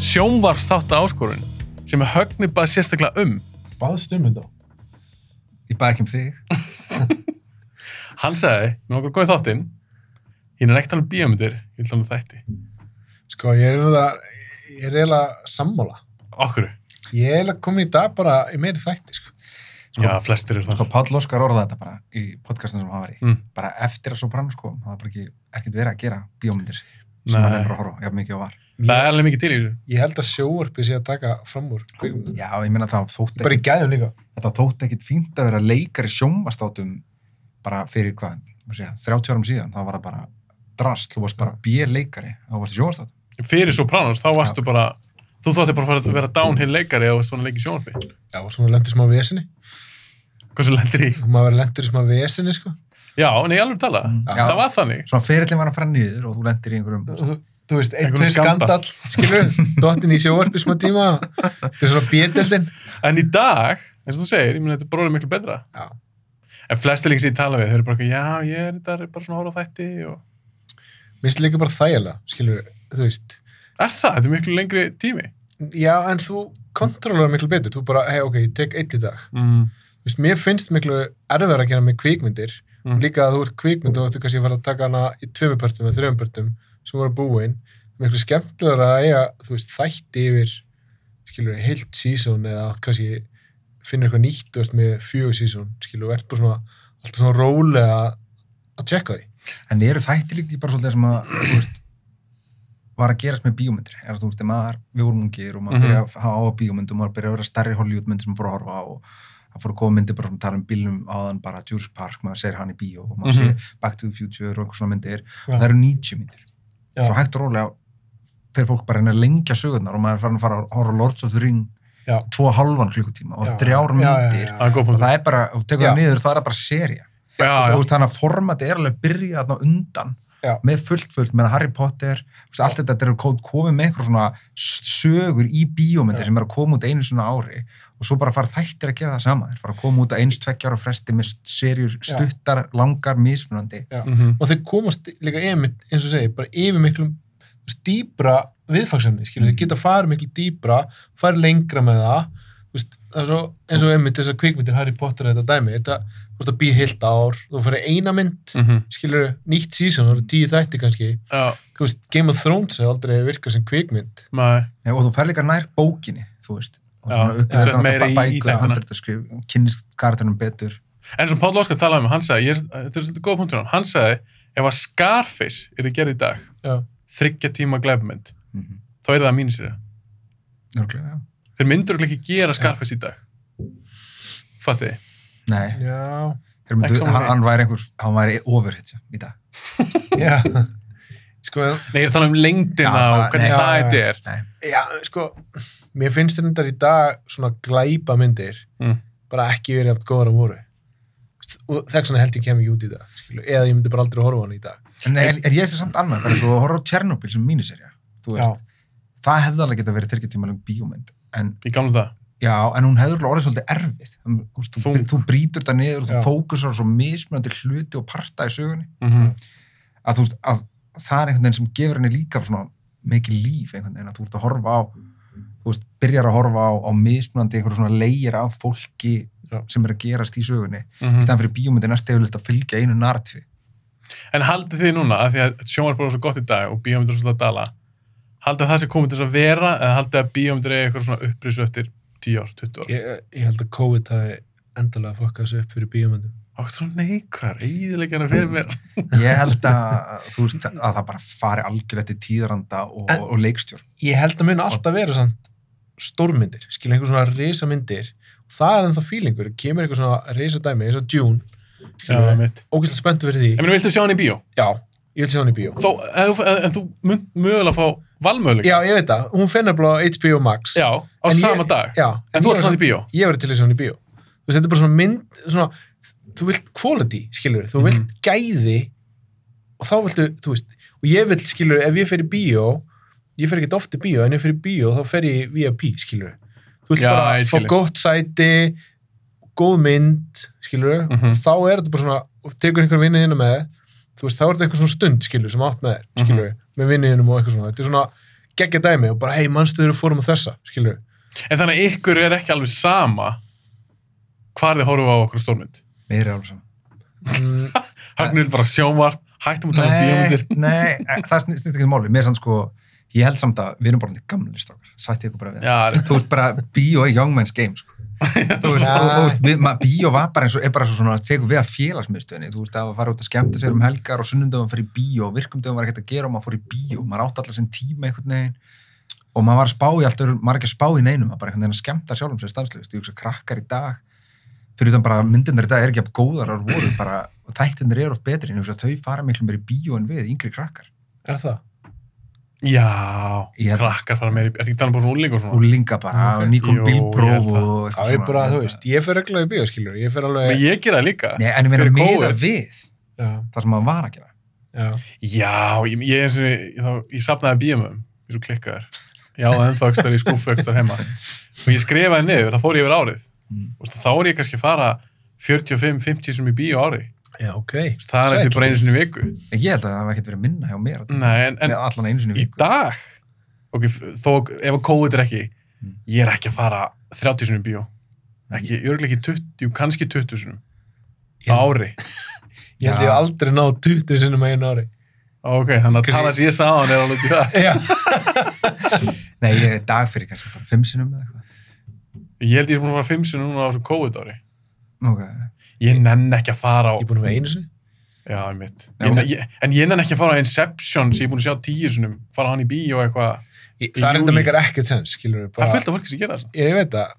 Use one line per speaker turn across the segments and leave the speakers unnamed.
sjónvarsþátt áskorun sem er högnir bara sérstaklega um
Baðst um þetta.
Ég bað ekki um þig.
hann sagði, mér okkur góði þáttinn ég er ekkert alveg bíómyndir ég vil tala um þætti,
Sko, ég er eiginlega, ég er eiginlega sammála.
okkur
Ég er eiginlega komin í dag bara í meiri þætti, sko.
já, flestir eru
Sko,
það
Páll Óskar orðaði þetta bara í podcastinu sem hann var í.
Mm.
Bara eftir að Sopranos kom, það var bara ekki, ekkert verið að gera bíómyndir sem hann er
Nei.
að horfa, á, jafn mikið og var.
það er alveg mikið til í þessu
Ég held að sjóarpið sé að taka fram úr. kvikmyndum.
Já, ég meina það þótt
Bara í gæðum líka.
þetta þótti ekkit fínt að vera leikari sjónvastátum bara fyrir hvað, má segja, 30 árum síðan, það var það bara drast, þú varst bara bér leikari og þú varst í sjónvastátum.
fyrir Sopranos, þá varstu bara þú þótti bara að fara að vera downhill leikari og svona leik í sjónarbi
Já, og svona lendur smá vesinni.
hversu lendir í,
Og maður lendur í smá vesinni, sko.
já, en ég alveg tala
Mm. Já.
það var þannig,
Svona ferillin var að fara niður og þú lendir í einhverjum,
Þú- Þú veist, einn,
Einhverjum
tveir skandal, skilur. Dottin í sjóarpið smá tíma. Þetta er svona bieteldin.
en í dag eins og þú segir, ég meina þetta er bróðið miklu betra
Já.
en flestir líka sem ég tala við, þau eru bara eitthvað, já, ég er þetta er bara svona að horfa á þætti og...
Mér finnst líka bara þægilega, skilur, þú veist.
er það, þetta er miklu lengri tími
Já, en þú kontrollar miklu betur. Þú bara, hei, ok, ég tek einn í dag.
mm.
Þú veist, mér finnst miklu erfiðar að gera með kvíkmyndir.
Mm.
Líka að þú ert kvíkmynd og þú kannski að fara að taka hana í tveimur pörtum eða þreimur pörtum sem voru búin. Miklu skemmtilegar að eiga, þú veist, þætti yfir, skilur, heilt sísón eða átt kannski finnir eitthvað nýtt og ert með fjögur sísón, skilur, og ert bara svona, alltaf svona rólega að tjekka því.
en eru þætti líka ekki bara svolítið sem að, þú veist, var að gerast með bíómyndir, er það, þú veist, ef maður, við vorum ungir og maður
Mhm.
byrja að hafa á bíómyndum, maður byrja að vera stærri Hollywoodmyndir sem maður fór að horfa á og það fór að koma myndir bara sem tala um bílum áðan bara Jurassic Park, maður sér hann í bíó og maður
Mhm.
sér Back to the Future og einhver svona myndir
Já.
það eru 90 myndir
Já.
svo hægt og rólega fer fólk bara að reyna að lengja sögurnar og maður er farin að fara að horfa á Lords of the Ring
Já.
tvo og halvan klukkutíma og þrjár myndir
það er góð
og
punktur
það er bara, og tekur
Já.
það niður, það er bara seria
já,
Þú
já,
veist, þannig að formatið er alveg að byrja þarna undan
Já.
með fullt fullt, með Harry Potter þú veist, allt þetta er kóð komið með einhver svona sögur í bíómyndir
Já.
sem er að koma út einu svona ári og svo bara fara þættir að gera það sama þeir fara að koma út að eins tveggja ára fresti með serjur stuttar, langar, mismunandi
Mhm.
og þeir komast líka einmitt, eins og segi, bara yfir miklu dýbra viðfangsefni, skilur, þeir geta farið miklu dýbra, farið lengra með það, þú veist, það er svo, eins og einmitt þessar kvikmyndir Harry Potter eða þetta dæmi, þetta, þú veist að býja heilt ár, þú farið eina mynd,
Mhm.
skilur, nýtt sísón, það eru tíu þætti kannski,
já,
þú veist, Game of Thrones hefur aldrei virkað sem kvikmynd,
maður
Nei, og þú fer líka nær bókinni, þú veist og
Já,
svona
þú sett
upplega
meira í- í
bækur,
textana.
handrættaskrif kynnist karakterunum betur
En sem Páll Óskar talaði um, hann sagði, ég, þetta er svolítið góð punktur hann, hann sagði, ef að Scarface er gerð í dag,
Já.
þryggja tíma glæfmynd,
mm
Mhm.
-hmm.
þá er það að mínu sér.
Nörglega,
Þeir myndur ekki gera Scarface í dag. Fatti,
Nei,
já,
þeir myndu,
Ekki saman
hann,
við.
hann væri einhver, hann væri ofurhittja í dag
já, sko,
nei, ég er að tala um lengdina
Já, bara-
og hvernig
nei,
það
já,
þetta er.
Nei.
Já, sko, mér finnst þetta í dag svona glæpa myndir
Mm.
bara ekki verið aftur góðar að voru og þess vegna held ég kem ekki út í dag skilu. eða ég myndi bara aldrei horfa á hann í dag
En er, er ég þessi samt annað, það er svo að horfa á Tjernobyl sem míniserja, þú veist, það hefði alveg geta verið þyrkjartíma lang bíómynd, en
Í gamla það.
já, en hún hefði alveg orðið svolítið erfið, En, þú, veist, þú,
Þung.
þú brýtur það niður, þú
Já.
fókusar á svo mismunandi hluti og parta í sögunni,
Mm
að þú veist, að það er einhvern veginn sem gefur henni líka svona mikið líf einhvern veginn, að þú ert að horfa á, þú veist, byrjar að horfa á, á mismunandi einhverju svona leigir af fólki
Já. Mm.
sem er að gerast í sögunni, í
-hmm.
stæðan fyrir bíómyndin er stegulilt að fylgja einu narratífi.
En haldið þið núna, að því að sjónvarp er svo gott í dag og bíómyndur er svolítið að dala, haldið að það sé komið til þess að vera eða haldið að bíómyndur er eitthvað svona upprisu eftir 10 ár, 20 ár?
ég, ég held að COVID hafi endalega fokkað þessu upp fyrir bíómyndum
Ákveð svona neikvar, íðileggjana fyrir mér.
Ég held að, þú veist, að það bara fari algjörlega til tíðranda og,
En-
og leikstjórn.
ég held að mun alltaf vera samt stórmyndir, skilur einhver svona reysa myndir og það er ennþá fílingur, kemur einhver svona reysa dæmi eins og Dune
Já,
skilur,
mitt.
ógæslega spenntu fyrir því
Ég meina, viltu sjá hann í bíó?
já, ég vil sjá hann í bíó
Þó, en, þú- en, en þú mynd mögulega að fá valmöguleika.
já, ég veit það, hún finnir bara á HBO Max
Já, á
En ég-
sama dag.
já,
en þú
ég
ert
var
samt í bíó.
ég verið til þess að hann í bíó þú veist, þetta er bara svona mynd svona, þú vilt quality, skilur, þú vilt
Mhm.
gæði og þá viltu, þú veist og ég vil, skilur, ef ég fer í bíó ég fer ekkert oft í bíó, en ef ég fer í bíó þá fer ég í VIP, skilur þú vilt
Já,
bara
ég
fá
skil.
gott sæti góð mynd, skilur
Mhm.
þá er þetta bara svona, og tekur einhver vinnið hérna
Mhm.
með, þú veist, þá er þetta einhver svona stund, skilur, sem átt með þér, skilur, með vinniðinum og eitthvað svona, þetta er svona geggja dæmi og bara, hei, mannstu þeir eru fórum á þessa, skilur
En þannig að ykkur er ekki alveg sama hvar þið horfa á okkur stórmynd.
Mér er alveg svona.
mm,
Högnum við bara sjónvarp, hættum að tala um bíómyndir.
Nei, nei, eh, það snýst ekki um máli. Mér er sann sko, ég held samt að við erum bara orðnir gamli strákar. Sætti ykkur bara við.
Já, rétt.
Þú ert bara bíó í young man's game, sko. þú veist, og, og, veist, við, ma- bíó var bara eins og er bara svo svona að tegur við að félagsmiðstöðinni. Þú veist, það var að fara út að skemmta sér um helgar og sunnundöfum fyrir bíó. Virkumdöfum var ekkert að gera og maður fór í bíó. Maður átti allar sinn tíma einhvern veginn. Og maður var að spá í allt, öðru- maður er ekki að spá í neinum, maður bara einhvern veginn að skemmta sjálfum sér stanslust. Ég hugsa krakkar í dag, fyrir utan bara myndirnar í dag er ekki að góðar að voru bara, og þættinir eru oft betri, en ég hugsa að þau fara miklu meir í bíó en við, yngri krakkar.
er það?
Já,
Ég held-
krakkar fara meir í... Ertu ekki talað um bara svona úlingur og
Og
svona?
linga bara,
Ok.
og nýkom
Jú, ég
bílpróf
held það.
og
Það er bara, þú veist, ég fer reglulega í bíó, skilur ég fer alveg,
Men hérna. ég gera það líka.
Nei, en ég meina
Fyrir
meða
COVID.
við
já,
það sem maður var að gera.
já
Já, ég, ég eins og ég, þá, ég sapnaði bíómyndum, ég svo klikkaður. Já, ennþá ekstar í skúfu ekstar heima. Og ég skrifaði niður, það fór ég yfir árið.
Mm.
Þú veist, Þá er ég kannski að fara 45-50 sem í bíó á ári.
Já, ok.
Þú veist, Það er næstu bara einu sinni í viku.
Ég held að það var ekkert verið minna hjá mér á þetta.
Nei, en, en
Með allan einu sinni í
í
viku.
dag ok, þó, ef að COVID er ekki
Mm.
ég er ekki að fara 30 sinni í bíó ekki, örgulega ekki 20, jú, kannski 20 sinni
Mm. Ég held-
ári,
Ég held
Já.
ég hafi aldrei náð 20 sinnum að einu ári.
ok, þannig að
Kannski-
tala sem ég sá hann er alveg ekki það
Já.
Nei, ég er dag fyrir kannski bara fimm sinum eða eitthvað.
ég held ég er búin að fara 5 sinni núna á þessu COVID ári
Ok.
ég nenn ekki að fara á
Ég er búin að vera einu sinni.
já, mitt,
Já.
ég, nenn- ég, en ég nenn ekki að fara á Inception sem ég er búin að sjá 10 sinni fara á hann í bíó eitthvað,
Ég, það er
júlí.
enda meikar ekkert sens, skilur við
það
bara.
er fullt af fólki sem gera það
Ég veit það.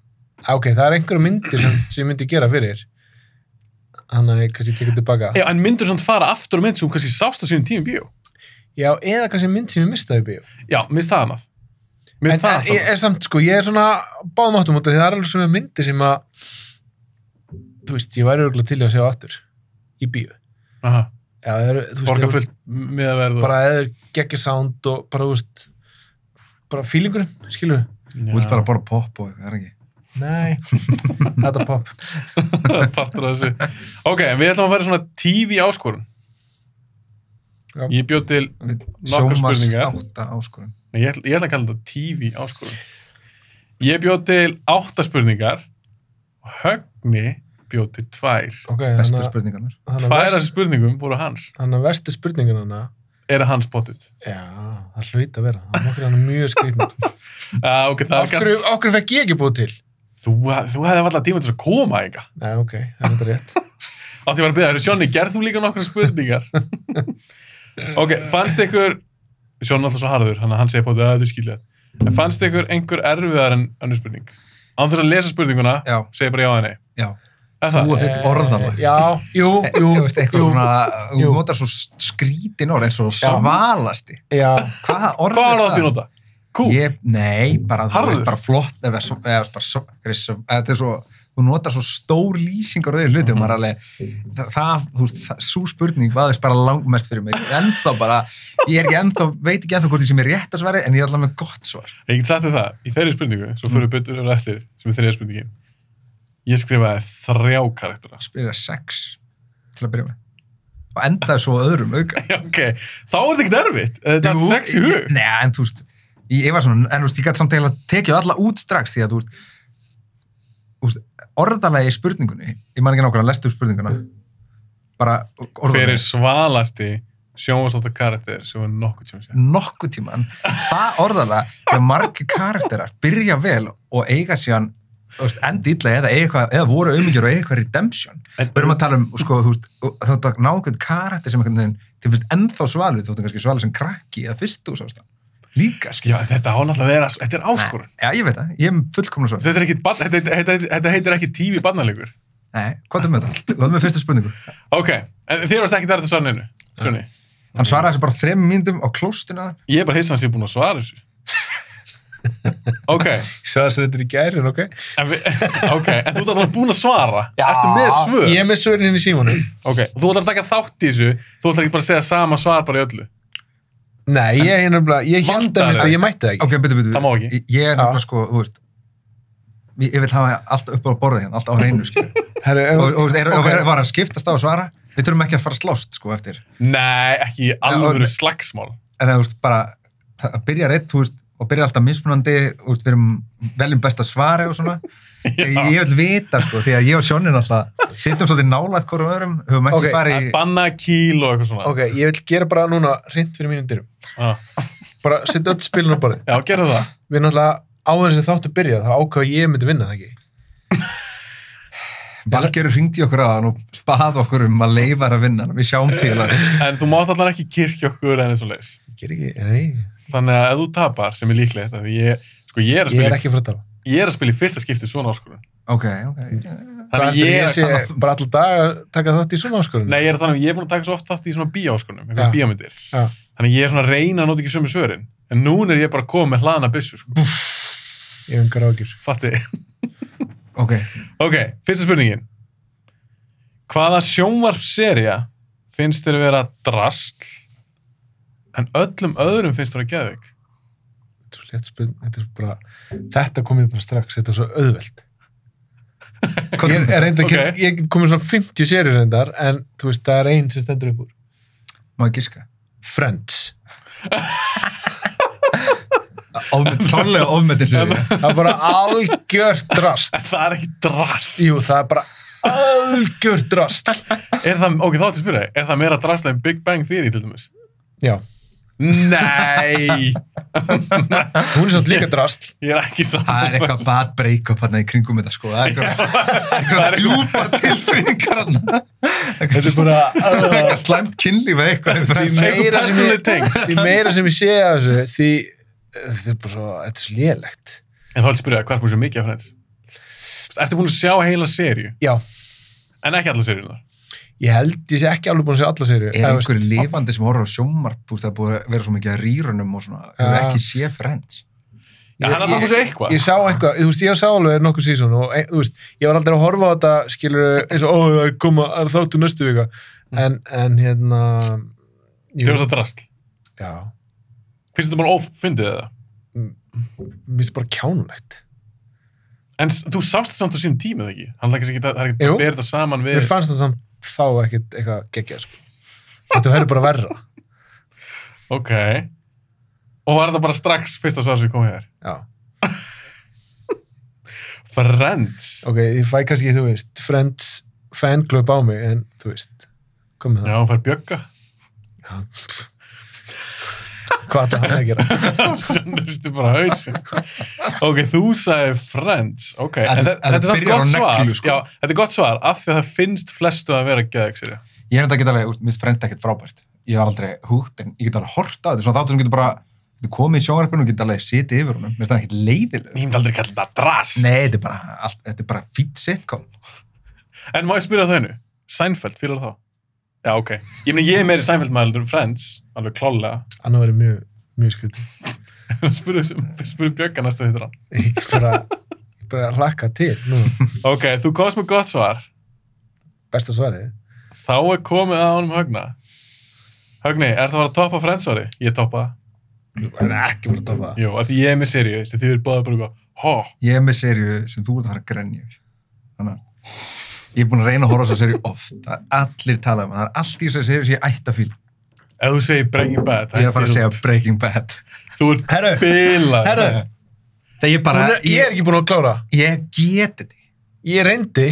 Á, Ok, það er einhverju myndir sem, sem ég myndi gera fyrir. Þannig að ég kannski tekið tilbaka.
já, en myndur svona fara aftur á mynd sem þú kannski sást á sínum tíum í bíó
Já, eða kannski mynd sem ég mistaði í bíó.
já, minnst það annað
En,
minnst það
en
alltaf
ég er samt, sko, ég er svona báðum áttum út af því það er alveg svona myndir sem að, þú veist, ég væri örgulega til í að sjá aftur í bíó.
Aha,
Já, það eru, þú veist,
borga
ef-
fullt með að verða
bara eða er geggja sound og bara, þú veist, bara feelingurinn, skilur við?
Þú vilt bara borða popp og eitthvað, það er ekki.
Nei, þetta er pop.
partur af þessu ok, en við ætlum að vera svona TV áskorun
Já.
ég bjóð til
Við-
Nokkrar
Sjónvarps
spurningar.
þátta áskorun.
nei, ég, ætla, ég ætla að kalla þetta TV áskorun ég bjóð til átta spurningar og Högni bjóð til tvær
Ok,
Bestu
þannig
spurningarnar.
að- þannig
tvær
að
af
vest-
spurningum voru hans
þannig að vestu spurningin hana,
eru hans potið
já, það hlaut að vera, það er okkur hann mjög skrýtn.
uh, ok, það er kannski
Okkur, okkur fekk ég ekki búið til.
þú, þú hefði alltaf tíma til þess að koma enga
Nei, ok, það er þetta rétt.
átti ég bara að byrja, Sjónni, gerð þú líka nokkra spurningar ok, fannst ykkur Sjónni alltaf svo harður, hann, hann segir potið að þetta er skilja en fannst ykkur einhver erfiðar en önnur spurning án þess að lesa spurninguna,
Já,
segir bara já eða nei
já.
er það?
Þú og þitt
Eh,
orðalag.
Já, jú,
Jú,
jú,
þú veist, eitthvað
jú,
svona, þú
Jú.
notar svo skrítin orð eins og
Já.
svalasti.
já,
Hvaða orð
hvað er það að nota? kú?
Ég, nei, bara þú
Harður.
veist, bara flott, eða, svo- eða bara, svo- eða, svo- eða, þetta er svo, þú notar svo stór lýsingar og þeir hluti og
Mhm.
maður alveg, það, það, þú veist, það- sú spurning vaðist bara langmest fyrir mig, ennþá bara, ég er ekki ennþá, veit ekki ennþá hvort ég sem er rétt að svari, en ég er alltaf með gott svar.
ég get sagt þér það, í þeirri spurningu svo fyrir við byttur og eftir, sem er þriðja spurningin ég skrifaði þrjá karaktera
Spyrja sex til að byrja með og endaði svo á öðrum auka.
Já, ok, þá er þetta ekkert erfitt þetta er
Jú,
sex í hug
Nei, en þú veist, ég, ég var svona, en þú veist, ég gæti samt eiginlega tekið alla út strax því að þú veist, þú veist, orðalagi í spurningunni, ég man ekki nákvæmlega, lestu upp spurninguna, bara
fyrir
orðalagi,
svalasti sjónvastóta karakter sem er nokkuð tjóma sér
nokkuð tíman, það orðalagi, þegar margir karakterar byrja vel og eiga síðan, þú veist, enda illa eða, eiga eitthvað, eða voru auðmingjur og eiga eitthvað redemption.
En-
Við erum að tala um, sko, þú veist, og þetta er nákvæmlega karakter sem einhvern veginn, þið finnst ennþá svalið, þú veist, kannski svalið sem krakki eða fyrst þú sást það. Líka, skil.
já, þetta á náttúrulega að vera, þetta er áskorun
Já, ég veit það, ég er fullkomna svo.
Þetta, er ekkit, barn- þetta, þetta, þetta, þetta heitir ekki tífi barnaleikur.
Nei, hvað er með það? Hvað er með fyrstu spurningu?
Ok, en þér varst ekki þar þetta svarninu. Sjóni,
Hann svaraði þessu bara þrem mínútum á klóstuna.
ég er bara hissa hans ég er búin að svara þessu. Ok,
svaðsrættir í gærin, ok?
en, vi, ok, en þú ert alveg búin að svara. Ertu með svör?
Ég er með svörin hérna í símanum.
Ok, þú ætlar að taka þátt í þessu, þú ætlar ekki bara að segja sama svar bara í öllu.
Nei, ég, er nefnilega- ég held að
Vandaðu.
þetta, ég mætti það ekki.
Ok, byrju, byrju,
Það má ekki.
Ég- Ég er
Já.
nefnilega sko, þú veist, ég ég vil hafa allt upp á borðið hérna, allt á hreinu, skilju. og,
Herru, ef-
og, þú veist, er,
ok.
og er, var að skiptast á að svara. Við þurfum ekki að fara að slást, sko, eftir.
Nei, ekki í
Já,
alvöru
ok.
slagsmál.
En það, þú veist, bara, það- að byrja reitt, þú veist, og byrja alltaf mismunandi úr verum veljum besta svari og svona ég, ég vil vita sko, því að ég og Sjónin alltaf sittum svolítið nálægt hverjum öðrum höfum ekki
Ok,
farið
Að
í
banna kíl og eitthvað svona.
Ok, ég vil gera bara núna hreint fyrir mínum dyrum.
Ah.
Bara setja öll spilin á borðið.
Já, gerðu það.
Við náttúrulega á þessi þáttu byrjað, þá ákvað ég myndi vinna það ekki.
Valgerur hringdi í okkur að hann og spað okkur um að leifar að vinna við sjáum til að
En þú mátt allan ekki kirkja okkur en eins og leis.
Ég ger ekki, nei,
Þannig að ef þú tapar, sem er líklegt, af því ég, sko, ég, er að
ég er
spila,
ekki fyrir þetta.
ég er að spila í fyrsta skipti svona áskorun.
ok, ok,
Þannig að
Hvað heldur
ég
ég
er,
sé bara alltaf dag að taka þátt í svona áskorunum?
nei, ég er þannig að um, ég er búin að taka svo oft þátt í svona bíáskorunum,
Já.
eitthvað bíamyndir.
Já.
Þannig að ég er svona að reyna að nota ekki sömu svörin. En núna er ég bara að koma með hlaðna byssu, sko.
Ég hef engar ágjur.
Fatti.
ok
Ok, fyrsta spurningin. Hvaða sjónvarpserja finnst þér vera drastl en öllum öðrum finnst þér að geðveik?
Svo létt spurning, þetta er bara, þetta kom ég bara strax, þetta er svo auðvelt. Ég
Kollum.
er reyndar, okay.
Ok.
ég get komið svona 50 sérir reyndar, en þú veist, það er einn sem stendur upp úr.
má ég gíska
Friends.
Ofmet- klárlega ofmetin sér
Það er bara algjört drast.
Það er ekki drastl.
Jú, það er bara algjört drast.
Er það, ok, þá ætti að spyrja, þig, er það meira drastl en Big Bang Theory til dæmis?
Já,
Nei!
hún er svolítið líka drast.
Ég er ekki saman.
það er eitthvað bad break-up hann í kringum þetta sko það er eitthvað-
Það
eitthvað
er eitthvað-
djúpar tilfinningar hann
Þetta er bara,
eitthvað slæmt kynlíf eða
því
eitthvað
meira, sem
persónuleg
ég,
tengsl.
því meira sem ég sé að þessu, því eh, þetta er bara svo, þetta er svo lélegt.
En þá ætti að spyrja, þig, hvað er búin svo mikið af Friends? Ertu búin að sjá heila serju,
Já,
en ekki alla serjunar?
ég held ég sé ekki alveg búin að segja alla serið.
er einhver lifandi sem horfður á sjónvarp úr það er búið að vera svo mikið að rýrunum og svona, hefur
Ja.
ekki sé Friends
Já, hann er
Ég-
það búin svo eitthvað.
Ég sá eitthvað, þú veist, ég sá alveg nokkuð sísón og e, þú veist, ég var aldrei að horfa á þetta, skilur, eins og, ó, það er koma, það er þáttu næstu vika,
Mm.
en, en hérna, jú,
Þú veist það drastl.
já,
Finnst þetta bara ófindið það?
mér finnst bara kjánulegt.
En s- þú sást þetta samt á sínum tíma, eða ekki? Hann lækast ekki, það er ekki
Jú.
að bera þetta saman við...
Mér fannst það samt þá ekkit eitthvað geggjað, sko. Þetta verður bara verra.
Ok. Og var þetta bara strax fyrsta svar sem kom hér?
Já,
Friends.
ok, ég fæ kannski, þú veist, friends, fanclub á mig, en, þú veist,
Já,
komið það.
hann fær bjögga.
Já. pff. Hvað það hann að gera?
Sönnustu bara hausin. Ok, þú sagði Friends. Ok, en
Að-
þe-
að
þetta er samt
byrjar á
gott svar.
neglu, sko.
Já, þetta er gott svar af því að það finnst flestu að vera geðveiksir.
ég er þetta að geta alveg, úr- mér finnst Friends ekkert frábært ég var aldrei húgt en ég get alveg horta þetta er svona þáttur sem getur bara getur komið í sjónvarpunum og getur alveg setið yfir honum, mér finnst það ekkert leiðileg
Ég myndi aldrei kalla þetta drast.
nei, þetta er bara, allt, þetta er bara fýtt sitcom
En má ég spyrja það hennu? Seinfeld, fílar þá? Já, ok. Ég meina, ég er meiri Seinfeld maður en Friends, alveg klálega.
Annað verður mjög, mjög skrítið.
spurðu spurðu bjögga næstu hittir hann.
ég bara, ég bara hlakka til nú,
Ok, þú komst með gott svar.
besta svarið
Þá er komið að honum Högna. Högni, ertu að fara að toppa Friends-svari? Ég toppa það.
það er ekki bara að topa það
Jú, af því ég er með serið, veist, þið er báðið bara eitthvað, hó,
ég er með serju sem þú ert að fara að grenja yfir. þannig að ég er búin að reyna að horfa á þessa serju oft það er allir talað um, hana. það er allt í þessari serju sem ég ætti að fíla
ef þú segir Breaking Bad,
ég er að fara að segja
út.
Breaking Bad
þú ert
Herru,
bilað.
herru,
það ég bara,
Hún er, ég er
ég,
ekki búin að klára
ég get þetta ekki.
ég reyndi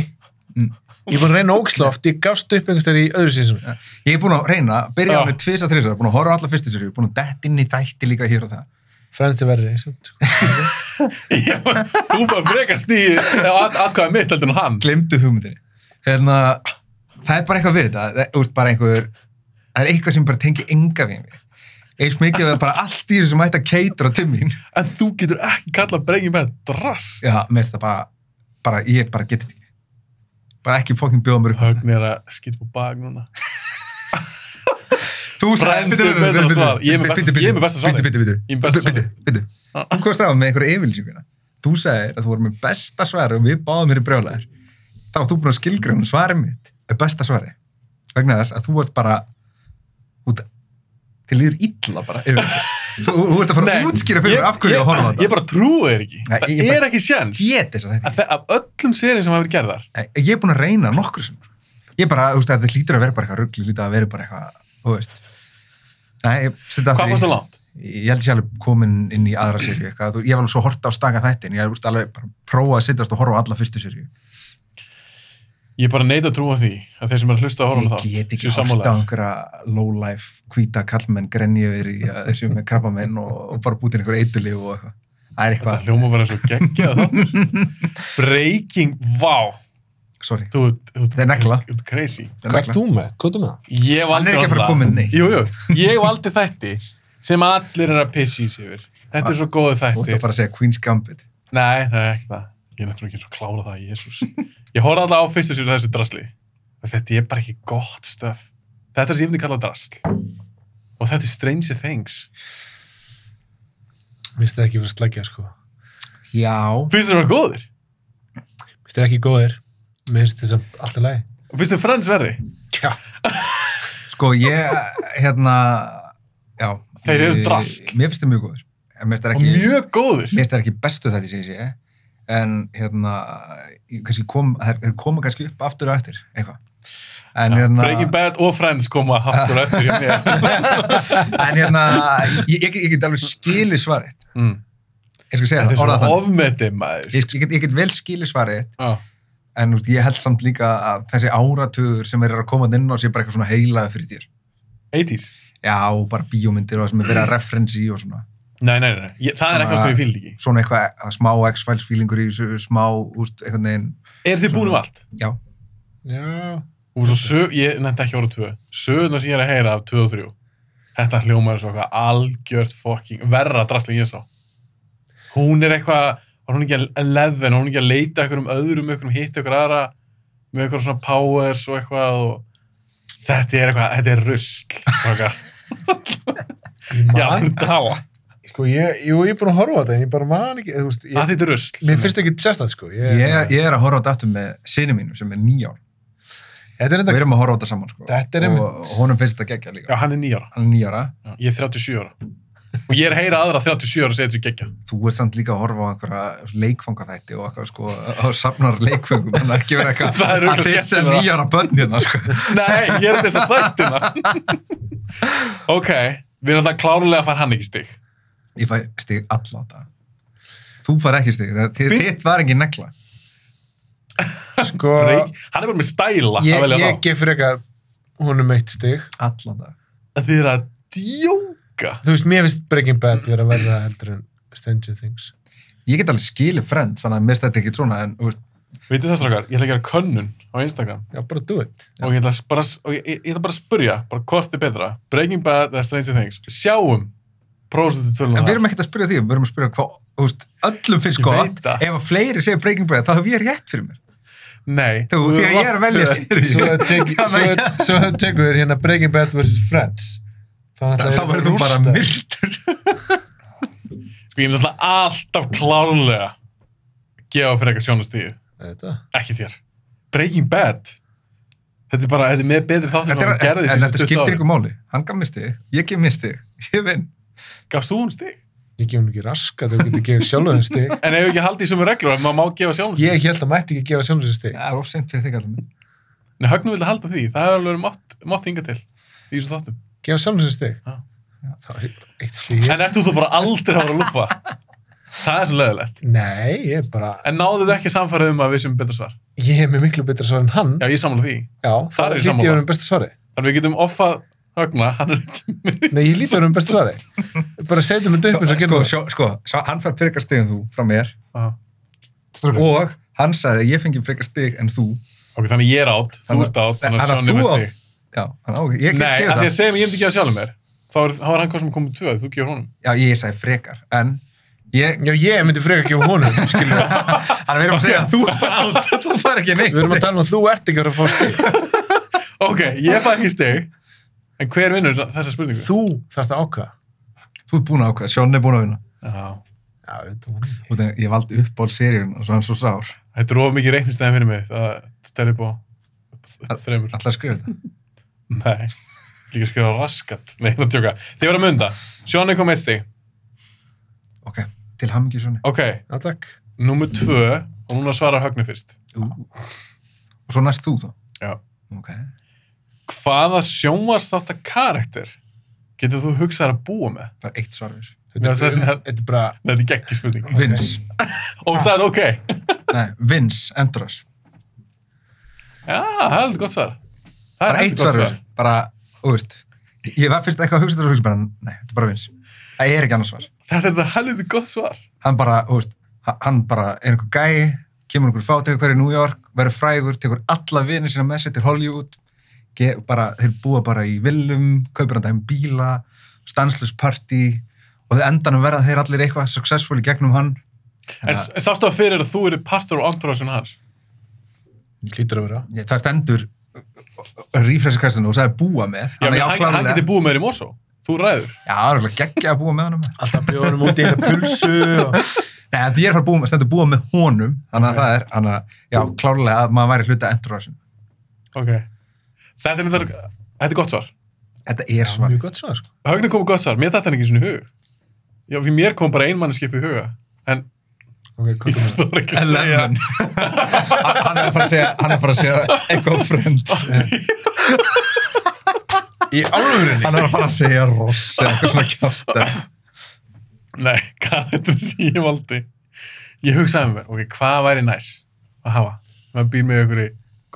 Mm.
ég er búin að reyna óksla oft ég gafst upp einhvers þegar í öðru sísum
ég er búin að reyna, byrja
Já.
á henni tvisa þrisa búin að horfa á alla fyrstu serju, búin að dett inn í þætti líka hér og það
fremst er verri samt, sko.
Já, þú bara frekar stíð, aðkvæða mitt heldur en hann.
glemdu hugmyndinni hérna, það er bara eitthvað við þetta það er bara einhver það er eitthvað sem bara tengi enga við mig eins mikið að það er bara allt í þessu sem ætti að keitra til mín
En þú getur ekki kallað Breaking Bad drast.
já, mér finnst það bara, bara ég bara geti þetta ekki bara ekki fokkin bjóða mér upp á þetta.
Högni er að skýta på bak núna.
þú
Friends
sagði,
er betra svar. Ég er með besta- ég er með besta svarið.
bitu, bitu,
Ég er með besta
bitu, bitu þú komst það með einhverja yfirlýsinguna þú sagði að þú voru með besta svar og við báðum mér í brjólaðar þá ert þú búin að skilgræna svarið mitt er besta svari vegna þess að þú ert bara út til líður illa bara yfir þessu. þú, þú ert að fara
Nei,
að útskýra fyrir mér af hverju ég, að horfa á
Ég, ég
þetta
bara trúi þér ekki.
Nei,
það er
ég bara-
ekki sjens.
ég get þess að þetta
Að þe- Af öllum serið sem hafa verið gerðar,
ekki. ég er búin að reyna nokkur sem ég bara, þú veist, þetta hlýtur að vera bara eitthvað ruggli hlýtur að vera bara eitthvað, þú veist Nei, ég setja
hvað fórst
aftur
það
í,
langt?
ég held ég sé alveg komin inn í aðra sériu eitthvað, Þú- ég hef alveg svo horta á staka þættin ég hef úst, alveg bara prófað að sittast og horfa á alla fyrstu sériu
Ég bara neita að trúa því að þeir sem eru að hlusta að horfa
ég
á það
get ekki
séu
horta á
sammála.
einhverja lowlife hvíta kallmenn grenni yfir í að þessu með krabbamenn og, og bara bútin einhver eitulíf og eitthvað það er
Þetta
eitthvað,
hljóma bara eins og geggja þáttur. Breaking, vá,
sorry
þú ert- þú ert-
Það er negla.
Þú ert crazy.
Hvað er þú með? Hvað er þú með það?
Ég hef
hann
aldrei
er ekki að fara að koma inn neitt
Jú, jú, ég valdi þætti sem allir er að pissi í sig yfir. Þetta er svo góðu
þú ert
þættir.
að bara að segja Queen's Gambit
Nei, nei, ekki það. Ég er náttúrulega ekki eins og klára það, jésús. Ég horfði alltaf á fyrstu sér þessu drasli. En Þetta er bara ekki gott stöf. Þetta er sem ég myndi kalla drasl. Og þetta er Stranger Things.
Minnst þið ekki fyrir að slækja, sko.
já,
Finnst þér það góður?
Minnst þið ekki góðir. Minnst þið samt alltaf lægi.
Finnst þér Friends verri?
Já.
Sko ég, hérna, já.
Þeir eru
Ég-
drasl.
Mér finnst það mjög góður. En Mér finnst það
Og
ekki,
mjög góður.
mér finnst það ekki bestu þetta sem ég sé. En hérna, ég kannski kom, þeir þeir koma kannski upp aftur og eftir, eitthvað. En hérna...
Breaking Bad og Friends koma haftur eftir hjá mér.
en hérna, ég, ég, get- ég get alveg skilið svarið.
Mm.
Ég skal segja
Þetta
það,
er
orða
svo
það.
ofmetið maður.
Ég, ég, get, ég get vel skilið svarið,
Já.
en úst, ég held samt líka að þessi áratugur sem er að koma þarna inn á sé bara eitthvað svona heilaði fyrir þér.
80s.
Já, og bara bíómyndir og það sem er verið að referensi í og svona.
Nei, nei, nei. Ég, það er
Svona-
ekki ástæðum ég fíld ekki.
svona eitthvað að smá X-Files feelingur í þessu smá, úst, einhvern veginn
Er þið búin um allt?
já,
Já.
Og svo sög, ég nefndi ekki orðið tvö. Sögurnar sem ég er að heyra af tvö og þrjú. Þetta hljómar er svo eitthvað algjört fokking verra drastli en ég sá. Hún er eitthvað, var hún ekki að leðin, hún er ekki að leita ykkur um öðrum, ykkur um hitt ykkur aðra, með ykkur svona powers og eitthvað og þetta er eitthvað, þetta er rusl. strákar.
Ég
Ég
man,
alveg dáa.
sko, ég, jú, ég er búin að horfa á þetta, en ég bara man ekki, þú veist,
Að
ég,
þetta er rusl.
mér finnst ekki sérstætt, sko.
ég, ég er að horfa á þetta aftur með sinni mínum sem er nýjár
Þetta er
við
þetta,
erum að horfa á þetta saman sko.
Þetta er
og
einmitt-
honum finnst þetta geggja
Já,
líka
hann er nýjára.
hann er nýjára,
Ég er 37 ára. Og ég er að heyra aðra 37 ára segja þessu geggja.
þú ert samt líka að horfa á einhverja leikfangaþætti og eitthvað sko og safnar leikfangum, hann er ekki verið
Það er
eitthvað
örugglega
að dissa
skemmtilegra.
nýjára börn hérna sko.
Nei, ég er þess að þættina. ok, við erum alltaf klárlega að fara hann ekki stig.
ég fær stig alla þetta þú fær ekki stig, það- þið-
Fínt.
þitt var ekki negla
sko,
Break. Hann er bara með stæla að
ég,
velja
ég
þá.
gef frekar honum eitt stig.
alla þetta
Þið eru að djóka.
Þú veist, mér finnst Breaking Bad vera að verða heldur en Stranger Things.
ég get alveg skilið frend, þannig að mér stætti ekki svona en þú veist,
Vitið það strákar, ég ætla að gera könnun á Instagram
Já, bara do it.
og ég ætla, að bara, og ég, ég, ég ætla bara að spurja bara hvort er betra, Breaking Bad eða Stranger Things. Sjáum prósentu tölunum
En við erum ekkert að spyrja því, við erum að spyrja hvað, þú veist, öllum finnst
Ég veit
gott,
það.
ef að fleiri segir Breaking Bad, þá hef ég rétt fyrir mér.
Nei.
Þú, því að ég er að velja
Svo
sér.
tek- svo- svo tekur við hérna Breaking Bad vs. Friends. Þá náttúrulega
Þá
er
verður þú bara
rústa.
myrtur.
Sko ég myndi alltaf alltaf klárlega gefa fyrir eitthvað sjónastíðu.
Þetta?
Ekki þér. Breaking Bad. Þetta er bara, þetta er með betri þáttir en
Þetta er,
hann gerði
en,
síðustu
þetta
20
skiptir
árin.
ykkur máli. Hann gaf misti, ég gef misti, ég vinn.
Gafst þú hún stig?
Ég gef hún ekki raskat, þú getur gefið sjálfum þér stig.
En hefur ekki haldið í sömu reglur að maður má gefa sjálfum sig?
Ég held að mætti ekki gefa sjálfum sér stig.
Það er ofsend fyrir þig allir minn.
Nei, Högnu vildi halda því. Það hefur alveg verið mátt, mátt hinga til í þessu þáttum.
Gefa sjálfum sér stig.
Já.
Þá er eitt stig.
En ert þú þá bara aldrei að vera að lúfa? Það er svo löðilegt.
Nei, ég er bara,
En náðu þau ekki samfærið um að við sem betra svar?
ég er með miklu betra svar en hann.
Já, ég samla því.
Já, þá
Þar er ég
lítið
sammála.
ég verið um besta svari.
Þannig við getum offað Högna, hann er ekki með.
Nei, ég lítið verið um besta svari. Bara setjum þetta upp eins og
Sko,
gerum það.
sjó- sko, sá- hann fær frekar stig en þú frá mér
Ah.
og hann sagði að ég fengi frekar stig en þú.
Ok, þannig ég er átt, þú
Þannig-
ert átt, þannig
Þannig
að
að
Sjónni
þú
með
átt-
stig.
Já, hann á, ég get
Nei,
gefið
að því
það.
að segja mig ég myndi gefa sjálfum mér þá er, þá er hann hvað sem komið tvöð, þú gefur honum
Já, ég sagði frekar, en ég,
Já, ég myndi frekar gefa honum, skilur.
hann verður að segja að þú bara aldrei, þú fær ekki neitt.
Við erum að tala um að þú ert ekki að fara að fá stig.
Ok, ég fæ ekki stig En hver vinnur þessa spurningu?
Þú þarft að ákvaða.
Þú ert búin að ákveða, Sjón er búin að vinna.
Já,
Já, þetta var hann.
Út af ég valdi uppból seríun og svo hann svo sár.
þetta er of mikið reiknistæðin fyrir mig Það það tel upp á upp á þremur
Alltaf skrifa þetta.
Nei, líka skrifa raskat Nei, það tjóka Þið voru að munda, Sjónni kom eitt stig
Ok, til hamingi svona.
Ok,
Já, takk.
númer tvö og núna svarar Högni fyrst
Ú. Og svo næst þú þá.
Já.
Ok.
Hvaða sjónvarsþáttar karakter Getur þú hugsað þér að búa með?
Það er eitt svar við þessu.
Já,
Þetta
þessi
er,
hef-
um, þetta er bara,
Nei, þetta er ekki spurning.
Vins.
Og það er ok.
Nei, Vins, Endras.
Já, það er heldur gott svar. Það
Bara
heldur
eitt
gott
svar við þessu. Bara, þú veist, ég var fyrst eitthvað að hugsa þetta og hugsa bara, nei, þetta er bara Vins. Það er ekki annars svar.
Það er það heldur gott svar.
Hann bara, þú veist, ha- hann bara er einhver gæi, kemur einhver fátekur hverju í New York, verður frægur, tekur alla vinið sína með sér til Hollywood, ge, bara, þeir búa bara í villum, kaupir hann dæmi bíla, stansless party og þeir endanum verða þeir allir eitthvað successful í gegnum hann.
En
Hérna-
s- en sástu að fyrir að þú eru partur og andraðsjónu hans.
hlýtur að vera.
Ég, það stendur rífræsir kastinu og það er búa með
Já, menn, hann, hann getur
klárlega.
búið með þér í Mosó. Þú ræður.
Já, það er alveg geggja að búa með honum
Alltaf bjóðum út í eina pulsu og...
Nei, þetta ég er að fara að búa með, stendur búa með honum þannig að það er, þannig að, já, klárlega að maður væri hluta endurásin.
Ok. Þetta er, þetta er, þetta er gott svar.
Þetta er svar.
Mjög gott svar, sko.
Högni kom með gott svar. Mér dætti hann ekki svona í hug. Já, fyrir mér kom bara einmannskip í huga. En
Ok,
ég
hvað er það?
þarf ekki að segja.
Eleven. hann hann er að fara að segja, hann er að fara að segja eitthvað friend.
Í alvörinni?
Hann er að fara að segja ross eða eitthvað svona kjátt.
Nei, hvað þetta er sem ég valdi? Ég hugsaði með mér, ok, hvað væri næs að hafa? Maður býr með ykkur í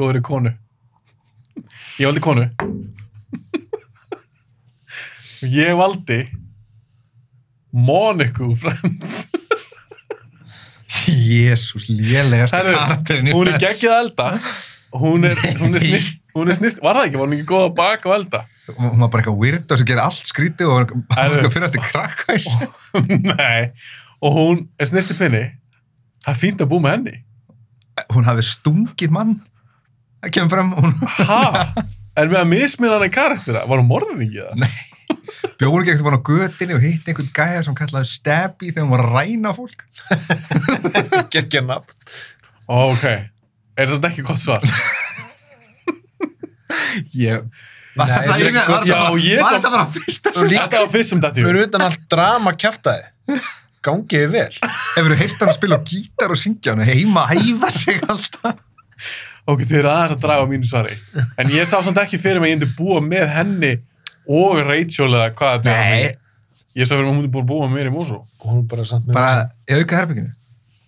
góðri konu. Ég valdi konu. Og ég valdi Monica úr Friends.
Jésús, lélegast
Herru,
karakterinn í
Hún er
Friends.
geggjað að elda. Hún er, hún er snirt, hún er snirt, var það ekki, var hún ekki góð að baka og elda?
Hún var bara eitthvað weirdo sem gerir allt skrítið og var
Herru.
bara að finna þetta krakkvæs.
Nei, og hún er snirti pinni. Það er fínt að búa með henni.
Hún hafi stungið mann. Það kemur fram, hún
Hæ? Er með að mismina hann en karaktera? Var hún morðingið það?
bjóður ekki eitthvað á götinni og hitt einhvern gæja sem kallaði Stabby þegar hún var að ræna fólk.
Gekkja nafn.
Ok, er það ekki gott svar?
Ég... Var
Nei,
þetta
ég-
eina- var
já,
þetta bara-
ég
var
sam-
þetta bara fyrsta
Og
sem...
líka-
Þetta var fyrst sem dætti
Fyrir utan allt drama kæftæði. Gangið þið vel.
Hefur þú heyrt hann að spila á gítar og syngja hann heima, hæfa sig alltaf?
Ok, þið eru aðeins að draga á mínu svari. En ég sá samt ekki fyrir mig að ég myndi búa með henni og Rachel eða hvað þetta er.
Nei,
Ég sá fyrir mig að hún myndi búa- búa með mér í Mosó.
Og hún bara samt með...
bara í auka herbygginu.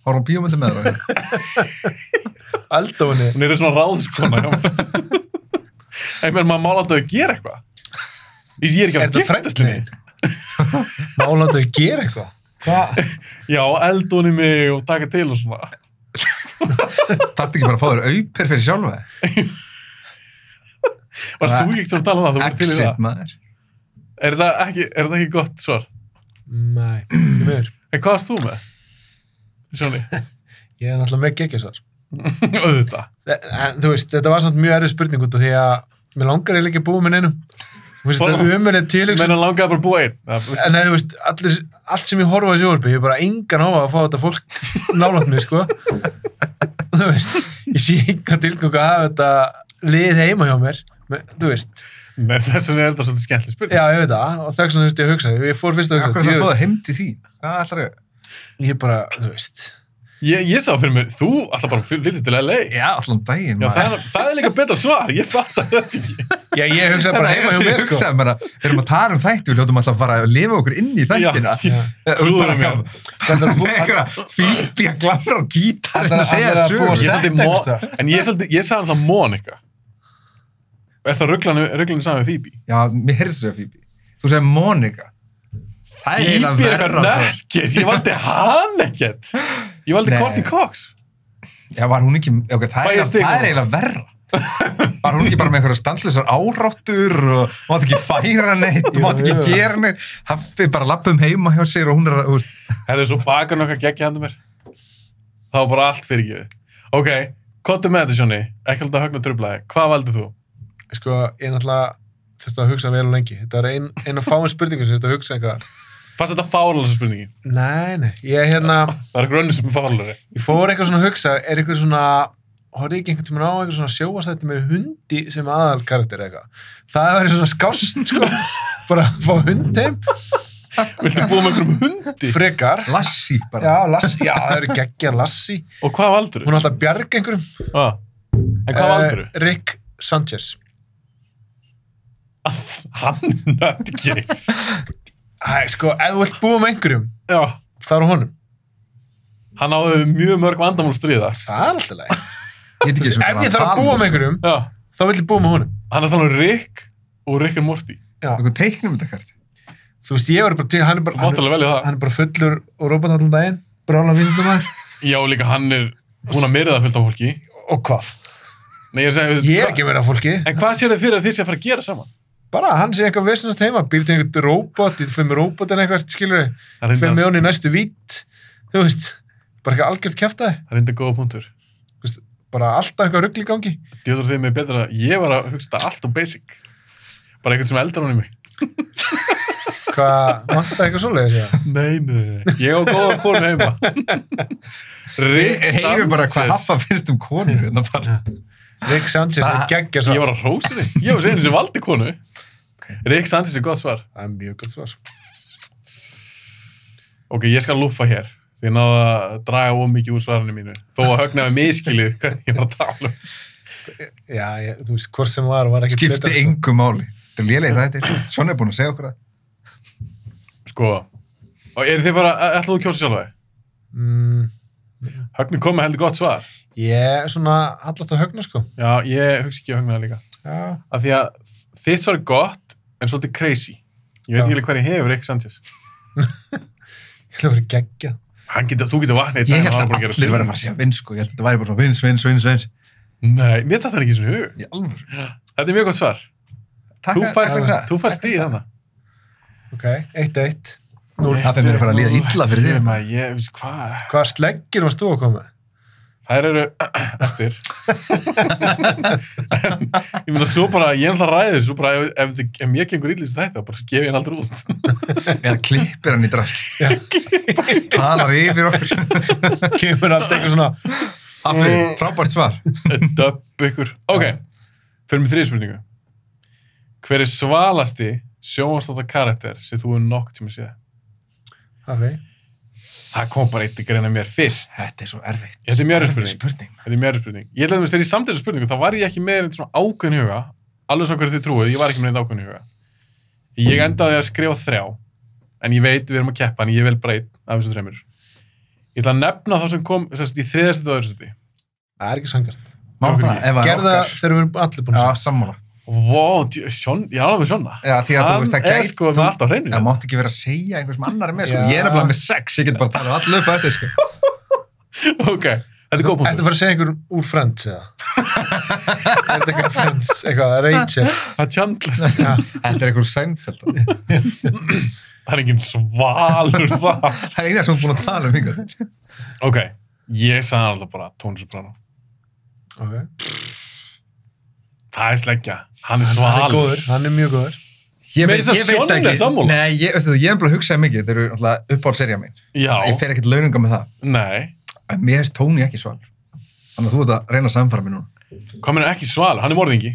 Hóra á bíómyndu með það.
Aldóni.
Hún er svona ráðskona. hjá mér. en mér maður mála alltaf að gera eitthvað. Ég er ekki að
Er þetta
giftast henni.
frændin? Málandu að gera eitthvað. Hvað?
Já, eldunni mig og taka til og svona.
Þetta ekki bara að fá þér auper fyrir sjálfa. þig?
Var
Bara
þú ekki svona að tala um það? Þú voru til í
Exit
það.
maður.
Er það ekki, er það ekki gott svar?
Nei, því miður.
En hvað varst þú með? Sjóni,
Ég er náttúrulega með gekkja svar.
auðvitað.
En, þú veist, þetta var samt mjög erfið spurning út af því að mér langar eiginlega ekki að búa með neinum. Þú veist, þetta er umöðið tilöksun.
Menna langaði bara að búa einn. Það-
En nei, þú veist, allir, allt sem ég horfa á sjónvarpi, ég er bara engan hófa að fá þetta fólk nálaðt mér, sko. þú veist, ég sé engan tilgang að hafa þetta lið heima hjá mér. Men, þú veist,
Nei, þess vegna er þetta svolítið skemmtileg
já,
spurning.
ég veit það, og þess vegna þú veist ég að hugsa, ég fór fyrst að
Akkur
hugsa,
það að fá
djú,
það heim til því. Hvað ætlar þau?
ég bara, þú veist,
Ég, ég sá fyrir mér, þú alltaf bara lítið til LA.
Já, allan daginn.
Já,
maður.
það, er, það er líka betra svar, ég fatt að þetta ekki.
já, ég hugsaði
Þetta
bara
er það
heima hjá
sem ég
mér, sko.
hugsaði mér að við erum að tala um þætti, við hljóttum alltaf að fara að lifa okkur inn í þættina.
Já,
Eh, og
trúðu
bara
mér.
eitthvað- Með einhverja fílbi að glamra á gítarinn og
Ætlar-
segja
ætlar að
Ég er
sögur.
búa Sett
svolítið mo-
einhvers staðar.
En ég, er svolítið, ég sagði alltaf Monika. Er það rugglanu saman með Phoebe?
Já, mér heyrðu þessu að Phoebe. Þú segir Monika. Það er
Phoebe
eiginlega
er
verra. sko.
eitthvað nekkert,
það.
ég valdi hann ekkert. Ég valdi
Nei.
Courtney Cox.
Já, var hún ekki, ok, það
Fæ
er
ég stig
eiginlega- það
núna?
er eiginlega verra. Var hún ekki bara með einhverja stanslisar áráttur og mátt ekki færa neitt,
Jú,
mátt ekki
jú.
gera neitt. Haffi bara lappum heima hjá sér og hún er að, þú veist,
Það er svo bakar nokkað geggja handum mér. Það var bara allt fyrir gefið. Ok, kottu með þetta, Sjóni. Ekki hluta högna trublaði. Hvað valdið þú?
Sko, ég náttúrulega þurfti að hugsa vel og lengi. Þetta var ein, ein af fáin spurningum sem ég þurfti að hugsa eitthvað.
Fannst þetta fáralasa spurningi?
Nei, nei, ég hérna...
Það er eitthvað önnur sem er fáralari.
Ég fór eitthvað svona að hugsa, er eitthvað svona, horfði ekki einhvern tímann á eitthvað svona sjóastætti með hundi sem aðal karakter eða eitthvað. Það væri svona skást, sko, bara að fá hund heim,
Viltu búa með einhverjum hundi?
frekar.
lassi bara.
Já, Lassi, já, það eru geggjar Lassi.
Og hvað valdur
Hún er alltaf bjarg einhverjum.
Ah. En hvað valdur
Eh, Rick Sanchez.
að hann er nöttgeis
Æ, sko, ef þú vilt búa með einhverjum,
já,
þá er á honum.
hann áður við mjög mörg vandamál að stríða
Það er alltaf leið.
Ég veit ekki eins og
Ef
hvað
ég
að
þarf að
tala
sko.
búa
um,
með einhverjum,
já,
þá vil ég búa með honum.
hann er þannig um Rick og Rick er Morty
Já.
sko. Eitthvað teiknum þetta hvert.
Þú veist, ég var bara, hann er
þú
bara,
mátt
hann,
alveg velja það
hann er bara fullur og rópað allan daginn, brála vísindum að.
já, líka hann er, hún að myrða fullt af fólki
Og hvað?
Nei, ég er að segja,
Ég er ekki að vera fólki.
en hvað sér þið fyrir að þið sé að fara að gera saman?
Bara, hann sé eitthvað vesnast heima, býr til einhvern robot, ég fyrir með robotin eitthvað, skilur við,
Það er
fyrir
reyndar-
með honum í næstu vít, þú veist, bara eitthvað algjört kjæftæði,
það er enda góða punktur
bara alltaf eitthvað ruggli í gangi.
Djóður þið mig betra, ég var að hugsa þetta allt um basic bara eitthvað sem eldar hún í mig
Hvað, vantar eitthvað svoleiðis, já?
Nei, nei, nei, ég á góða konu heima Rick
Ég heyri bara hvað
Sanchez.
haffa finnst um konur hérna bara.
Rick Sanchez er
Það-
geggja
Ég
svar.
var að hrósa þig, ég var að segja henni sem valdi konu Rick Sanchez er gott svar
Það er mjög gott svar.
Ok, ég skal lúffa hér því ég náði að draga of mikið úr svarinu mínu þó að högnaði miskilið hvernig ég var að tala um.
Já, ég, þú veist, hvort sem var, var ekki sko.
Skipti engu máli. Þetta er lélega það þetta. Svona er búin að segja okkur það.
Sko, og er þið bara, e, ætlaðu að kjósa sjálfa þig?
Mm,
Högni kom með heldur gott svar
ég, svona, allast á högna, sko.
Já, ég hugsi ekki að högnaði líka
Já.
af því að þitt svar er gott en svolítið crazy ég veit
Já.
ekki alveg hvað ég hefur Rick Sanchez
Ég ætla að vera geggja.
Hann getur, þú getur vaknað í dag
Ég
og
held
hann
að
bara
allir verið að fara að segja vins, sko. Ég held að þetta væri bara svona vins, vins, vins, vins.
Nei, mér þetta er ekki sem hug
Í alvöru.
Þetta er mjög gott svar
Takk
Þú
að-
færst,
takk að-
þú færst í þannig
Ok, eitt eitt.
Það fer mér að fara að líða illa fyrir þig,
maður Ég veist hvað
Hvaða sleggjur varst þú að koma? með?
Þær eru eftir Ég meina svo bara, ég er alltaf ræðið svo bara ef, ef, þið- ef mér gengur illa í þessu þætti þá bara skef ég hann aldrei út
Eða klippir hann í drast.
Já.
Talar yfir okkur.
Kemur alltaf eitthvað svona,
Afri,
Mm.
frábært svar.
Döpp ykkur Ok, fyrir mig þrið spurningu Hver er svalasti sjónvastáta karakter sem þú er nokk tíma séð?
hafi,
Það kom bara eitt í greina mér fyrst
Þetta er svo erfitt.
Þetta er mjög erfið
Erfið
spurning.
spurning.
Þetta er mér spurning. Ég ætlaði að mér þegar ég samt þessu spurningu, þá var ég ekki með einhvern svona ákveðin í huga, alveg svona hverju þið trúið, ég var ekki með einhvern ákveðin í huga. Ég endaði að skrifa þrjá, en ég veit við erum að keppa, en ég vil breyt af þessum þreymur. Ég ætla að nefna þá sem kom sérst, í þriðastu og öðru seti.
það er ekki sangast.
Má
Okkur
það,
ekki.
ef það er
Gerða
okkar.
þegar við erum allir búin að
Já,
segja.
sammála.
Vó, djú- Sjón- ég alveg með Sjonna.
Já, því að þú veist, það
Hann er
gæti...
sko með allt á hreinu.
Það mátt ekki vera að segja einhvers sem annar er með, sko.
Já.
Ég er nefnilega með sex, ég get bara að tala allu upp að þetta, sko.
Ok, þetta er góð
Ertu að
punktur.
fara að segja einhver úr Friends eða? er þetta eitthvað Friends, eitthvað Rachel?
Það er Chandler.
Já,
Þetta er einhver sænfjöld.
Það er engin svalur það.
Það er eina sem hún er búin að tala um yngur.
Ok, ég sagði alltaf bara Tony Soprano.
ok.
Það er sleggja. Hann er
Hann er
svalur.
góður, hann er mjög góður.
Ég
Meira þess að Sjón er sammála.
Nei, ég, veistu þú, ég hef bara hugsað um mikið, þetta eru alltaf uppáhaldserja mín. Ég
Já,
fer ekkert laununga með það.
nei.
En mér hefst tóni ekki svalur. Þannig að þú ert að reyna að samfara mér núna.
Hvað meina ekki sval? Hann er morðingi.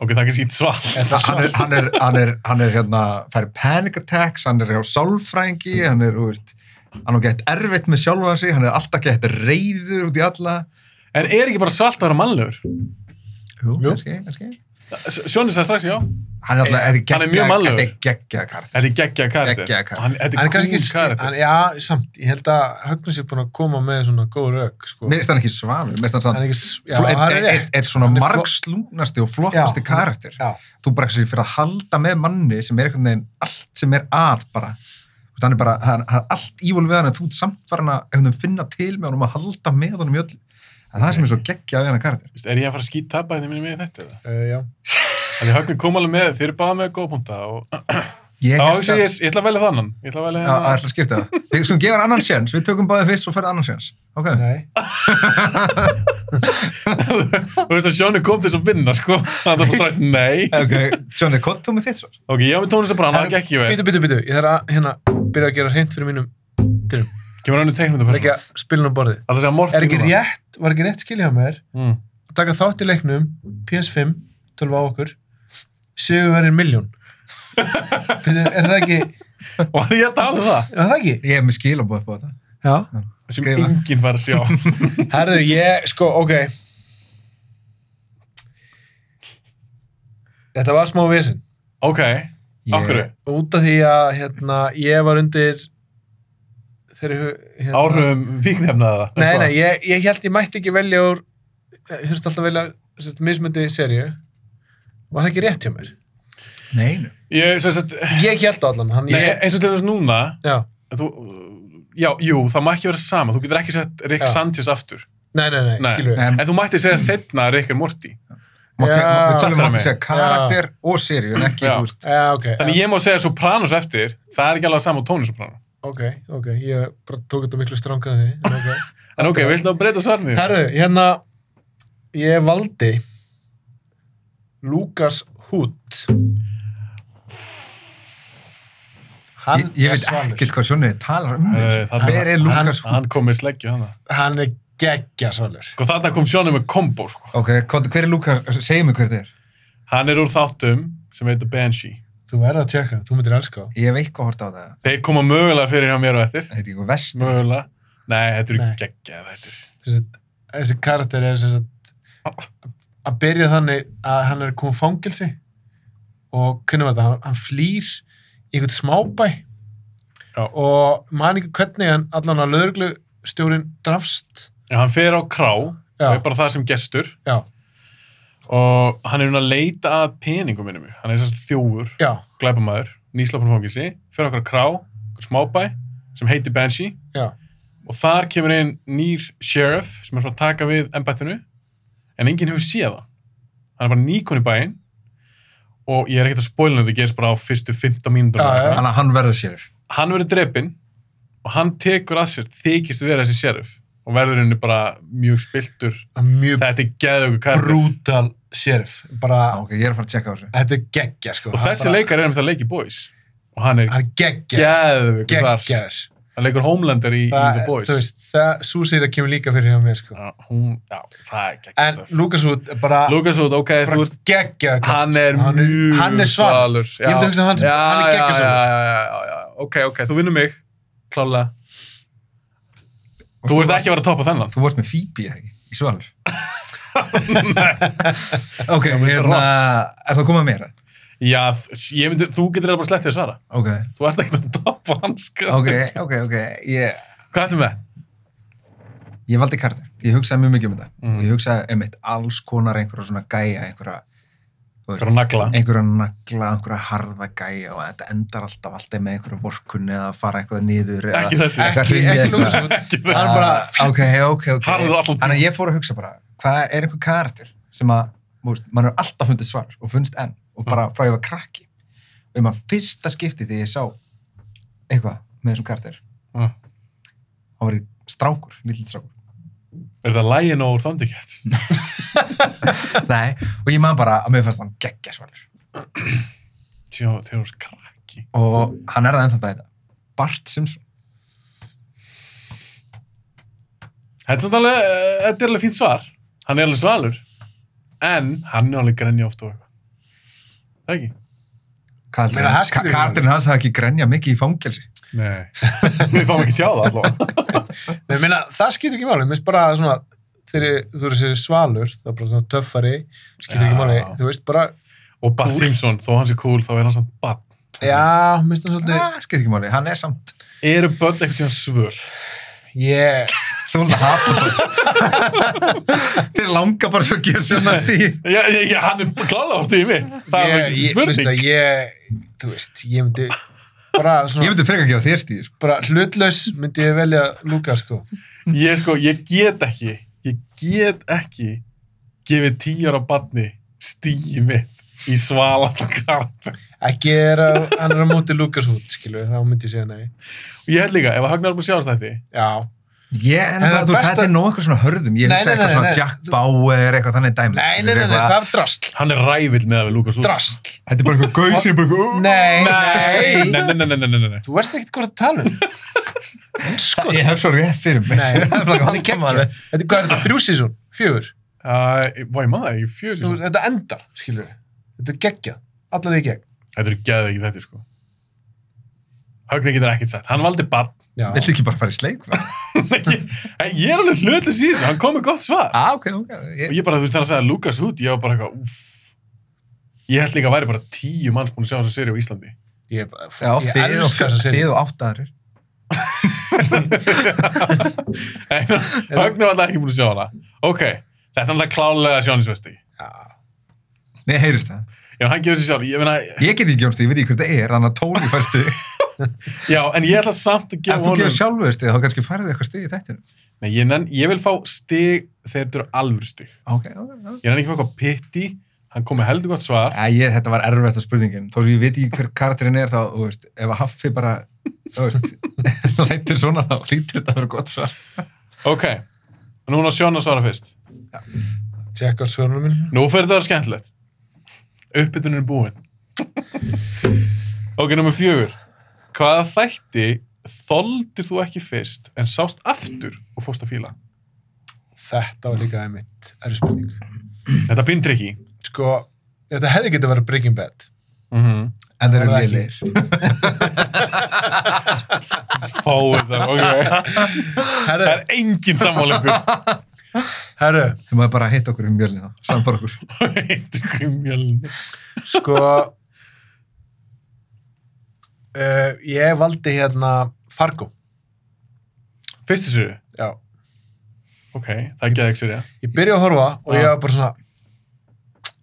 Ok, það er kannski ekki sval.
Er það
Hann er,
svart?
hann er, hann er, hann er hérna, fær panic attacks, hann er hjá sálfrængi, hann er, þú veist, hann er gett erfitt með sjálfa sig, hann er alltaf gett reyður út í alla.
En er ekki bara svalt að vera mannlegur?
Jú,
Jú.
kannski, kannski.
S- Sjóni sagði strax já.
Hann er alltaf, þetta er
Hann er mjög
geggjað-
mannlegur.
þetta er geggjað karakter.
Þetta er geggja karakter.
Geggjaður karakter.
Og hann- Þetta
Hann
er
er kannski
kúl
ekki,
karakter.
hann, já, samt, ég held að Högnus er búin að koma með svona góð rauk, sko.
Mér finnst hann ekki svalur, mér finnst hann
hann
sann,
er ekki, s- já,
er,
hann
er,
er
er,
rétt.
er svona
Hann er fló-
margslungnasti og flottasti
Já.
karakter.
Já,
þú bara kannski fyrir að halda með manni sem er einhvern veginn allt sem er að bara, Þú veist, hann er bara hann, hann er allt ívól við hann en þú ert samt farin að einhvern veginn finna til með honum að halda með honum í öll það er það sem er svo geggjað við hann að karakter
Vist, Er ég að fara að skýt tapa henni minni með þetta? eða?
uh, já.
Þannig höfnum kom alveg með, þeir eru bara með góðpunta og
ég
þá
held
hugsa
að,
ég, ég ætla að velja þannan. Ég ætla að velja hérna.
að, að
þannan.
ætla að skipta það við skulum gefa hann annan séns, við tökum báðið fyrst og ferð annan séns ok,
Nei.
Þú veist að Sjóni kom til þess að vinna, sko. Þannig að það strax, nei.
ok, Johnny, hvað þú með þitt svar?
Ok, ég á með Tony Soprano, það gekk ég vel.
Bítu, bítu, bítu, ég þarf að, hérna, byrja að gera hreint fyrir mínum dyrum.
Kemur hann í teiknum
Það er ekki að spilin á borðið.
Það er að morta
Er ekki rétt, var ekki rétt skilja mér
Mm.
að taka þátt í leiknum PS5, 12 á okkur, sigur verið miljón. Bíddu, er það ekki,
Var ég að tala um það?
er það ekki?
ég hef með skilabóð upp á þetta
Já.
Sem
Skrifa.
enginn fær að sjá.
Herðu, ég, sko, ok. Þetta var smá vesen.
Ok,
Ég-
af hverju?
út af því að hérna, ég var undir þeirri hu- hérna,
Áhrifum fíknefna eða?
nei, nei, ég, ég held ég mætti ekki velja úr eh, ég þurfti alltaf að velja sérst, mismundi serju var það ekki rétt hjá mér
Neinu.
Ég, sem sagt,
ég held á allan hann,
nei,
ég,
eins og til þess núna,
já,
þú, já, jú, það má ekki vera sama. Þú getur ekki sett Rick
Já.
Sanchez aftur.
nei, nei, nei,
Nei.
skilur við
En
En þú mætti segja setna Rick and Morty.
mátti- við tölum
Já,
um
fattar
mátti
mig.
segja karakter og serju, en ekki,
Já.
þú veist,
já, ok,
Þannig ég má segja Sopranos eftir, það er ekki alveg sama og Tony Soprano.
ok, ok ég bara tók þetta miklu strangar því en okay.
En ok, við ætlum að breyta svarnið.
herðu, hérna ég valdi Lucas Hood hann
ég, ég
er
veit
svanur.
ekkert hvað sjónið talar um
Eh,
þessu.
þarna-
Hver er Lukas
Hann, hann kom með sleggju hana.
hann er geggja svalur
Sko þarna kom Sjónu með kombo, sko.
Ok, hvað- hver er Lukas, segjum mig hver þetta er.
Hann er úr þáttum sem heitir Banshee.
þú verður að tjekka, þú myndir elska það
Ég hef eitthvað hort á það.
Þeir koma mögulega fyrir hjá mér og eftir.
Það heiti eitthvað vest.
Mögulega. Nei, þetta eru
Nei.
geggjað, þetta eru.
þessi, þessi karakter er sem sagt, að byrja þannig að hann er komið fangilsi og hvernig var þetta, hann, hann flýr í einhvern smábæ
Já.
og man ekki hvernig hann allan að lögreglu stjórin drafst
Já, hann fer á krá
Já.
og er bara það sem gestur
já,
og hann er hún að leita að peningum minnum mig. Hann er sérst þjófur,
já,
glæpamaður, nýslapnum fangilsi, fer okkur á krá, okkur smábæ sem heitir Banshee
já
og þar kemur inn nýr sheriff sem er frá að taka við embættinu en enginn hefur séð það. Hann er bara nýkon í bæinn og ég er ekkert að spoilinu þetta gerist bara á fyrstu 15 mínútur.
Já, já.
Þannig að hann verður sér.
Hann verður drepinn og hann tekur að sér, þykist vera þessi sheriff og verður henni bara mjög spiltur.
Hann er mjög
Þetta er geðugur karakter.
brútal sheriff bara,
Ah, Ok, ég er að fara að tjekka á þessu.
þetta er geggja sko
og
Hann
þessi
bara-
leikar er um þetta leiki boys og hann er
hann er geggja,
geðvigur þar
geggjaður
hann leikur Homelander í, í
það,
The Boys
þú veist, það, sú sér að kemur líka fyrir hjá mér sko
já, hún, já, það er
En
geggjast
Lucas Wood er bara,
Lukas út, ok, þú
bara
ert
geggjaður
hann er mjög
hann er svalur
já.
myndi hugsa hann-
já,
hann er
já,
geggjaður
já,
svalur.
já, já, já, já, ok, ok, þú vinnur mig klálega,
Og
þú ert ekki að vera að toppa þennan
Þú varst með Phoebe, eða ekki? Í svalur. ok, hérna, er það komað meira?
já, þ- ég myndi, þú getur eiginlega bara slepptið að svara
Ok,
þú ert ekki að toppa hans sko.
ok, ok, ok. Ég,
hvað ertu með?
ég valdi Carter. Ég hugsaði mjög mikið um þetta.
Mm.
Ég hugsaði um eitt alls konar einhverja svona gæja, einhverja, þú veist,
Hver að nagla?
einhverja nagla, einhverja harða gæja og þetta endar alltaf alltaf með einhverja vorkunni eða fara eitthvað niður eða
Ekki þessi.
eitthvað
Ekki-
hrynja
ekki
eitthvað.
Lucas Wood.
Ekki
Hann
það.
er bara-
Ah, ok, ok, ok
Harður allan tímann.
þannig að ég fór að hugsa bara hvað er einhver karakter sem að múst, mann er alltaf fundið svar og fundist enn og bara
Mm.
frá ég var krakki og ég maður fyrsta skipti þegar ég sá eitthvað með þessum karakter
Mm.
þá var ég strákur, lítill strákur
er það lægin og þondikett?
Nei, og ég maður bara að mér fannst hann geggja svarir
tjó, þeir eru skrakki
og hann er það ennþá þetta Bart Simpson,
Þetta er samt alveg, eh, þetta er alveg fínt svar. Hann er alveg svalur. En hann er alveg grenja oft og eitthvað. Það ekki?
karakterinn
Meina, það
hans,
skiptir ekki
karakterinn hans hafði ekki grenja mikið í fangelsi
Nei. Við fáum ekki sjá það allavega.
Nei, ég meina, það skiptir ekki máli, mér finnst bara svona þegar þú eru þessi svalur, það er bara svona töffari skiptir
Já.
ekki máli, þú veist bara
Og Bart
Kúl.
Simpson, þó hann sé cool, þá er hann samt barn.
já, mér finnst það svolítið
ah, skiptir ekki máli, hann er samt
Eru börn eitthvað tíðan svöl?
ég,
þú vil hafa bara þér langar bara svo að gera sem næst í
Já, já, já, hann er kláðað á stíði mitt. Það er
ég,
ekki
ég, veist
spurning.
það, ég þú veist, ég myndi bara
Ég
svona,
myndi frekar gefa þér stíði, sko.
bara hlutlaus myndi ég velja Lukas sko
Ég sko, ég get ekki, ég get ekki gefið tíjar á barni stíði mitt í svalasta karakter.
ekki er að, hann er á móti Lukas hút, skilur, þá myndi ég segja nei
Og ég held líka, ef að Högnar er búin að sjáast þetta,
já,
Ég, en það,
En það
þú veist,
besta-
þetta er nóg eitthvað svona hörðum. Ég
Nei,
hugsa
nei,
eitthvað
nei,
svona
nei.
Jack Bauer, eitthvað þannig dæmi.
nei,
skilur,
nei, nei, nei,
eitthvað-
það er drastl
hann er rævill með að við Lukas út.
drastl,
Þetta er bara eitthvað gausir, bara eitthvað...
nei,
Nei,
nei
nei, nei, nei, nei, nei, nei.
þú veist ekkert hvað það tala um sko,
Ég hef svo rétt fyrir mig. það er
Nei,
bara
hann er
vandamálið.
geggjaður. Þetta er hvað er þetta, þrjú sísón? Fjögur?
Uh, Vá, ég maður það ekki, fjögur
Þú-
sísón.
Þetta endar, skilur við. Þetta er geggjað, allar í gegn.
Þetta eru geðið ekki þetta, sko. Högni getur ekkert sagt. Hann valdi barn.
Já.
Viltu ekki bara fara í sleik? bara?
ég, en ég er alveg hlutlið síðan, hann kom með gott svar.
Á, Ah, ok, ok.
Og
Ég,
ég bara, þú veist, þegar hann sagði Lucas Hood, ég var bara eitthvað, uff. Ég held líka að væri bara tíu manns búin að sjá þessa séri á Íslandi.
Ég, bara-
Já,
ég
þið og,
elska þessa séri.
þið og áttaðarir.
Högnum alltaf ekki búin að sjá hana. Ok, þetta er alltaf klálega sjónisvesti.
Nei, heyrist það.
Já, hann gefur sér sjálf. Ég meina,
Ég get ekki gjónst því, ég veit ekki hvað það er, þannig að tóni fær stig.
já, en ég ætla samt að
Ef
gefa
þú gefur
honum...
sjálfur stig, þá kannski færðu eitthvað stig í þættinu.
Nei, ég, nenn, ég vil fá stig þegar þetta eru alvöru stig.
Ok, ok, ok.
Ég nenn ekki fá eitthvað pitti, hann kom með heldur gott svar.
Ja, ég, þetta var erfiðasta spurningin. Þó sem ég veit ekki hver karakterinn er þá, þú veist, ef að Haffi bara, þú veist, lætir svona þá, lítur þetta að vera gott svar.
Ok, núna sjón að svara fyrst.
Tjekka svörnum minn.
Nú fer þetta að vera skemmtilegt. Uppbytunin er búin. ok, nummer fjögur. Hvaða þætti þoldir þú ekki fyrst en sást aftur og fórst að fíla?
Þetta var líka einmitt erri spurning.
Þetta bindir ekki.
Sko, þetta hefði getið að vera Breaking Bad.
Mm -hmm.
En þeir
Það
eru
er það
liðleir.
Fáir það, ok. Það
Herru,
er engin um sammálengur.
herru,
Þeir maður bara hitta okkur um mjölni þá, sambar okkur.
sko, uh, ég valdi hérna Fargo.
Fyrstu sér,
Já.
ok, það geði ekki sér, já.
Ég byrja að horfa og ég
Já.
var bara svona,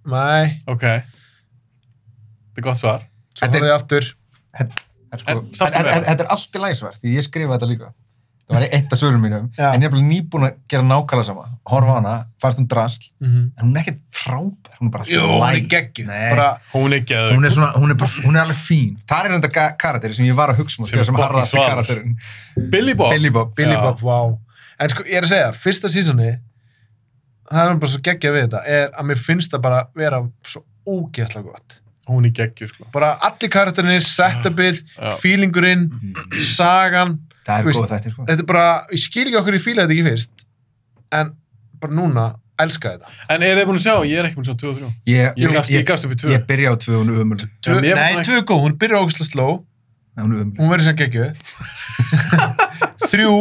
mæ,
Ok. Þetta er gott svar.
svo
Þetta er-
horfði ég aftur.
En sko,
En
en-
sástu
en-
meira?
en- Þetta er allt í læsvar, því ég skrifa þetta líka. Það var eitt af svörum mínum,
Já.
en ég er bara nýbúin að gera nákvæmlega sama. Horfa á hana, fannst hún drasl,
Mm -hmm.
en hún er ekkert frábær, hún er bara
Jú,
læg.
hún er geggjuð.
Nei.
Bara,
Hún er geðug.
Hún er, svona, hún, er bara, hún er alveg fín. Það er enda ka- karakteri sem ég var að hugsa um,
Sem er
sem, sem
fucking
harðast
svalur.
karakterin.
Billy Bob.
Billy Bob.
Billy
Já.
Bob, wow. En sko, ég er að segja, fyrsta sísoni, það er bara svo geggjað við þetta, er að mér finnst það bara vera svo ógeðslega gott.
Hún er geggju, sko.
Bara allir karakterinir, setupið,
Já.
feelingurinn, sagan,
Mm. Það
Þú
er
veist,
góð þetta, sko.
þetta er bara, ég skil ekki okkur í fíla þetta ekki fyrst, en bara núna, elska þetta.
En er þið búin að sjá? Ég er ekki búin að sjá 2 og 3.
Ég,
Ég gafst, ég
ég,
gafst upp í 2.
ég byrja á tvö, hún er ömuleg.
Já,
Tvö,
mér fannst
nei,
það
tvö er góð, hún byrjar ógeðslega sló,
Nei, Hún er ömuleg.
hún verður sem geggjuð. Þrjú,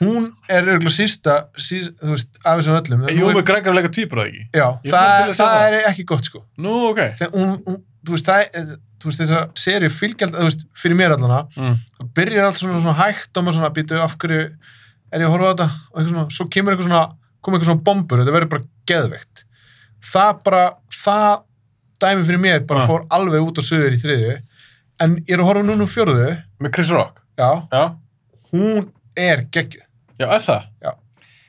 hún er örgulega sísta, sísta, þú veist, af þessum öllum.
Jú, við grækar að leika týpur það ekki.
Já,
Ég er svona til
það,
að sjá
það
það.
er ekki gott sko.
Nú, ok.
þegar hún, hún, þú veist, það, er- þú veist þessa seri fylgjald, þú veist, fyrir mér allana
Mm.
það byrjar allt svona, svona hægt og maður svona býtu af hverju er ég að horfa á þetta og eitthvað svona, svo kemur eitthvað svona kom eitthvað svona bombur, þetta verður bara geðveikt það bara, það dæmi fyrir mér bara
Ah.
fór alveg út á söður í þriðju en ég er að horfa núna um fjörðu
Með Chris Rock.
já,
Já.
hún er geggju
Já, er það?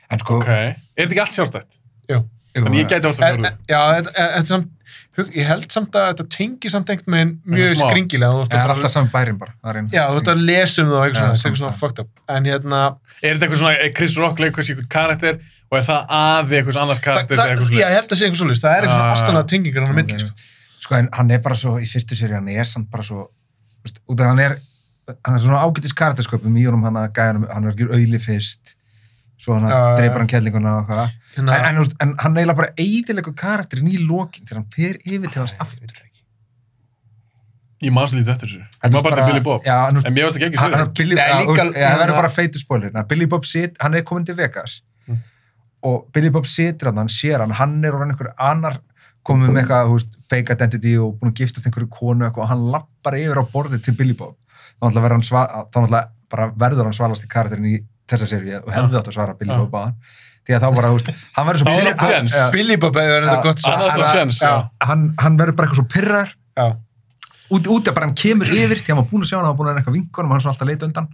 En sko,
Ok. Er þetta ekki allt sjálfstætt?
jú,
Þannig ég gæti orðið að
en,
fjóru.
en, já, þetta, e, þetta er samt hug- ég held samt að þetta tengi samt einhvern veginn mjög
Eitthvað smá.
skringilega þú ert að
Það er
fara-
alltaf saman bærin bara. það er einu.
Já, þú ert að lesa um það og
Já,
eitthvað svona, þetta er
samt
eitthvað svona
það.
fucked up. En hérna,
Er þetta eitthvað svona, er Chris Rock leikur sér eitthvað karakter og er það afi eitthvað annars
það,
karakter
það,
eitthvað
ég
svona?
held að sé eitthvað svolítið, það er eitthvað
Ah.
svona astanlega tengingar hann á milli,
Ok.
sko.
Sko, en hann er bara svo, í fyrstu séri, hann er samt bara svo, þú veist, út af hann er, hann er svona ágætis karaktersköpum í honum hann að gæja hann, hann er ekki auðli fyrst, svo hann
Já, já, já.
dreipar hann kellinguna og hvað.
Hérna,
En, en, þú veist, en hann eiginlega bara eidilegur karakterin í lokin þegar hann fer yfir til hans aftur.
Ég maður lítið eftir þessu.
En
Ég
þú
maður
veist
bara til Billy Bob.
Já, en þú veist,
En mér varst ekki ekki
hann,
sögur.
hann, Billy,
Nei,
ja,
líka-
úst, ja, það verður
hérna-
bara feitur spoiler að Billy Bob sit, hann er komin til Vegas
Mm.
og Billy Bob situr hann, hann sér hann hann er orðin einhver annar komin með eitthvað, þú veist, fake identity og búin að giftast einhverju konu eitthvað og hann lappar yfir á borðið til Billy Bob þá náttúrulega verður hann, sva- þá náttúrulega bara verður hann svalast í karakterin í þessa serið og hefði átt að svara Billy
Já.
Bob á hann því að þá bara, þú veist, hann verður
Ah. Þá
svo
er hann séns.
hann,
Billy Bob er þetta
Já,
gott
Hann
svar.
átti að sjans, já.
hann, hann verður bara eitthvað svo pyrrar
Já,
út, út að bara hann kemur yfir því að hann var búin að sjá hann, hann var búin að vera eitthvað vinkonum og hann er svona alltaf að leita undan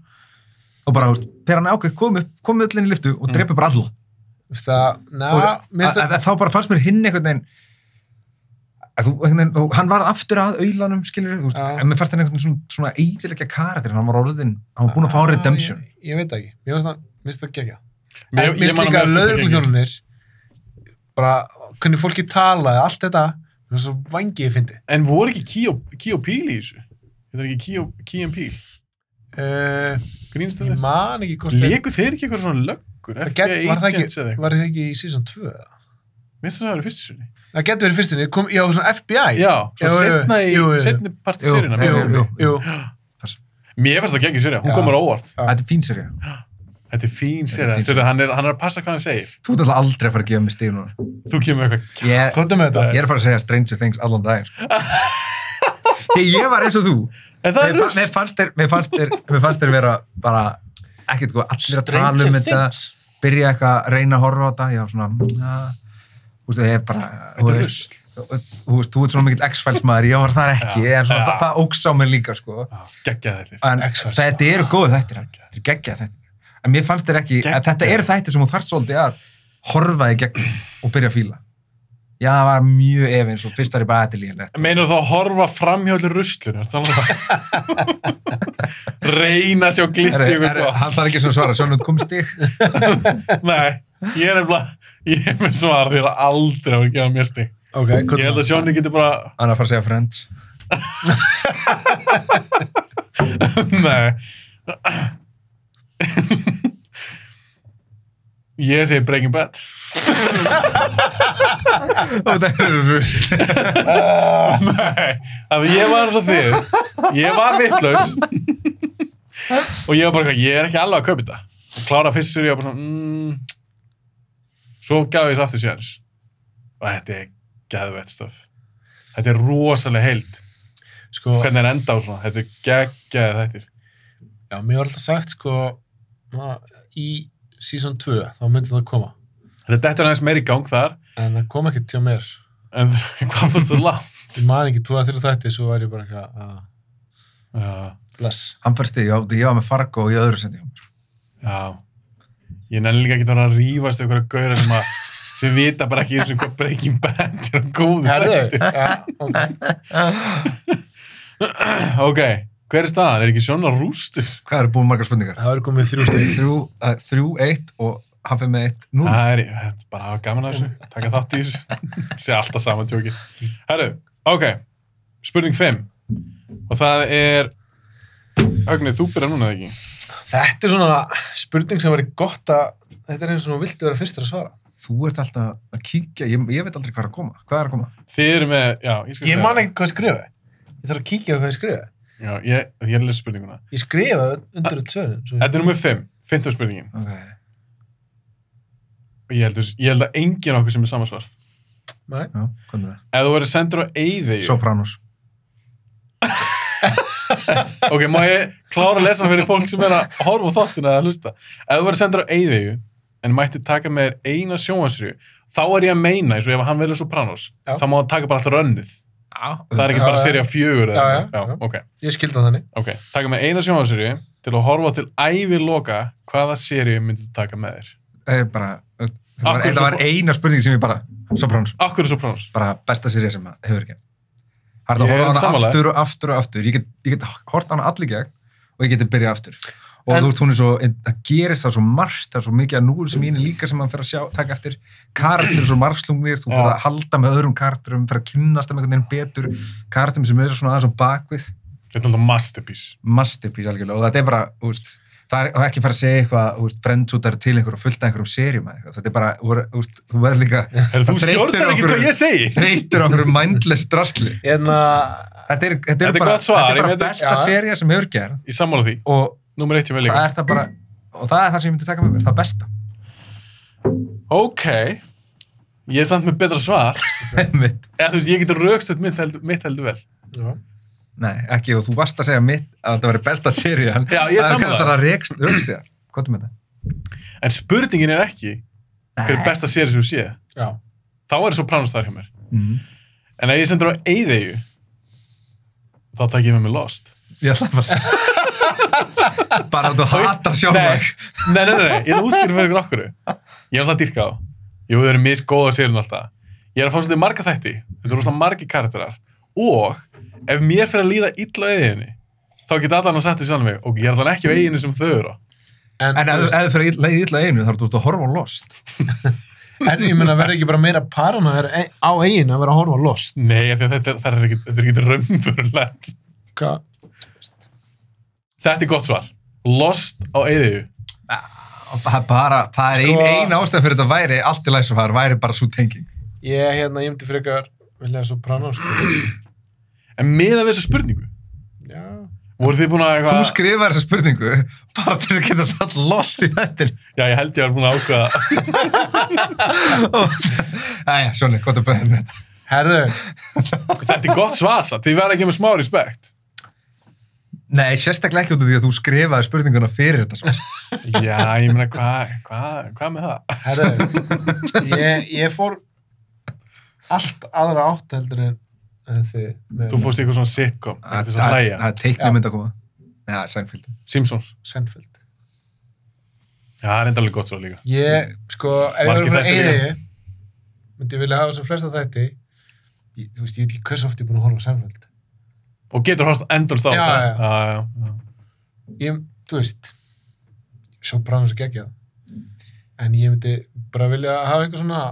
og bara, þú veist, þegar hann ákveð kom upp, kom öll inn í lyftu og
Mm.
drepa bara alla
þú veist það, na,
og
minnst
að,
það,
að, þá bara fannst mér hinn einhvern veginn að þú, einhvern veginn, og hann var aftur að auðlanum, skilur, þú veist,
Já.
en mér fannst hann einhvern veginn svona, svona eidilegja karakter, hann var orðin hann var búin að fá redemption
Ég, ég veit það ekki, mér finnst það, minnst það geggja.
Mér-
En
ég
minnst
man að
líka
mér finnst það ekki-
lögreglutjónunir, bara, hvernig fólki talaði, allt þetta, mér finnst það vangið ég fyndi.
En voru ekki Key og- Key og Peele í þessu? Þetta er ekki Key og- Key and Peele?
Uh,
Grínst
ég
það?
man ekki hvort þeir-
Leku þeir ekki eitthvað svona löggur?
Það
FBI
get- var það ekki-
agents eða eitthvað?
var það ekki í season 2 eða?
Mér finnst það að vera fyrst sinni.
Það getur verið fyrstinni, kom, já, svona FBI.
Já, svo
Jú, jú,
setna í,
jú, jú.
setni part
Jú,
sérina.
jú,
Mér
jú.
finnst það geggjur sérja, hún
Já.
komur á óvart.
þetta er fín serið
Þetta er fín sér,
fín sería.
hann, er- hann er að passa hvað hann segir.
Þú ert alltaf aldrei að fara að gefa mig stíð núna.
Þú kemur með eitthvað,
Ég,
komdu með
ég
þetta.
er að fara að segja Stranger Things allan daginn. Sko. Þegar ég var eins og þú,
En það
mér,
er
fa mér,
rust.
fannst þér, mér, fannst þér, mér fannst þér vera bara ekkert góð, allir að tala um þetta, byrja eitthvað að reyna að horfa á þetta, já svona, na, þú veist, ég er bara,
Þetta er rust.
þú veist, þú ert svona mikill X-Files maður, ég var það ekki,
Já,
en svona,
já.
það, það óks á mér líka, sko.
Gekkja þetta.
En
X-Files.
þetta eru góð þættir, þetta eru geggjað þættir. En mér fannst þér ekki,
Geggjað.
að þetta eru þættir sem þú þarft svolítið að horfa í gegn og byrja að fíla. Já, það var mjög efins og fyrst var ég bara "Þetta er líðanlegt.
Meinar þá að horfa framhjóðlega rustlunar? Það er alveg bara... Reyna að sjá glitt í ykkur gott.
Hann þarf ekki svona að svara, svona komst ég.
Nei, ég er nefnilega... Ég er með svar þér aldrei að vera að gefa mér stig.
Ok,
Ég held að Sjóni getur bara...
Hann er að fara að segja friends.
Nei. Ég segi Breaking Bad.
Og það eru rust.
Nei, af því ég var eins og þið Ég var vitlaus Og ég var bara eitthvað, ég er ekki alveg að kaupa þetta Og klára fyrst sér ég var bara svona mm. Svo gaf ég þessu aftur séns Og þetta er geðvett stöf Þetta er rosalega heild
Sko,
Hvernig er enda á svona, þetta er geggjaði þættir
já, mér var alltaf sagt, sko, na, í season 2, þá myndi það koma.
Þetta dettur aðeins meir í gang þar
En það kom ekkert til mér.
En hvað fórst þú langt?
Ég man ekki tvo að þeirra þætti, svo var ég bara eitthvað að
Já,
bless.
Hann fær stig, já, ég var með Fargo í öðru sendi.
já Ég nenni líka ekki að vera að rífast ykkur að gauðra sem að sem vita bara ekki eins og hvað Breaking Bad er að góðu
Herðu, já, ok.
Ok, hver er staðan? Er ekki Sjónar rústus?
Hvað eru búin margar spurningar?
Það var komið þrjú steg.
Þrjú, uh, þrjú eitt og hann fyrir með eitt núna.
Það er þetta er bara að hafa gaman að þessu, taka þátt í þessu, sé alltaf saman tjóki. Herru, ok, spurning 5 og það er, Högni, þú byrjar núna eða ekki?
Þetta er svona spurning sem verið gott að, þetta er eins og þú viltu vera fyrstur að svara.
Þú ert alltaf að kíkja, ég, ég veit aldrei hvað er að koma. Hvað er að koma?
Þið eru með, já, ég skal
Ég man ekki hvað ég skrifaði. Ég þarf að kíkja á hvað ég skrifaði.
Já, ég, ég les spurninguna.
Ég skrifaði undir þetta svörin. svo ég-
Þetta er nummer 5, 50 spurningin
Okay.
og ég held, ég held að enginn okkur sem er samansvar.
Nei.
Já, hvað er það?
Ef þú verður sendur á eyði,
Sopranos.
ok, má ég klára að lesa fyrir fólk sem er að horfa á þáttina að hlusta ef þú verður sendur á eyðvegu en mætti taka með þér eina sjóhansrýju þá er ég að meina eins og ef hann velur Sopranos
Já.
þá má hann taka bara alltaf rönnið
Já,
það er ekki
Já,
bara
já.
serið að fjögur eða
Já, já,
eitthvað.
já.
ok,
Ég skildi það þannig.
ok, taka með eina sjóhansrýju til að horfa til ævi loka hvaða serið myndir þú taka með þér
Það er Eh, bara, þetta
Af
var,
hverju
þetta var
Sopra-
eina spurning sem ég bara, Sopranos,
Akkur er Sopranos
bara besta sérið sem maður hefur ekki. Það er
Ég
að
er
horfa á hana
sammála.
aftur og aftur og aftur. Ég get, ég get hort á hana allir gegn og ég geti byrjað aftur. Og
En-
þú veist, hún er svo, en það gerist það svo margt, það er svo mikið að núru
Mm.
sem ég er líka sem maður fer að sjá, taka eftir. Karakter er svo margslungnir, þú fer
Já.
að halda með öðrum karakterum, fer að kynnast þeim einhvern veginn betur, karakterum sem eru svona aðeins á bakvið.
þetta er alltaf masterpiece
masterpiece algjörlega og þetta er bara, þú veist, það er það er ekki fara að segja eitthvað, þú veist, brendtútar til einhverju og fullt af einhverjum serjum eða eitthvað, þetta er bara, þú verður- þú veist, þú verður líka
Heru, þú
Það breytir
stjórnar ekki
okkur-
hvað ég segi
þreytur á einhverju mindless drastli.
En að,
Þetta er, þetta
Þetta er
er bara,
gott svar,
þetta er
ég
bara
veit-
besta
já.
serja sem hefur gerð
ég sammála því,
og
nummer eitt ég vel
það
líka
er það bara, og það er það sem ég myndi taka með mér, það besta.
ok ég er samt með betra svar
Einmitt.
eða þú veist, ég getur raukstuð mitt, held- mitt heldur vel
já.
Nei, ekki, og þú varst að segja mitt að þetta verður besta serjan.
Já, ég er sammála.
það. er kannski að það rekst, aukst þér. Hvað er með þetta?
En spurningin er ekki hver er
Nei.
besta séri sem þú séð.
já.
Þá er Sopranos þar hjá mér.
Mm.
En ef ég sendur á Eyðeyju, þá takk ég með mig Lost.
Ég ætla bara að segja. bara að þú hatar sjálf
Nei,
þig.
nei, nei, nei, ég er útskýrð fyrir ykkur okkur. Ég er alltaf að dýrka á. Jú, þau eru misgóða sérinn alltaf. Ég er að fá svolítið marga þætti. Þetta eru rosalega margi karakterar. Og ef mér fyrir að líða illa á Eyðeyjunni, þá geta allan að setja sjálf mig. Ok, ég er allan ekki á Eyðeyjunni sem þau eru á.
En,
En
en,
ef ef þú fyrir leið illa einu þarf þú út að horfa á lost.
en ég meina verður ekki bara meira paran að vera á eigin að vera að horfa á lost.
Nei, af því að þetta er- það er ekki, þetta er ekki raunfurlegt.
Hva?
Þetta er gott svar. Lost á Eyðeyju.
Það er bara, það er
Sko-
ein, ein ástæð fyrir þetta væri, allt í læs og það væri bara svo tenging.
Ég, hérna, ég myndi frekar vilja soprano, sko.
En miðað við þessa spurningu,
Já.
Voruð þið búin að
Þú
eitthvað...
skrifar þessa spurningu bara til þess að geta satt lost í þettin
Já, ég held ég var búin að ákveða.
Æja, Sjóni, gott að bæða þér með þetta
Herðu,
Þetta er gott svar, satt. Þið verða ekki með smá respekt.
Nei, sérstaklega ekki út af því að þú skrifaði spurninguna fyrir þetta sko. svar
Já, ég meina, hvað hva, hva með það?
herðu ég, ég fór allt aðra átt heldur en en þið með
Þú fórst í eitthvað svona sitcom. Þetta er svona
Það
hlæja.
er teikna mynd að koma Nei, það er sænfíld
Simpsons.
Seinfeld.
Já, það er enda alveg gott svo líka.
Ég, sko, ef ég
Mm. Margir
verið með
þættir
eigið
líka.
ég, myndi ég vilja hafa sem flesta þætti. Ég, þú veist, ég veit ekki hversu oft ég er búin að horfa á Seinfeld.
Og getur hort endur þá.
Já, já.
já, já.
Ég, þú veist, svo brann svo geggjað. En ég myndi bara vilja hafa eitthvað svona,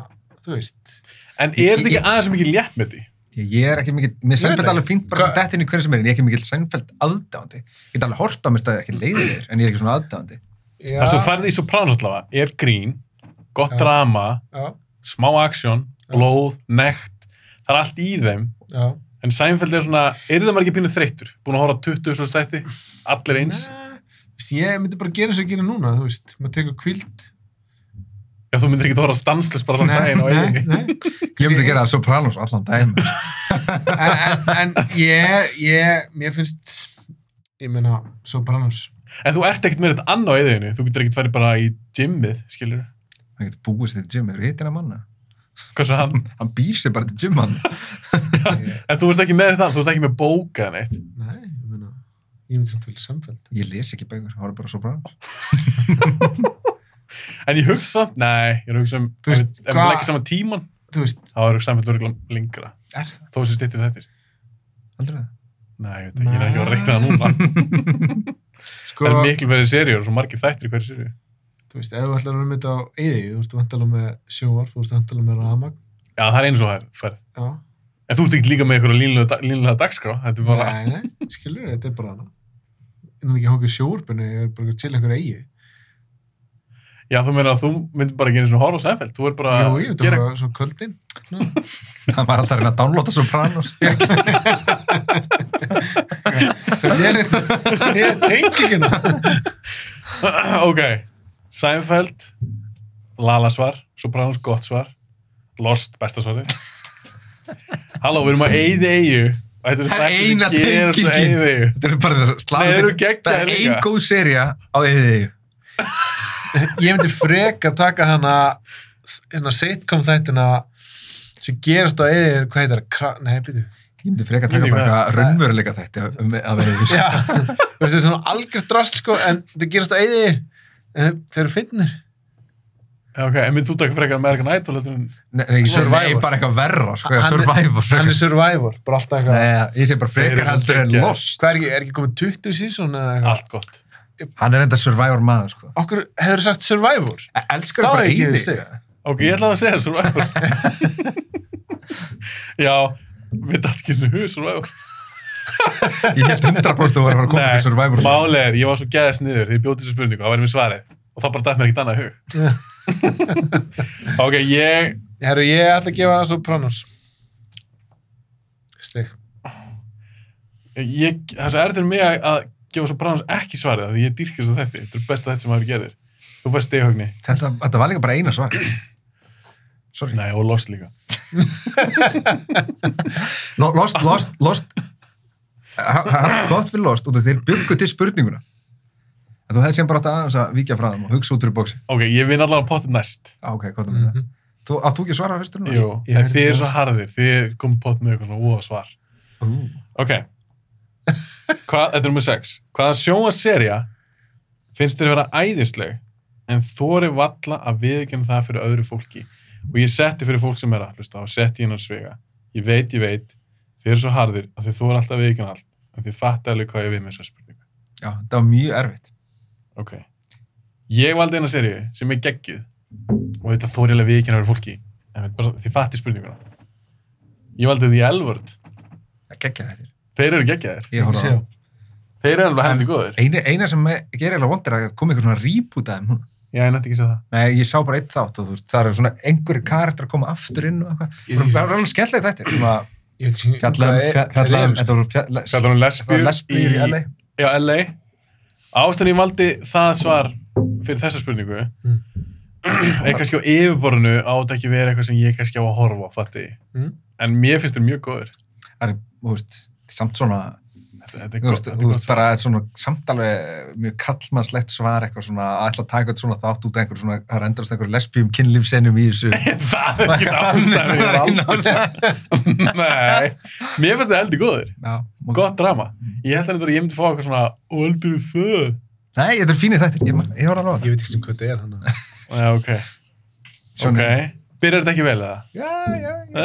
þú veist.
En er þetta
Ég-
ekki aðeins mikið létt með því?
Ég er ekki mikill, mér er
Ég veit
sænfælt
það.
alveg fínt bara
Hva-
sem dettin í hverju sem er en ég er ekki mikill sænfælt aðdáandi Ég get alveg hort á mér staði ekki leiðir en ég er ekki svona aðdáandi
Já,
Það er svo færði í Sopranos allavega, er grín, gott
Já.
drama,
já,
smá aksjón,
Já.
blóð, nekt, það er allt í þeim.
já.
En Seinfeld er svona, er það maður ekki pínu þreyttur? Búin að horfa á 20 svona stætti, allir eins.
Nei, Þú veist, ég myndi bara gera eins og ég gera núna, þú veist. Maður tekur kvild.
Já, þú myndir ekki horfa stanslust bara þannig daginn á
nei,
eiginni.
nei.
Ég myndi gera Sopranos allan dæmi
En, en, en ég, ég, mér finnst, ég meina, svo brannars.
En þú ert ekkert með þetta annað á eiginni, þú getur ekkert farið bara í gymmið, skilur.
Það getur búist til gym, hefur hittin að manna
Hversu hann?
Hann býr sér bara til gym hann
En þú ert ekki með þetta, þú ert ekki með bókað neitt.
Nei, ég meina, ég myndi samt vilja samfélg.
Ég les ekki bækur, það voru bara Sopranos
En ég hugsa samt, nei, ég er að hugsa um,
Þú veist,
ef við
hvað-
leggja saman tíman,
Þú veist,
þá eru Seinfeld örgulega lengra.
Er það?
Þó sem stýttir þetta.
Aldrei það?
Nei, ég veit ekki, ég er ekki að reikna það núna.
sko,
Það er miklu verið seríur og svo margir þættir í hverju seríu.
þú veist, ef þú ætlar að vera með þetta á eyði, þú ert vantalega með sjóar, þú ert vantalega með ramag,
Já, það er eins og það er ferð.
já.
En þú ert ekki líka með einhverja línlega, línlega dagskrá. Þetta er bara,
Nei, nei, skilur, þetta er bara hana. Innan ekki hókið sjóarbyrnu, ég er bara að chilla einhver eyði.
já, þú meina að þú myndir bara ekki einu svona horf á sæfælt. Þú er bara
Já,
að
ég veit
gera...
að það svona kvöldin.
Hann var alltaf að reyna að downloada Sopranos
Svo ég er þetta, ég tengi ekki hérna. hana.
ok, sæfælt, lala svar, Sopranos gott svar, Lost besta svarið. Halló, við erum að eyði eyju. Og þetta eru
Það er
þættir sem
eina
gerast á
tengingin.
Eyði Eyju.
Þetta er bara
Nei, þeir eru
slagur
geggjaðir
Það er ein
líka.
góð seria á E eðið
Ég myndi frekar taka hana, hérna sitcom þættina sem gerast á eyði, hvað heitir það, kra... nei, býtu.
Ég myndi frekar
Ég
taka
veit
bara
hvað.
eitthvað raunveruleika þætti að- um- að vera í
Já, þú veist, þetta er svona algjörst drast, sko, en þetta gerast á eyði, en þeir eru finnir.
Já, Ok, en mynd þú taka frekar American Idol heldur en...
Nei, nei, ég sé
Survivor.
bara eitthvað verra, sko,
Hann-
Survivor
Hann
frekar.
er survivor, bara alltaf eitthvað.
Nei, já, ég sé bara
Þeir
frekar
eru
heldur en
geggjaðir.
Lost. sko.
Hvað er ekki, er ekki komið 20 sísón eða eitthvað?
Allt gott.
Hann er enda Survivor maður, sko. E,
Okkur hefur sagt Survivor.
Elskar
Þá
bara
er ekki
eini.
stig.
Ok, ég ætlaði að segja Survivor. Já, mér datt ekki svona hug Survivor.
Ég held 100% að voru að fara að koma
Nei,
til Survivor.
málið er, ég var svo gæðis niður því ég bjóti þessu spurningu, það væri mér svarið og það bara dætt mér ekkert annað í hug ok, ég
Herru, ég ætla að gefa það Sopranos. Stig.
ég, það er svo erður mig að- að gefa svo brannans ekki svarið af því ég dýrkist að þetta, þetta er besta þetta sem maður gerir þú fæst steghögni,
Þetta, þetta var líka bara eina svar. Sorry.
nei og lost líka
Lo- Lost, Lost, Lost. Það er allt gott fyrir Lost og þeir byggu til spurninguna. En þú hefði sem bara átt að aðeins að víkja frá þeim og hugsa út úr bóksi.
ok, ég vinn allavega pottet næst
Á, ok, gott um
Mm
þetta. Þú, átt þú ekki að svara fyrstur núna?
Jú,
ég
en
heyrði
þið
það.
eru svo harðir, þið komum pott með eitthvað svona úa svar
Ú,
ok, Hvað, þetta er nummer 6 hvaða sjónvarserja finnst þér að vera æðisleg en þóri valla að viðgjum það fyrir öðru fólki og ég setti fyrir fólk sem er að hlusta og setti ég innan svega ég veit, ég veit, þið eru svo harðir að þið þóri alltaf að viðgjum allt en þið fattu alveg hvað ég við með þessa spurningu
Já, þetta var mjög erfitt.
ok, ég valdi eina seríu sem er geggjuð og þetta þóri alveg að viðgjum öðru fólki en bara, þið fatti spurninguna ég valdi því elvörd
Það geggja þetta.
þeir eru geggjaðir,
Ég horfði á það.
þeir eru alveg hendi góðir
Einu, eina sem me- gerir eiginlega vond er að koma einhver svona reboot að þeim núna.
já, ég nætti ekki að segja það
Nei, ég sá bara eitt þátt og þú veist, það eru svona einhverju karakter að koma aftur inn og eitthvað.
Ég veit
Það er alveg skemmtilegt þetta.
Ég veit ekki
Fjallaðum,
hvað er-
fjallaðum,
sko.
um-
þeir eru,
þetta voru fjalla-
Kallar hún
það
lesbíur
voru lesbíur í LA.
já, LA ástæðan ég valdi það svar fyrir þessa spurningu
Hmm.
Mm.
er kannski á yfirborðinu á þetta ekki verið eitthvað sem ég kannski á að horfa fatti.
Mm.
Hmm?
en mér finnst þetta mjög góður
Það er, þú veist, samt svona,
þetta, þetta er
þú
gott,
veist,
þetta
þú
er
veist
gott sko. bara...
bara svona, samt alveg mjög kallmannslegt svar eitthvað svona, að ætla að taka þetta svona þátt út af einhver svona, það er endast einhver lesbíum kynlífsenum í þessu.
það er ekki ástæðan
Það
ég
er ekki
valdi
ástæðan.
Nei, mér finnst þetta heldur góður
Já, ok.
gott drama, ég held að þetta ég myndi fá eitthvað svona, og heldur þau
Nei, þetta er fínir þættir, ég, ég var alveg á
Ég
það.
veit ekki sem hvað þetta er hann.
Já, ok, ok
Svona-
byrjar þetta ekki vel eða?
Já, já, já.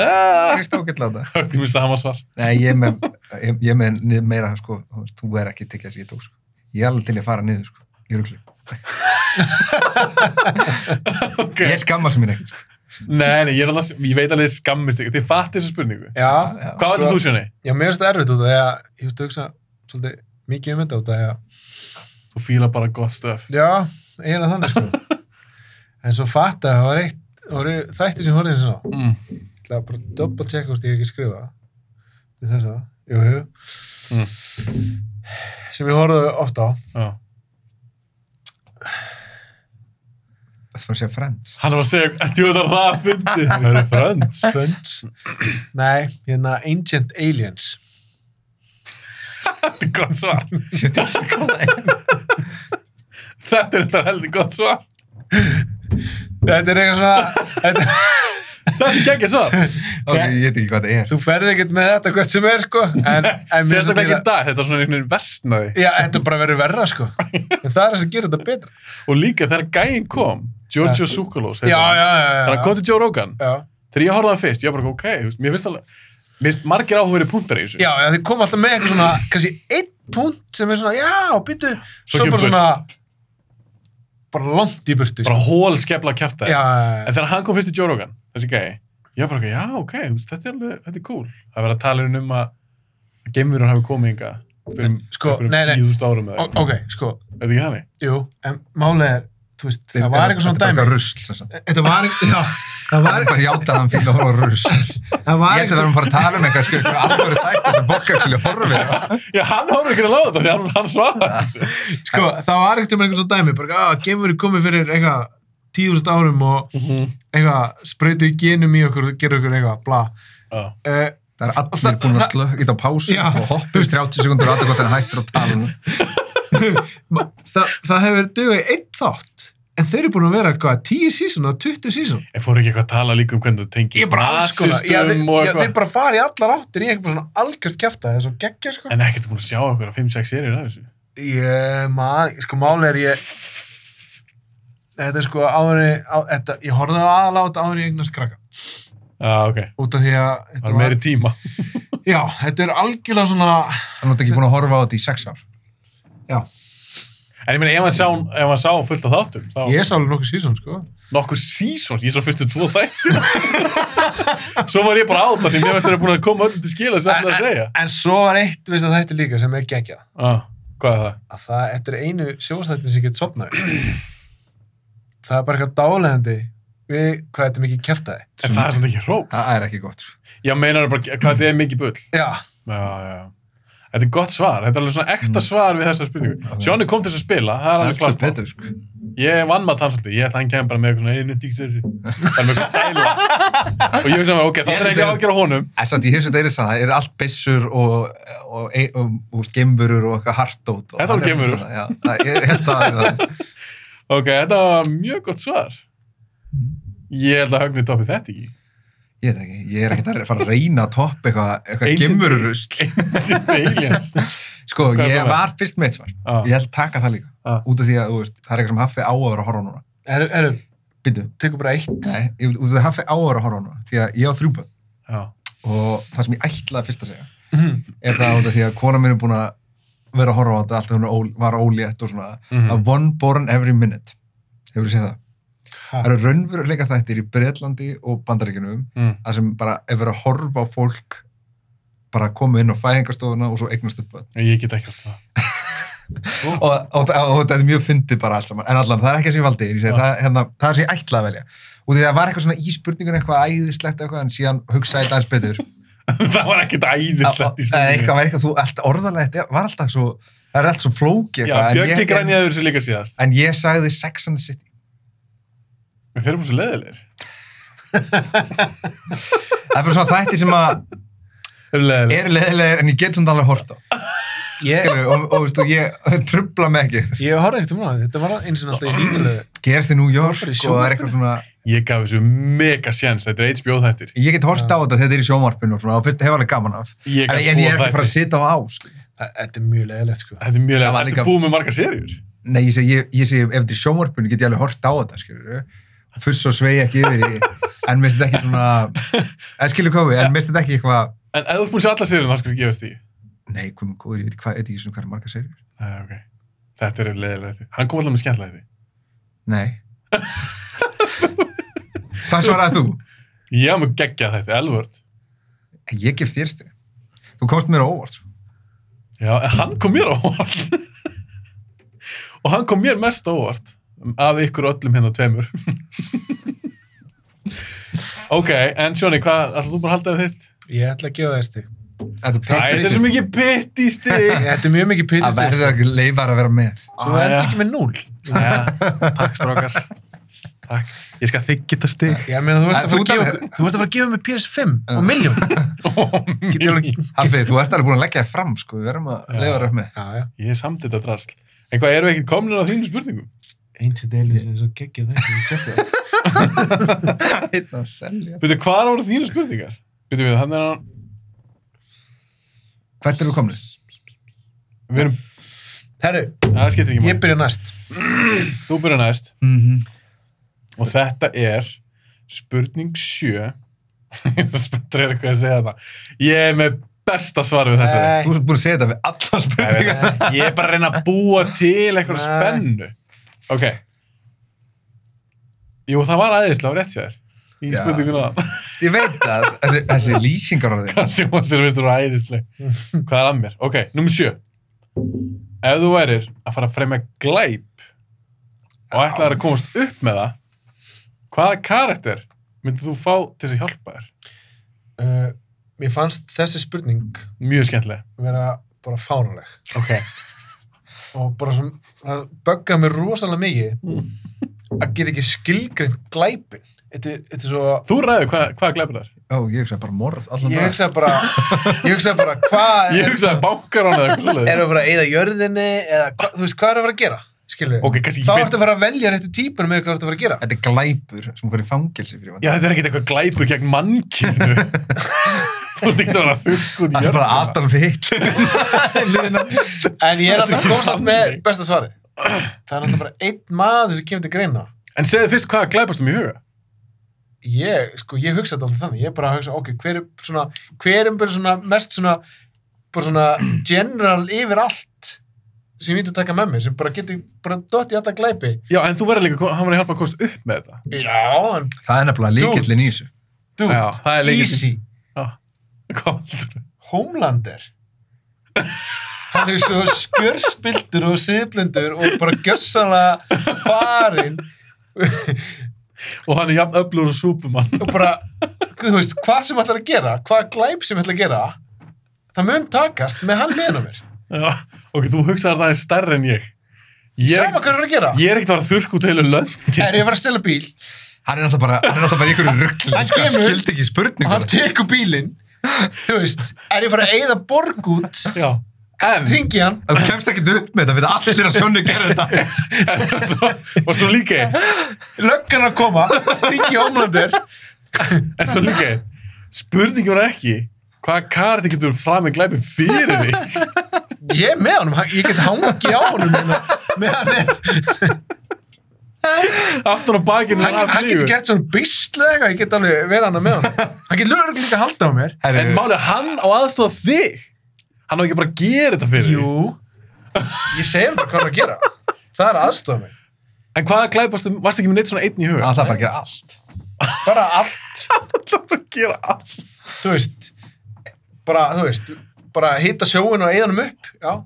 Ah,
Ég stókill á það.
Högnum í sama svar
Nei, ég er með, ég, ég er með niður meira, sko, þú veist, þú er ekki tekið þess að ég tók, sko. Ég er alveg til ég að fara niður, sko, í rugli.
Ok.
Ég skammast mér ekkert, sko.
Nei, nei, ég, er alltaf, ég veit alveg þið skammist ykkur. Þið fatt þessu spurningu.
Já,
Já.
Hvað var
Sko-
þetta þú sjöni?
já, mér finnst þetta erfitt út af því að ég veist að hugsa svolítið mikið um þetta út af því að
Þú fíla bara gott stöf.
Já, eiginlega þannig sko. en svo fatt að það var eitt voru þættir sem horfðið sem svo.
Mm.
Ég ætla bara að double check hvort ég hef ekki skrifa við þessa, jú, jú.
Mm.
Sem ég horfði oft á.
Já.
Það var að segja friends.
Hann var að segja, en þú þarf það að fyndi. Það eru frönds.
Friends. Nei, hérna Ancient Aliens.
Þetta er gott svar.
Ég veit ekki hvað það er.
Þetta er þetta heldur gott svar.
Þetta er eitthvað svona, þetta,
Þetta er geggja svar.
Ok, ég veit ekki hvað það er.
þú ferði ekkert með þetta hvert sem er sko. En, en mér
Sérstaklega ekki í
líka-
dag. Þetta er svona einhvern veginn vestnaði.
Já, þetta er bara verið verra sko. En það er það sem gerir þetta betra.
Og líka þegar gæinn kom, Giorgio Tsoukalos, heitir
Já,
hann.
já, já. já,
þegar hann kom til Joe Rogan,
já.
þegar ég horfði á hann fyrst, ég var bara, ok, þú veist, mér finnst alveg, mér finnst margir áhugri punktar í þessu.
Já, já, þið kom alltaf með eitthvað svona, kannski einn punkt sem er svona, já, býttu, svo,
kemur
bara svona, bara langt í burtu. sko.
Bara hól skefla kjafta.
já,
En þegar hann kom fyrst í Joe Rogan, þessi gæi, ég var bara, eitthvað, já, ok, þú veist, þetta er alveg, þetta er cool. Það verða að tala um að geimurinn hafi komið ynga fyrir
Sko,
einhverjum
nei, nei.
10.000 árum eða
Ó-
eitthvað.
ok, sko,
Er þetta ekki þannig?
jú, en málið er, þú veist, það var eitthvað svona
Þetta er bara
dæmi. Eh,
eitthvað rusl, sem sagt.
Þetta var eitthvað, já, það
Það
var
er bara játað hann fyrir að horfa á rusl.
það
Ég
var
held að við erum bara að tala um eitthvað, sko, eitthvað alvöru þætti sem bókaksli horfir. á.
Já, hann horfði ekki að láta þetta, því hann, hann svaraði þessu.
sko, það var eitthvað eitthvað svona dæmi, bara, að, gemur komið fyrir eitthvað tíðust árum og eitthvað, sprautu í genum í okkur, gera okkur eitthvað, bla.
Já.
Uh,
Það er allir búin að slökk í á pásu
Já.
og hoppa í 30 sekundur aðeins hvort hann hættur að tala. um það.
það, það hefur dugað í einn þátt, en þeir eru búin að vera eitthvað, tíu sísona, 20 sísona.
En fóru ekki eitthvað að tala líka um hvernig þetta tengist
ég bara alls konar já, þeir,
nasistum og
já, þeir
eitthvað.
bara fara í allar áttir í eitthvað svona algjörst kæfta eins og geggja sko
En ekkert búin að sjá okkur að 5-6 serið af þessu.
ég man, sko máli er ég þetta er sko áður en ég- á, þetta, ég horfði á aðalátt áður en ég eignast krakka
Já, ok.
út af því að
Það
þetta
er meiri tíma.
já, þetta er algjörlega svona
Hann er ekki búin að horfa á þetta í sex ár.
En ég meina, ef hann sá, ef hann sá fullt af þáttum, þá
ég sá alveg nokkuð sísón sko
nokkur sísons, ég sá fyrstu tvo þættir. Svo var ég bara átt, því mér veist þeir eru búin að koma öllum til skila sem ætlaði að segja.
en svo var eitt veist að þetta líka sem er geggjað
Ah, hvað er það?
að það, þetta er einu sjóastættin sem getur sopnað það er bara eitthvað dálæðandi við hvað þetta er mikið kæftaði
En það er samt ekki rók.
Það er ekki gott. sko.
Já, meinar bara hvað þetta er mikið bull.
já,
Já, já. Þetta er gott svar. Þetta er alveg svona ekta svar við þessa spurningu.
Ok.
Sjónni kom til þess að spila, það er alveg
Heldur
klart.
betur, sko.
Ég vann maður tann svolítið. Ég ætla að hann kemur bara með eitthvað svona einu tík þessu. Það er með eitthvað stæla. Og ég hugsa mér, ok, það
Ég
er
held
ekki
að-
ágjör á honum.
En samt ég hef sem þetta er þess að það er allt byssur og, og, og, og, og gemurur og eitthvað hardót. og-
Þetta voru geimverur.
Já, það, ég held að það er það.
Ok, þetta var mjög gott svar. Ég held að högni toppi þetta ekki.
Ég veit ekki, ég er ekkert að fara að reyna að toppa eitthvað, eitthvað
Ancient-
gemururusl.
Þetta er aliens.
Sko,
Hvað er
ég
það?
var fyrst mitt svar.
Ah,
Ég held taka það líka.
Ah.
Út af því að, þú veist, það er eitthvað sem haffi á að vera að horfa á núna.
erum, erum,
Bindu.
tekur bara eitt
Nei, ég- út af því að haffi á að vera að horfa á núna. Því að ég á þrjúböð
já.
og það sem ég ætlaði fyrst að segja
Mhm.
er það út af því að kona mín er búin að vera að horfa á þetta alltaf hún er ól- var ólétt og svona
Mhm.
að one born every minute. Hefur þú séð það?
Ha.
Það eru raunveruleika þættir í Breitlandi og Bandaríkinum
Mm.
að sem bara er verið að horfa á fólk bara að koma inn á fæðingarstofuna og svo eignast upp börn.
Ég get ekki alltaf.
Og, og, og, og þetta er mjög fyndið bara allt saman. En allan, það er ekki sem ég valdi. Ég segi,
Já.
það, hérna, það er sem ég ætlaði að velja. Og því það var eitthvað svona í spurningun eitthvað æðislegt eitthvað en síðan hugsaði þetta aðeins betur.
það var ekkert æðislegt í
Eða
spurningunni.
Eitthvað var eitthvað, þú, allt orðalegt var alltaf svo það er allt svo flóki
Já, Björki grænjaði þessu líka síðast.
en ég sagði Sex and the City
Við fyrir mjög svo leðilegir.
það er bara svona þætti sem að
Leðilegir.
eru leðilegir en ég get samt alveg hort á
Ég,
Skilurðu, og, og veistu, ég trubla mig ekki
ég horfði ekkert um hana, þetta var eins og alltaf í hýmulegu.
gerist í New York
Það er í
og það er eitthvað svona
Ég gaf þessu mega séns, þetta er HBO þættir.
ég get hort
Já.
á þetta þegar þetta er í sjónvarpinu og svona, og fyrst hefur alveg gaman af
Ég
en,
gaf
en ég er
tvo
ekki að fara að
þætti.
sitja á ás
Þetta er mjög leðilegt, sko.
Þetta er mjög
Það
leðilegir.
var
Þetta
líka-
er búið með marga serjur.
Nei, ég segi, ég, ég segi ef þetta er í sjónvarpinu get ég alveg hort á þetta, skilur Fuss og svei ekki yfir í, en minnst þetta ekki svona, en skilur hvað við, en minnst þetta ekki eitthvað,
En ef þú ert búin að sjá alla serjurinn, þá skal þú gefast því.
nei, komum góður, ég veit hvað, eitthvað, eitthvað, hvað er marga serið?
Nei, ok. Þetta er leðilegir þættir. Hann kom alltaf með skemmtilega þætti.
Nei. Hvað svaraði þú?
Ég hafði með geggjað þætti, elvörd.
Ég gef þér stu. Þú komst mér á óvart, sko.
Já, en hann kom mér á óvart. og hann kom mér mest á óvart. Af ykkur öllum hérna tveimur. ok, en Sjóni, hvað, ætlaðu þú bara að halda við þitt?
Ég ætla að gefa þér stig.
Þetta
Æ, þetta er svo mikið pitt í stig.
Þetta er mjög mikið
Það
pittistig.
verður ekki leifar að vera með.
Svo
Ah,
endur
já.
ekki með núl.
Takk, strákar. Takk. Ég skal þig geta stig.
Ég meina, þú ert
Æ,
að fara
þú
að gefa-
talar-
þú ert að fara að gefa mig PS5 og
Já.
miljón. Get ég alveg-
Hafið, þú ert alveg búin að leggja þér fram, sko, við verðum
Já.
að leifar að vera með.
Já, já.
Ég er samt þetta drasl. En hvað, erum við ekkert komnir á þínum spurningum?
Ancient Aliens er svo geggjað þetta, ég tjekka það.
Einn að selja.
Veitu, hvað voru þínu spurningar? Veitu við, hann er hann...
Hvert eru komnið?
Við erum...
Herru,
Æ, Það skiptir ekki
ég
máli.
byrja næst.
Þú byrja næst.
Mm
Og þetta er spurning sjö. Ég er svo spenntur er eitthvað að segja þetta. Ég er með besta svar við þessari.
Þú ert búin að segja þetta við alla spurningar.
Nei, Ég er bara að reyna að búa til eitthvað
Nei.
spennu. Ok. Jú, það var aðeinslega rétt hjá þér. Í
Já.
spurninguna það.
Ég veit það, þessi, þessi lýsingar á þig.
Kassi Mósir finnst þú æðisleg. Hvað er að mér? Ok, nummer sjö. Ef þú værir að fara að fremja glæp og ætlaðir að komast upp með það, hvaða karakter myndir þú fá til þess að hjálpa þér?
Uh, Mér fannst þessi spurning
Mjög skemmtileg.
vera bara fánaleg
Ok.
og bara sem, það böggaði mér rosalega mikið að geta ekki skilgreint glæpin. Þetta er- þetta er svo...
Þú ræður hvað, hvaða glæpur það er.
Ó, ég hugsaði bara morð allan
Ég
dag.
hugsaði bara, ég hugsaði bara, hvað
Ég
er,
hugsaði bankar hann eða eitthvað
er
svolítið.
að fara að eyða jörðinni eða, hva, þú veist, hvað er að fara að gera, skilur?
Ok, kannski
Þá
ekki
ertu að fara að velja réttu típunum með hvað ertu að fara að gera.
Þetta er glæpur sem fyrir fangilsi fyrir
Já, þetta er ekkert eitthvað glæpur gegn mannkinu. þú veist ekki að vera þurrk út í
Það er bara Adolf Hitler.
En ég er
Þetta
alltaf
er
konstant með
þannig.
besta svarið. Það er alltaf bara einn maður sem kemur til greina.
En segðu fyrst hvaða glæpast um í huga.
Ég, sko, ég hugsa þetta alltaf þannig. Ég er bara að hugsa, ok, hver er svona, hver er bara svona mest svona, bara svona general yfir allt sem ég veit að taka með mér, sem bara getur bara dott í alltaf glæpi.
Já, en þú verður líka, hann verður að hjálpa að komast upp með þetta.
Já, en
það er nefnilega líkillin í þessu.
dude,
Já, það er lykillinn.
easy,
Hvað?
homelander. Hann er svo skjörspiltur og siðblindur og bara gjörsanlega farinn
og hann er jafn öflugur og Superman
og bara, guð, þú veist, hvað sem ætlar að gera, hvað glæp sem ætlar að gera, það mun takast með hann meðan á mér.
Já, ok, þú hugsaðar það er stærri en ég ég er,
Sama hvað
ekkert-
hann er að gera.
ég er ekkert að fara að þurrk út heilu löndin
Er ég að fara að stela bíl
Hann er náttúrulega bara, hann er náttúrulega bara í einhverju ruggli.
Hann
Hann sko, hann
kemur-
skildi ekki
og
spurningar.
hann tekur bílinn, þú veist, er ég að fara að eyða borg út,
já, en
ringi hann,
Þú kemst ekki upp með þetta, við allir að sjónu gerðu þetta.
svo, og svo líka einn,
löggan að koma, ringi Homelander,
en svo líka einn. spurningin var ekki hvaða karti getur fram með glæpi fyrir þig
ég er með honum, hann- ég get hangi á honum hérna, með hann, er-
aftur á bakinu
hann, hann getur gert svona bísla eitthvað, ég get alveg verið hann með hann. Hann getur lögur líka að halda á mér.
en málið er hann á aðstofa þig hann á ekki bara að gera þetta fyrir þig
Jú, ég segir bara hvað hann er að gera. Það er aðstofa mig.
en hvaða glæpastu, varstu ekki með neitt svona einn í huga
Hann ætlaði bara að gera allt.
Bara allt.
ætla bara að gera allt
þú veist bara, þú veist, bara hitta sjóin og eiðanum upp, já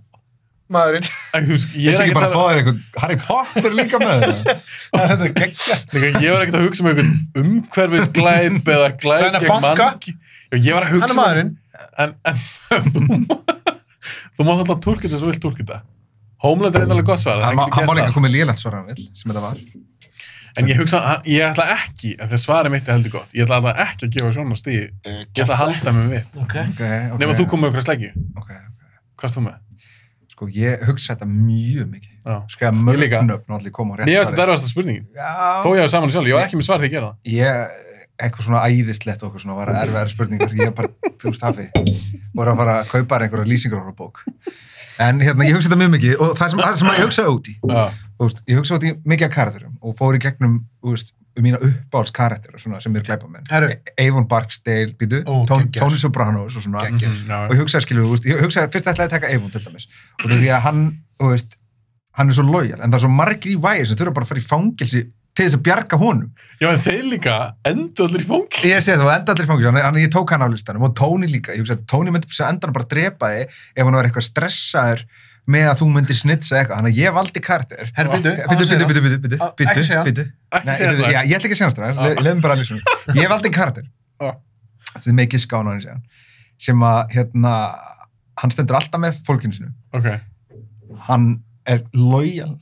maðurinn,
en, þú, veist,
Ég
ég,
er
er
ekki
ekkert
bara
að-
að fá þér einhvern Harry Potter líka með þetta.
það er þetta geggja
Líka, ég var ekkert að hugsa um einhvern umhverfisglæp eða glæp
Reyna að
gegn
banka.
mann Já, ég var að
hann
hugsa
er maðurinn,
en, en þú Þú mátt alltaf tólkita þess að þú vilt tólkita. Homeland er eitthvað gott svar. það er
Hann má
ekki gert
hann má líka
allt.
koma með lélegt svara hann vill, sem þetta var.
En ég hugsa, hann- ég ætla ekki, af því að svarið mitt er heldur gott, ég ætla alltaf ekki að gefa svona stíði. Ég ætla að halda mig við.
Ok.
Ok, Eh, ok.
Nefn að þú kom með okkur sleggju.
Ok, ok.
Hvað stóð með?
Sko, ég hugsa þetta mjög mikið. Sko,
Já.
Skrifa
Ég líka.
mörgnöfn og allir koma á rétt
Mér finnst þetta erfasta spurningin. Þó
Já.
ég hef saman sjálf, ég var ekki með svar því að gera það.
Ég, eitthvað svona æðislegt og eitthvað svona var erfiðar spurningar. Ég bara, þú veist, hafi. Voru að fara að kaupa þér einhverja lýsingar á bók. En hérna, ég hugsa þetta mjög mikið og það sem, það sem ég hugsaði út í.
Já.
Þú veist, ég hugsaði út í mikið af karakterum og fór í gegnum, þú veist, um mína uppáhaldskarakter svona sem er glæpamenn.
Herru.
Eivon Barksdale, býtu,
Ó,
Tón-
geggjaður.
Tony Soprano og svona.
Geggjaður.
Mhm, já,
og ég hugsaði skilur, þú veist, ég hugsaði fyrst ætlaði að taka Eivon til dæmis og því að hann, þú veist hann er svo lojal, en það er svo margir í væri sem þurfa bara að fara í fangelsi til þess að bjarga honum
Já, en þeir líka endur allir í fónk.
ég sé það, þú enda allir í fangelsi, þannig að ég tók hann af listanum og Tóni líka, ég hugsaði að Tóni myndi fyrir endan bara drepa þig ef hann var eitthvað stressaður með að þú myndir snitsa eitthvað, þannig að ég valdi kartir
Herri, býttu,
Bitu, bitu, bitu, bitu, bitu,
Á, ekki
bitu,
segja hann.
bitu.
Ekki
Nei,
segja
bitu,
það.
já, ég ætla ekki að segja hans
Á.
það, lefum bara að lýsa. Ég valdi karakter,
Á.
þið megið skána hann séðan, sem að, hérna, hann stendur alltaf með fólkinu sinu.
Ok.
Hann er lojal,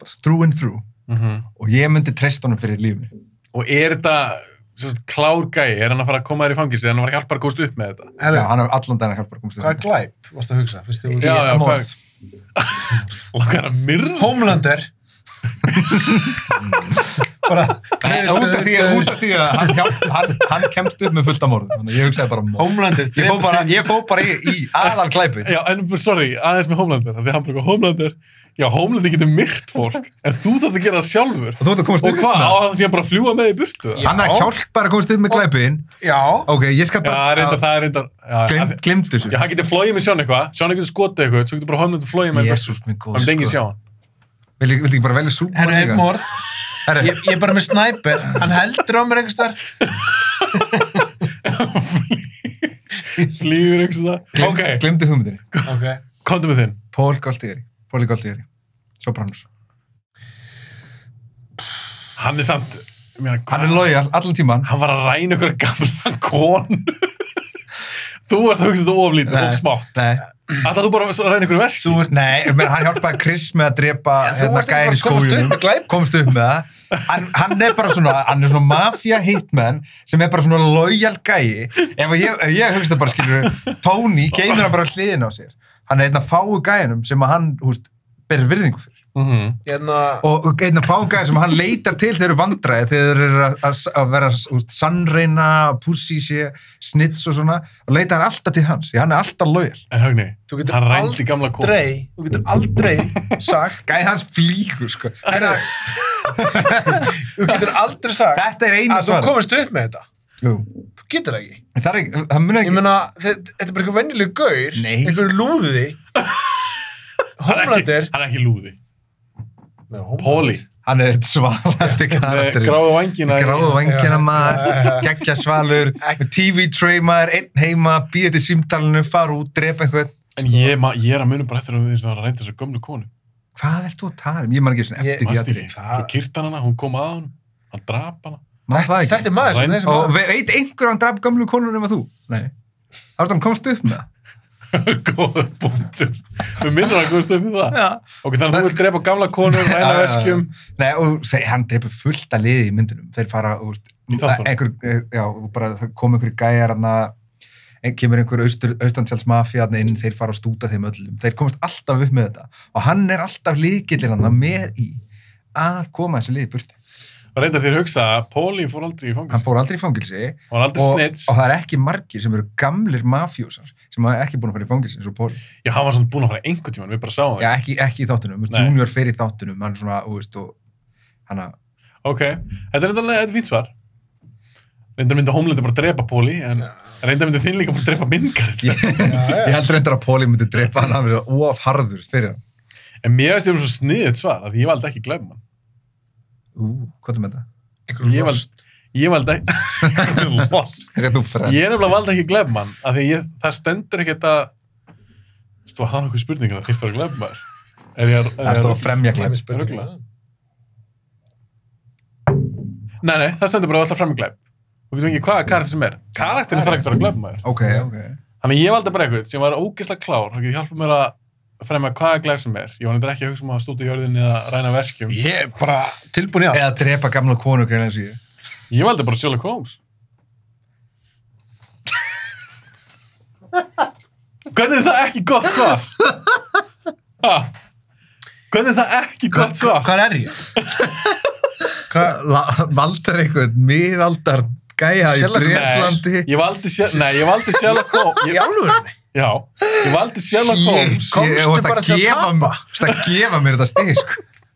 bara through and through,
Mhm.
og ég myndi treysta honum fyrir lífið. mér.
Og er þetta sem sagt, klár gæi? Er hann að fara að koma þér í fangilsi? Er hann að fara að hjálpa að góðst upp með þetta?
Já,
Herru,
hann hefur allan daginn að hjálpa að komast
hvað er glæp? Varst að hugsa, fyrst þú...
Já, já,
morð.
hvað- Langar að myrða?
Homelander. bara...
Nei, Út af því, út af því að hann, hjálp, hann, hann kemst upp með fullt af morðum, þannig að ég hugsaði bara morð.
Homelander.
Ég fó bara, ég fó bara í, í aðal glæpi.
Já, en sorry, aðeins með Homelander, af því að hann bara eitthvað, Homelander, já, Homelander getur myrt fólk, en þú þarf að gera það sjálfur.
Og þú ert að komast upp
Og hvað,
með
á
það.
það sé hann bara að fljúa með í burtu?
Já.
Já,
Hann er að hjálpa að komast upp með glæpin.
Já.
Ok, ég skal bara...
reyndar, það er reyndar, já, já, af
Glimt,
því-
glimt þessu.
já, hann getur flóið með Sjón eitthvað, Sjón getur skotið eitthvað, svo getur bara Homelander flóið með í burtu.
Jésús minn góð.
Það myndi enginn sjá hann.
Vil ég ekki bara velja súpa?
Herru, einn morð.
Herru,
Ég, ég er bara með sniper. Hann heldur á mér einhverstaðar.
Flýgur eins og það.
glim,
Ok,
glimtu hugmyndinni.
Ok.
komdu með þinn.
Pól Galtieri. Póli Galtieri. Sopranos.
Hann er samt, ég meina,
Hann er
hvað-
lojal allan tíman.
hann var að ræna ykkur gamla konu. Þú varst að hugsa þetta oflítið,
Nei.
of smátt.
Nei,
Alltaf þú bara að ræna ykkur versi.
þú ert... Nei, menn, hann hjálpaði Chris með að drepa hérna
ekki
gæri
að komast upp
skójunum.
með glæp.
Komst upp með það. Hann, hann er bara svona, hann er svona mafia hitman sem er bara svona lojal gæi. Ef ég, ef ég hugsa bara, skilur, Tony geymir hann bara á hliðin á sér. Hann er einn af fáu gæjunum sem að hann, húst, ber virðingu fyrir.
Mhm.
Hérna...
og einn af fágæðin sem hann leitar til þeir eru vandræði þegar þeir eru að- að að vera úst, sannreina, pussi sé snits og svona, og leitar hann alltaf til hans því hann er alltaf lojal
En högni,
Þú getur
hann rændi gamla konu.
aldrei, þú getur aldrei sagt,
gæði hans flýgur sko
Herra, þú getur aldrei sagt
þetta er eina
að þú
svar
komist upp með þetta.
það
Þú getur það ekki.
er ekki, það mun
Ég
ekki
meina, þetta þetta er bara einhver venjulegu gaur,
Nei.
einhver lúði.
Hann er ekki-
Homelander.
hann er ekki lúði.
Nei, Homelander.
Póli.
hann er eitt svalasti
Með
karakter
gráðu vangina. í-
gráðu vangina
Já, já,
maður
já.
geggja svalur, tv-tray maður einn heima, býða til símtalinu fara út, drepa einhvern
En ég, ma, ég er að munum bara eftir að við þess að hann reyndi þessa gömlu konu.
hvað ert þú að tala um, ég man ekki svona
Ég-
eftir því
Manstu
aðri
ekki?
það-
Svo kýrt hann hana, hún kom að hann, hann drap hana.
Þetta þetta er maður sem
Rænd-
þessi
og
maður.
ve- veit einhver að hann draf gamlu konur nema þú? Nei. Árstam, komst upp með það?
Góður búndur. Við minnum að góðum stöðum í það.
Já.
Ok, þannig að þú vilt drepa gamla konu, ræna
Já, já, já.
veskjum.
Nei, og seg, hann dreipur fullt að liði í myndunum. Þeir fara, þú veist,
Í þáttunum.
einhver, eh, já, og bara það kom einhver gæjar hann ein, kemur einhver austur, austansjáls mafía hann inn, þeir fara að stúta þeim öllum. Þeir komast alltaf upp með þetta. Og hann er alltaf líkillin hann með í að koma þessi liði burtu.
Og reyndar þér hugsa að Póli fór aldrei í
Hann
fangins.
fór aldrei í fangilsi
Hann var aldrei
og,
snitch.
og það er ekki margir sem eru gamlir mafjósar sem er ekki búin að fara í fangilsi eins og Póli.
Já, hann var svona búinn að fara einhvern tíman, við bara sáum
Já,
það.
ekki, ekki í þáttunum.
Nei.
Junior fer í þáttunum, hann svona, þú veist, og hann að...
Ok, þetta er reyndar alveg- þetta er fínt svar. Reyndar myndi Homelander bara drepa Póli, en reyndar myndi þinn líka bara drepa minn karakter.
Ég,
já.
ég held reyndar að Póli myndi drepa hann af því að of harður fyrir hann.
En mér finnst þetta svo sniðið svar, af því ég valdi ekki glæpa
Ú, hvað er með það?
Einhver
ég var-
lost.
Ég valdi ekki... Lost.
Það er þú frend.
Ég er nefnilega valda ekki glefmann af því ég, það stendur ekkert að Þú var það nokkuð spurningar að þýrst að vera glefmaður Er ég að- er
Það
ég
er það
að
að fremja
Glæmi
glæp.
spurningu.
Nei, nei, það stendur bara alltaf fram í glef Þú getur ekki hvaða karakter sem er Karakterin þarf ekkert að vera glefmaður
Ok, ok.
Þannig að ég valdi bara eitthvað sem var ógeðslega klár, það getur hjálpað mér að fremja hvaða glæð sem er. Ég var nefnilega ekki að hugsa um að stúta jörðin eða ræna veskjum.
Ég er bara tilbúin í allt.
Eða drepa gamla konu greinlega síðan.
Ég valdi bara Sherlock Holmes. Hvernig er það ekki gott svar? Ha? Hvernig er það ekki gott svar?
Hvað er ég? Hvað?
Valdar einhvern miðaldar gæja í
Sherlock-
Breitlandi.
Nei, ég valdi, Sher- nei, ég valdi Sherlock Holmes.
Í alvörinni?
Já, ég valdi Sherlock Holmes.
Ég- komstu bara til að tapa.
Það að gefa mér þetta stið, sko.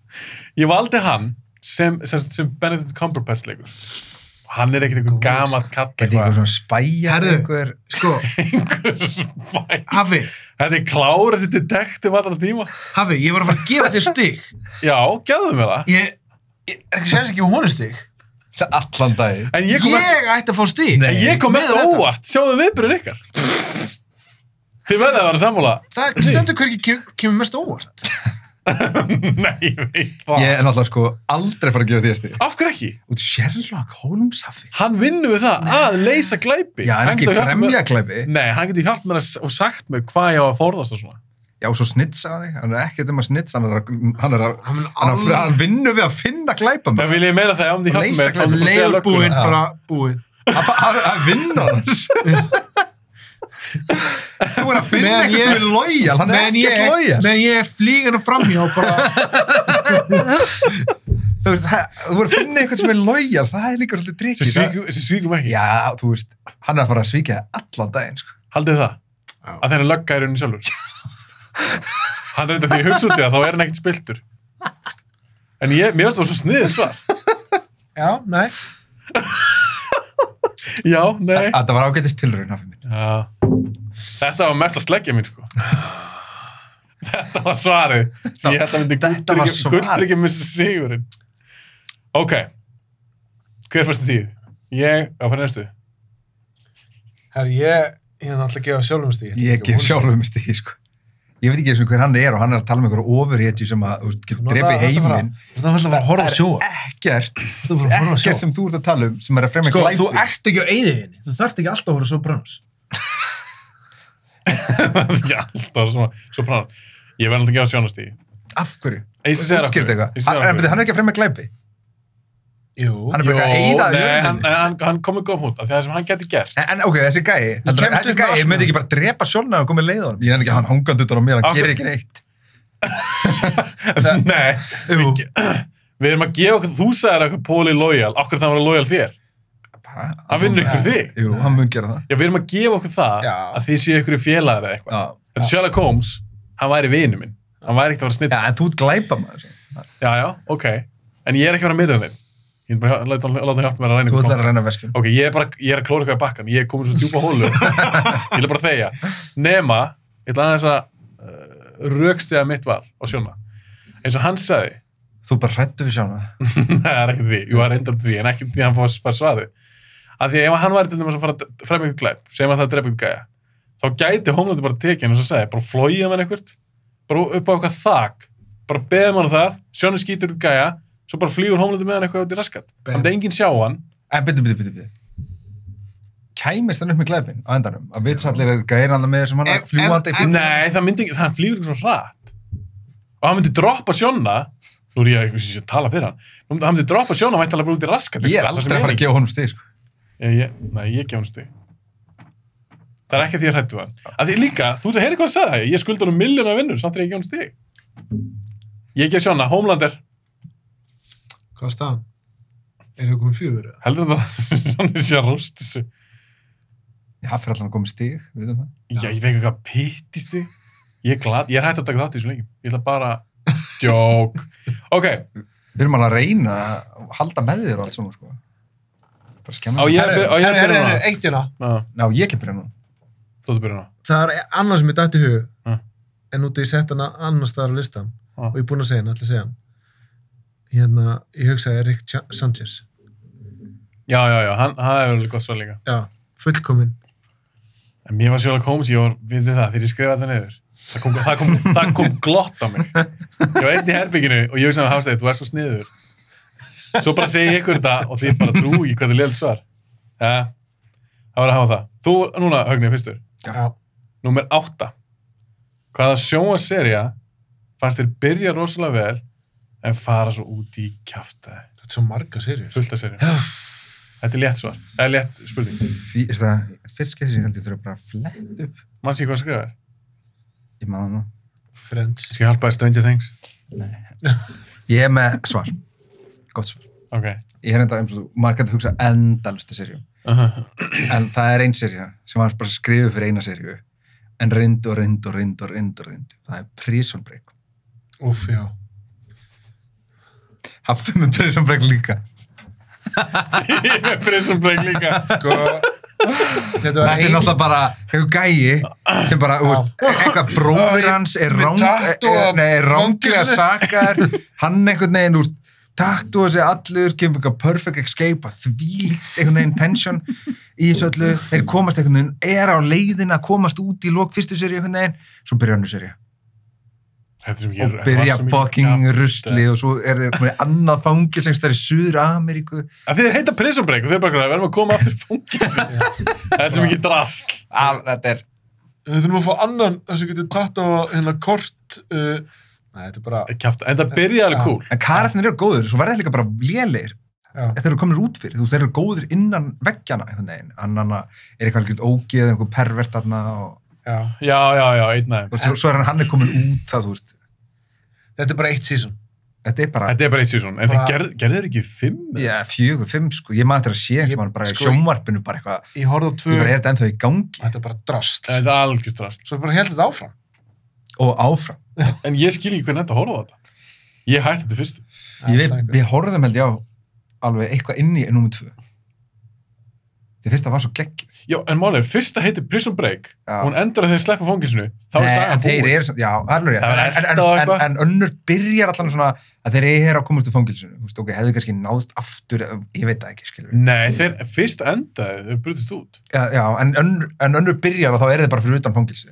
Ég valdi hann sem, sem, sem Benedict Cumberbatch leikur. Hann er ekkert einhver gammal kall
Gæti einhver
eitthvað.
svona spæja
Herðu.
einhver...
Sko,
Einhver spæ.
Hafi,
Þetta er klárasti detektiv allra tíma.
Hafi, ég var að fara að gefa þér stig.
Já, gefðu mér það.
Ég, ég er ekki sens ekki um honum stig.
Allan daginn.
En ég
Ég,
kom mest,
ætti að fá stig.
en ég kom mest
Með þetta.
óvart. Sjáðu viðbyrðin ykkar. Þið verðið að vera sammála.
Það stendur hver ekki kem- kemur mest óvart.
Nei, ég veit það.
Ég er náttúrulega sko aldrei fara að gefa þér stið.
Af hverju ekki?
Út Sherlock Holmes hafi.
Hann vinnur við það að leysa glæpi.
Já,
Hann
en ekki
hérna
getur hjálpað mér-
fremja glæpi.
Nei, hann getur hjálp mér að, s- og sagt mér hvað ég á að forðast og svona.
Já, svo snitsa hann þig. Hann er ekkert um að snitsa, hann er að... Hann, er að,
Hann mun
hann, er að,
alveg
hann vinnur við að finna glæpa
En
mér.
vil ég meira það, ef hann getur hjálp
Leysa
mér, þá
glæpi.
myndi ég bara segja
leiður
lögguna.
búinn,
Já.
bara búinn.
Hann fa- Hann hann vinnur hans. Þú er að finna
Meðan
eitthvað
ég-
sem er lojal. Hann er
Meðan ég,
ekkert lojal.
meðan ég er flýgan og framhjá bara,
Þú veist, hæ- þú er að finna eitthvað sem er lojal. Það er líka svolítið
Sem
drikkið.
svíkum- sem svíkum ekki.
Já, þú veist, hann er að fara að svíkja þig allan daginn, sko.
Haldið það?
Já.
Að þeirra lögga er unni sjálfur. hann reynda því að hugsa út í það, þá er hann ekkert spiltur. En ég, mér finnst það var svo sniðið svar.
já, nei,
Já, nei.
Að það var ágætist tilraun af minn.
Já. Þetta var mest að sleggja mín, sko. Þetta var svarið.
Þetta-
Ég held að myndi
þetta var
gulldrykkja-
svarið.
gulldrykkja með sigurinn. Ok. Hver fyrst þið? Ég, á fyrir næstu.
herru, ég, ég er náttúrulega að gefa sjálfum stig. ætla
Ég
að
gef
honum stig.
sjálfum stigi, sko. Ég veit ekki eins og hver hann er og hann er að tala með einhverju ofurhetju sem að, þú veist, getur
Nú er
drefið
það- þetta bara-
heiminn.
Þú ætla bara að horfa að sjóa.
Ekkert,
Þú ætla bara að horfa að
ekkert
sjóa.
sem þú ert að tala um sem er að fremja
Sko,
glæpi.
þú ert ekki á eyðiðinni. Þú þarft ekki alltaf að horfa að sjóa branns.
Já, alltaf svona. Svo prán. Ég verði alltaf að gefa sjónastíði.
Af hverju?
Ég sé það.
Útskýrðu eitthvað. Hann, hann, hann er ekki að fremja glæpi.
Jú.
Hann er
Jó,
bara eitthvað að eyða
nei, hann,
jörðinni.
hann, hann komið góð punkt af því að það sem hann geti gert
En, en ok, þessi gæi, heldur,
kemst
þessi
upp með
gæi
allt
myndi
með
ekki bara drepa sjálfna og komið leið honum. Ég er ekki að hann hangandi utan á mér,
Af
hann gerir
hverju?
ekki neitt.
Nei,
Jú,
við erum að gefa okkur þú sagðir okkur Póli lojal, okkur það var lojal þér
bara,
Hann vinnur ekkert fyrir þig.
Jú, hann mun gera það.
Já, við erum að gefa okkur það
Já.
að þið séu ykkur félagar eða eitthvað
Já,
Þetta er Sherlock Holmes, hann væri vinu minn hann væri ekkert að vera snitt
já en þú ert glæpa maður.
já, já, ok, en ég er ekki að vera myrðan þinn ég er bara að láta, láta hann hjálpa mér að ræna
Þú
ykkur
ætlar að reyna veskun.
ok, ég er bara ég er að klóra eitthvað í bakkan, ég er komin svo djúpa hólu ég er bara að þegja nema, ég ætla aðeins að uh, rökstega mitt val á sjóna eins og hann sagði
Þú bara hrættu við sjálfna.
Nei, það er ekkert því, jú, það er endur því, en ekkert því að hann fór að fara svarið. Af því að ef hann væri til dæmis að fara að fremja ykkur glæp, segjum að það drepa ykkur gæja, þá gæti Homelandi bara tekið hann og svo sagði, bara flóið hann eitthvað, bara upp á eitthvað þak, bara beðum hann þar, sjónu skýtur ykkur gæja, svo bara flýgur Homelandi með hann eitthvað út í raskat.
Bam.
Þannig að enginn sjá hann,
En byrju, byrju, byrju, byrju. Kæmist hann upp með glæpin á endanum? Að vitsallir er gæðin alltaf með þessum hann
En-
fljúandi í
en-
fyrir?
nei, það myndi, ekki- hann flýgur ykkur svo hratt. Og hann myndi droppa sjóna, nú er ég eitthvað sem ég tala fyrir hann, Nú myndi- hann myndi droppa sjóna, hann bara út í raskat.
Ég
eitthvað, það
er
sem
aldrei að fara
er
að gefa honum stig, sko.
Ég, ég, nei, ég gef hann stig. Það er ekki því að hrættu hann. Að því líka, þú veist að heyri hvað hann sagði, ég skulda hann milljón af vinnur, samt er ég gef hann stig. Ég gef sjóna, Homelander,
Hvað er staðan? Er það komið fjögur? eða?
heldur það að hann sé að rúst þessu.
Já, fyrir allan að koma í stig, við veitum það.
Já, ég veit ekki hvað pittist þig. Ég er glad, ég er hægt að taka þátt í þessu lengjum. Ég ætla bara, djók. Ok,
Við erum alveg að reyna að halda með þér og allt svona, sko. Bara skemmt.
á ég að
Herru,
byrja- á ég að
herru,
byrja
herru,
núna?
Eitt hérna.
Ná,
Ná, ég ekki byrja nú.
Þú ættu að byrja núna.
Það er annars sem ég dætti hug
Mm.
en út af ég sett hana annars staðar á listan
Mm.
og ég er búinn að segja hann, ætla að segja hann hérna, ég hugsaði Rick Ch- Sanchez
Já, já, já, hann, hann er verið gott svo líka.
já, fullkomin
En mér var sjálf að koma, ég var við það þegar ég skrifaði það niður. Það kom, það, kom, það kom glott á mig. Ég var einn í herbygginu og ég hugsaði að hafstæði, þú ert svo sniður. Svo bara segi ég ykkur þetta og þið bara trúi ekki hvað þið leilt svar. Ja, það var að hafa það. Þú, núna, Högni, fyrstur.
Já.
Númer 8. Hvaða sjóaserja fannst þér byrja rosalega vel en fara svo út í kjaftaði?
Þetta er svo marga serjur.
Fullt af serjum. Þetta er létt svar. Það er létt spurning.
Fí- veist það, Fyrst skessi sem ég held ég þurfa bara að flett upp.
Manns ég hvað skrifaði?
Ég maður nú.
Friends.
Skal ég hjálpa þér Stranger Things?
Ég er með svar. Gott svar.
Ok.
Ég er enda, eins og þú, maður getur hugsað endalust að serjum.
Uh
En það er ein serja sem var bara skrifuð fyrir eina serju. En reyndu og reyndu og reyndu og reyndu og reyndu. Það er Prison Break.
Úf, já.
Haffi með Prison Break líka.
ég er með Prison Break líka.
Sko, þetta
Þetta
var
er náttúrulega bara eitthvað gæi sem bara, þú veist, e- eitthvað bróður hans er
Með
ráng-
tattoo
er- nei, er
á
ránglega
fangelsinu.
sakar, hann einhvern veginn, þú veist, tattúa sig allur, kemur eitthvað perfect escape að því einhvern veginn tension í þessu öllu, þeir komast einhvern veginn, er á leiðin að komast út í lók fyrstu serið einhvern veginn, svo byrja önnur serið
Þetta sem ég
og byrja fucking rusli og svo er þeir komið annað fangils einhvers þar í Suður Ameríku
Að þeir heita Prison Break og þeir bara hvað, verðum að koma aftur í fangins. Þetta er sem ekki drast.
Al, þetta er
Við þurfum að fá annan þess að getur tatt á hérna kort. Uh, Nei, þetta er bara...
Kjafta. En það byrjaði alveg
Já.
cool.
En karatnir eru góður, svo verða þeir líka bara lélegir
Já.
þeir eru komin út fyrir, þú veist, þeir eru góðir innan veggjana einhvern veginn, annan að er eitthvað algjörð ógeð, einhver pervert þarna og
Já.
Já, já, já, einn aðeim.
og svo, svo er hann, hann er komin út það, þú veist,
Þetta er bara eitt sísón.
þetta er bara
Þetta er bara eitt sísón. En þeir
Bara-
gerð, gerðu þeir ekki fimm? eða?
já, fjögur, fimm, sko, ég maður þetta að sé
Ég-
einhvern veginn bara í
sko,
sjónvarpinu, bara eitthvað
Ég horfði á tvö...
ég bara er þetta ennþá í gangi
Þetta er bara drast.
Þetta er algjörst drast.
Svo bara held þetta áfram.
og áfram,
En ég skil ekki hvernig þetta horfði á þetta. Ég hætti þetta fyrst.
ég veit,
Þetta er eitthvað.
við horfðum held ég á alveg eitthvað inn í nummer tvö því fyrst það var svo geggjur
Já, en málið er, fyrsta heitir Prison Break
Já.
og hún endur að þeir sleppa fangilsinu. Þá er
Nei,
sagan
en þeir
búin.
eru, samt- já, alveg rétt.
Það var
en, en,
elta og
en,
eitthvað.
en, en önnur byrjar allan svona að þeir eru að komast úr fangilsinu, þú veist, ok, hefðu kannski náðst aftur, ég veit það ekki, skilur
Nei, þeir fyrst endaði, þau brutist út.
já, já, en, önnur, en önnur byrjar og þá eru þeir bara fyrir utan fangilsi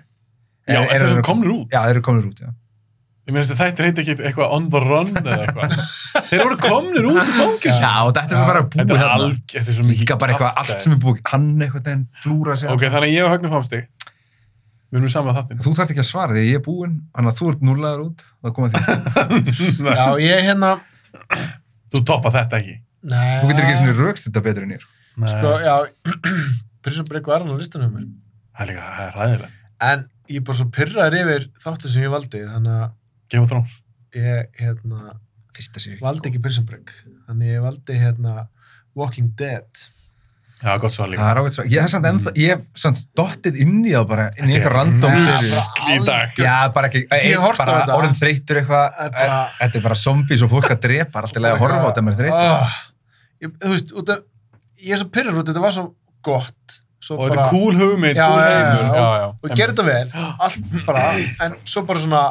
Já, en þeir eru komnir út.
já, þeir eru komin út, já,
Ég meina þess að þetta heiti ekki eitthvað on the run eða eitthvað. þeir voru komnir út í fangilsinu.
já og þetta
Já.
er bara að
Þetta
búa
er
þarna
alg, þetta er svo mikið
líka bara eitthvað
kjaftæði.
allt sem er búið, hann eitthvað en flúra sig
Ok, þannig að ég og Högni fámstig. Við erum saman að þáttin.
þú þarft ekki að svara því ég er búinn þannig að þú ert núlaður út það koma því,
Já, ég hérna...
Þú toppa þetta ekki.
Nei.
þú getur ekki svona raukst þetta betur en ég sko.
Nei.
Sko, já, Prison Break var hann á listanum mér.
Það er líka, það er ræðilegt.
En ég er bara svo pyrraður yfir þáttu sem ég valdi, þannig að
Game of Thrones.
ég, hérna,
fyrsta sér
valdi ekki Prison Break. Þannig ég valdi, hérna, Walking Dead.
Já, gott svar líka.
það er ágætt svo, ég hef samt ennþá ég hef samt dottið inn í það bara inn
Þetta
í
er
eitthvað random
Nei,
sér
bara
Í dag.
já, bara ekki,
Ég
ég,
horfði á
bara
þetta.
orðin þreytur eitthvað
Þetta-
þetta er bara zombies og fólk að drepa allt í lagi að horfa á þetta með þreytur
Ah, ég, þú veist, út af, ég er svo pyrraður út, af- þetta var svo gott. Svo
Og þetta er cool hugmynd,
Já,
cool
já, já,
heimur.
já.
Já, já.
Og gerði þetta vel, allt bara, en svo bara svona,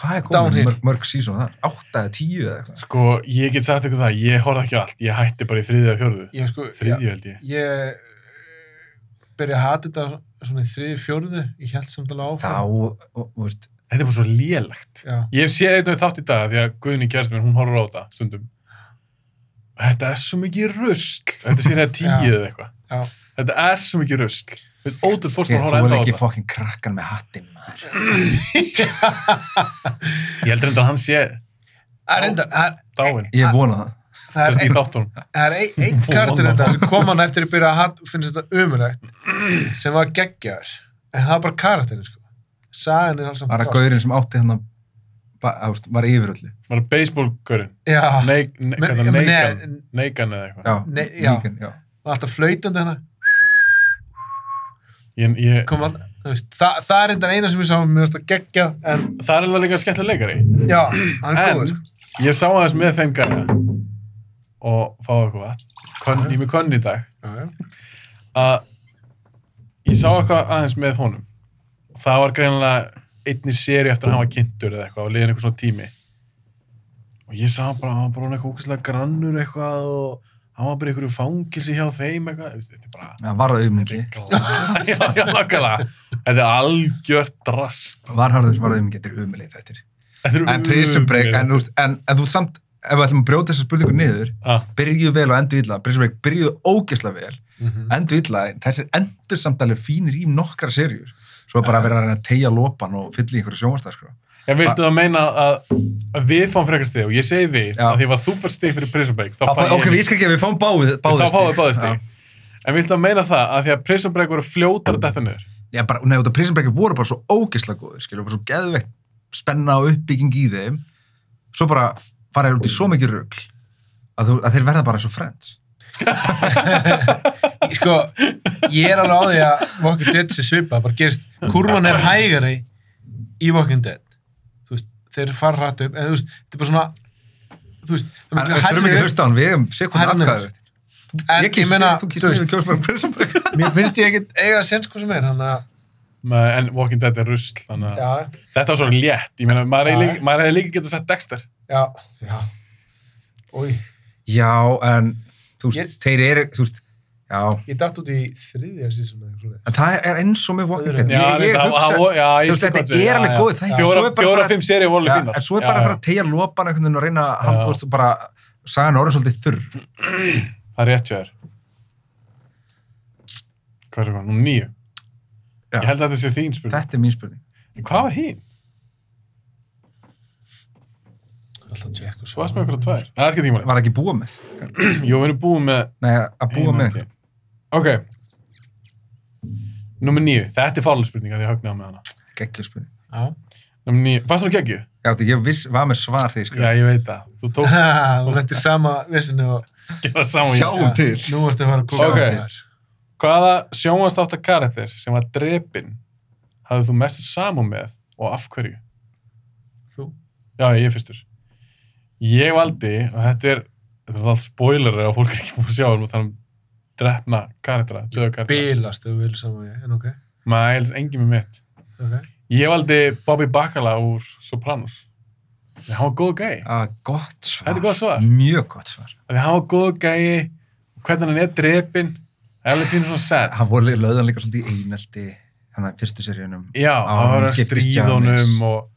hvað er
Downhill.
komið mörg, mörg sísón þar? 8 eða 10 eða eitthvað?
Sko, ég get sagt ykkur það, ég horfði ekki á allt, ég hætti bara í þriðja og fjörðu.
ég sko,
Þriðja held ég.
ég byrja að hata þetta svona í þriði, fjóruðu, ég held samt alveg
Þá,
áfram.
og, og, þú veist,
Þetta er bara svo lélegt.
Já.
Ég hef séð einhvern þátt í dag því að Guðni kjærst minn, hún horfður á þetta stundum. Þetta er svo mikið rusl. Þetta sé hérna tíu
Já.
eða eitthvað.
Já.
Þetta er svo mikið rusl. Þú veist, ótrúð fórst
ég
maður
þú
horfður
er
enda á
ekki
þetta.
fokkin krakkan með hattinn, maður.
Ég heldur enda að hann sé
Það er reyndar, það er-
dáinn.
Ég vona það.
það er
Þess í
einn-
þáttunum.
það er ein- einn
Fú,
kartur
mamma.
þetta sem kom hann eftir að byrja að hat, finnst þetta umulegt sem var geggjar en það var bara karakterin sko sagan er alls saman
Var að
plast.
gaurinn sem átti hérna hann að, var yfir öllu.
Var það baseball-görinn?
já, nei, Ah. Me-
Neikan
ég meina,
neikan-
nei,
neikan eða eitthvað.
Já,
Nei, já.
Negan, já.
var alltaf flautandi hana
Ég, ég,
kom alltaf Veist, það, það er reyndar eina sem ég sá mér varst að gegja en
það er alveg líka skemmtileg leikari.
já, hann er
En
góður sko.
ég sá aðeins með þeim gæja og fáið eitthvað vatn. Könn, ég er með könn í dag.
Já, já.
að ég sá eitthvað aðeins með honum og það var greinilega einni séri eftir að hann var kynntur eða eitthvað og liðin eitthvað svona tími og ég sá bara, hann var bara orðinn eitthvað ókvæslega grannur eitthvað og hann var bara í einhverju fangilsi hjá þeim eitthvað, Þú veist, þetta er bara
Það var það auðmingi.
Glá- já, já, nákvæmlega. Þetta er algjört drast
Var harður, var það auðmingi, þetta er auðmilið þættir.
Þetta er
En Prison Break,
ömurlegt.
en, þú veist, en, en þú ert samt, ef við ætlum að brjóta þessa spurningu niður,
Ah,
byrjuðu vel og endur illa. Prison Break byrjuðu ógeðslega vel
Mhm.
endur illa, þessir endur samtalið fínir í nokkra serjur svo er bara að vera að reyna að tegja lopan og fylla í einhverju sko. sjónvarsdagskrá
Ég viltu að meina að, að við fáum frekar stig og ég segi við,
Já.
að því að þú fær stig fyrir Prison Break, þá fæ ég
ok, við skal ekki að við fáum báðið
þá fáum við báðið
Já.
stig. En viltu að meina það að því að Prison Break voru fljótar að detta niður?
Já, bara, nei, þetta Prison Breaker voru bara svo ógeðslega góður, skilur, bara svo geðveikt spenna og uppbygging í þeim svo bara fara þér út í svo mikið rugl að, þú, að þeir verða bara eins og friends
sko, ég er alveg á því að Walking Dead sé svipað, bara gerist kurvan er hægari í Walking Dead þú veist, þeir fara hrætt upp en þú veist, þetta er bara svona þú veist,
en við þurfum ekki að hlusta á hann, við hefum sekund
Harðir.
afkvæður
En
ég kýst
ég meina,
þig, þú kýst
þú
mig,
veist.
við kjóðum bara Prison Breaker
mér finnst ég ekkert eiga að sens hvað sem er, þannig að
Nei, En Walking Dead er rusl, þannig að
já,
þetta var svo létt. Ég meina, maður hefði
Já.
líka- maður hefði líka getað sett Dexter.
já, já Új,
já, en þú veist,
Ég-
þeir eru, þú veist já,
ég datt út í þriðja sísum eða eitthvað svoleiðis.
en það er eins og með Walking Dead
Já,
ég, ég
þetta- það
hugsa,
voru- já, ég
þú veist,
skil
þetta
hvað þú-
er
já,
alveg
já.
góð, það er- svo er
Fjóra,
bara
fjóra,
bara-
fimm serið voru alveg
já,
fínar.
en svo er bara
Já,
að fara að tegja lopan einhvern veginn og reyna að halda,
Já. Mm.
þú veist, bara sagan orðin svolítið þurr
Það er rétt hjá þér. Hvað er það? Nú nýju.
Já.
Ég held að þetta sé þín spurning.
þetta er mín spurning
En Hvað var hinn?
Alltaf að tjekka og
Svo aðsmið
svona.
okkur á tvær. Nei, það skilt ekki máli.
var ekki búa með,
Jú, við erum búið með
nei, að búa með
einangrun. Ok. Númer nýju. Þetta er fálega spurning að ég högnaði með hana.
geggjöspurning
Já.
Númer nýju. Fannst þú geggju?
Já, þetta- ég viss, var með svar þegar ég
Já,
skrifaði.
ég veit það. Þú tókst
Ha, Þú lentir sama vissinu og
ekki það saman.
Sjá. Sjáum til.
Nú ertu að fara að kúka
Ok.
á þér.
Hvaða sjónvastátta karakter sem var drepinn hafði þú mestu saman með og af hverju?
Þú?
Já, ég er fyrstur. Ég valdi, og þetta er, þetta er allt spoilerar og fólk er ekki búið að sjá um þannig um drefna karaktera, döða karaktera.
Bilast ef þú vil saman við, en ok,
Mæls, engin með mitt.
ok
Ég valdi Bobby Bacala úr Sopranos. Þegar hann var góð gæi.
Ah, gott svar.
Þetta er gott svar.
Mjög gott svar.
Þegar hann var góð gæi, hvernig hann er drepinn, það er alveg pínu svona sad.
Hann voru löðan líka svolítið í einelti, hann að fyrstu seríunum.
Já, það
Á,
var
hann
að
giftist
stríða
Janis.
honum og,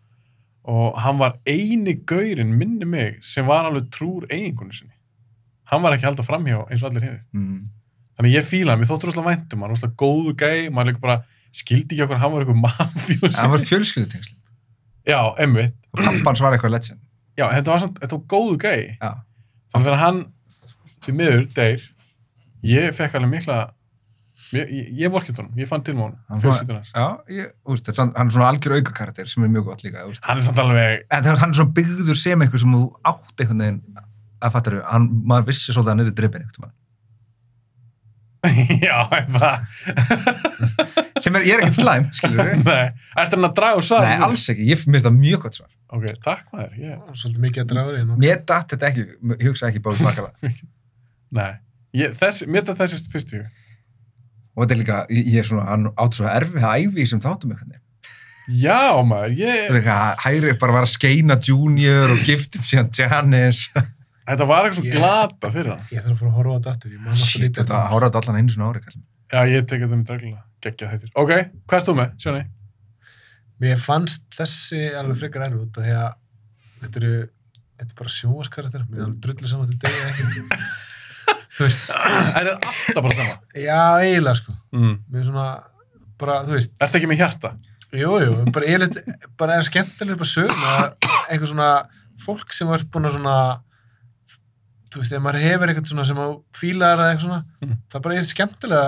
og hann var eini gaurinn, minni mig, sem var alveg trúr eiginkonu sinni. Hann var ekki haldið framhjá eins og allir hinnir.
Mm.
Þannig ég fíla hann, við þóttum rosalega væntum hann, rosalega góðu gæi, maður líka bara skildi ekki okkur, hann var eitthvað mafjós.
Hann var fjölskyldutengsl.
Já, emmitt.
Og pappan svar eitthvað legend.
Já, þetta var samt, þetta var góðu gæi.
Já.
Þannig þegar hann til miður deyr, ég fekk alveg mikla, ég, ég, ég vorkitt honum, ég fann til með
Hann
honum,
var-
fjölskyldun hans.
Já, ég, úst, þetta, er samt- hann er svona algjör aukakarakter sem er mjög gott líka. Úst.
Hann er samt alveg,
En þegar hann er svona byggður sem einhver sem þú átt einhvern veginn að fattar þau, hann, maður vissi svolítið að hann er í drippin einhvern veginn.
já, ég
Sem er, ég er ekkert slæmt, skilur við.
Nei, ertu hann að draga úr svar?
Nei, alls ekki, ég finnst það mjög gott svar.
Ok, takk maður, ég,
Svolítið mikið að draga þér hérna.
Mér datt þetta ekki, ég hugsa ekki bara svakala.
nei. Ég, þess, mér þetta þessi fyrst í hug.
Og þetta er líka, ég, ég er svona, hann átt svo erfið að æfi sem þáttum einhvern veginn.
Já maður,
Þetta
ég,
er eitthvað að hægrið bara var að skeina Junior og giftið síðan Janis.
þetta var eitthvað svo
Ég-
glata fyrir hann.
Ég þarf að fara að horfa á þetta aftur, ég man alltaf
Shit,
lítið
þetta
eftir.
hóra þetta allan einu svona ári, kallum.
Já, ég tekið þetta með drækulega, geggjað hættir. Ok, hvað erst þú með, Sjóni?
Mér fannst þessi alveg frekar erfið út af því að þetta eru, þetta er bara sjóaskarakter, mér er alveg drullið saman til degi ekki. þú veist,
En er alltaf bara sama.
já, eiginlega sko,
Mm.
mér er svona, bara, þú veist,
Ertu ekki með hjarta?
jú, jú, bara eiginlega, bara er skemmtilega bara sögum að einhver svona fólk sem er búin að svona, þú veist, ef maður hefur eitthvað svona sem að fílar eða eitthvað svona,
Mhm.
það er bara er skemmtilega,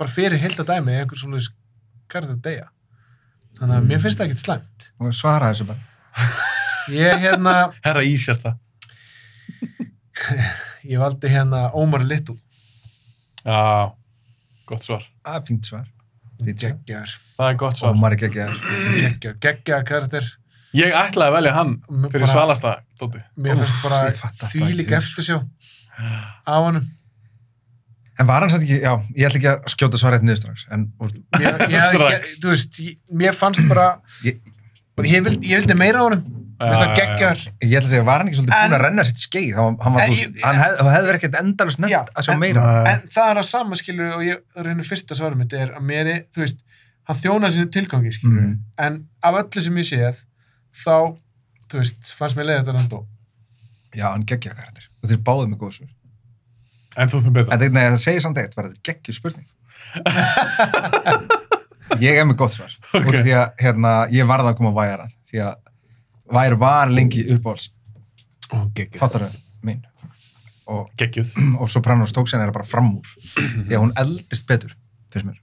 bara fyrir heilt að dæmi, einhver svona karakter deyja. Þannig að mér finnst það ekkert slæmt.
Og svara þessu bara.
Ég hérna,
Herra ís hjarta.
ég valdi hérna Ómar Little.
Já, gott svar.
Það er fínt svar. Fínt svar.
Geggjar,
Það er gott svar.
Ómar er geggjað.
geggjar, geggjar karakter.
Ég ætlaði að velja hann
Mér
fyrir
bara-
svalasta, Dóti.
Mér
Úff,
finnst bara
ég fatt þetta
því líka
ekki.
eftir sjá á honum.
En var hann satt ekki, já, ég ætla ekki að skjóta svara hérna niður strax. En úr,
Mér, ég hefði,
Strax.
ge- þú veist, ég, mér fannst bara,
ég,
bara ég, vild, ég vildi meira á honum. Mér finnst
Já,
það
já, já.
geggjar.
ég ætla að segja, var hann ekki svolítið
En-
búinn að renna sitt skeið? Hann, hann, var,
En
þú
ég-
veist, hann hef, það hefði verið ekkert endalust
Já,
nefnt að sjá
en-
meira.
En það er að sama, skilur, og ég reynir fyrsta svarum mitt er að mér er, þú veist, hann þjónar sinni tilgangi, skilur.
Mhm.
En af öllu sem ég séð, þá, þú veist, fannst mér leiðið þetta hann dó.
Já, hann geggjað karakter. Og þeir báðið með góð svör.
En þú ert með betra.
En það segir samt eitt, bara þetta er geggjur spurning. ég er með gott svar.
Ok.
Okay. Því að hérna, ég varð að koma væjar að. Því að væjar var lengi uppáhalds þáttaröð mín. Og,
Gekkjuð.
og Sopranos tók sér bara fram úr. Því að hún eldist betur, finnst mér.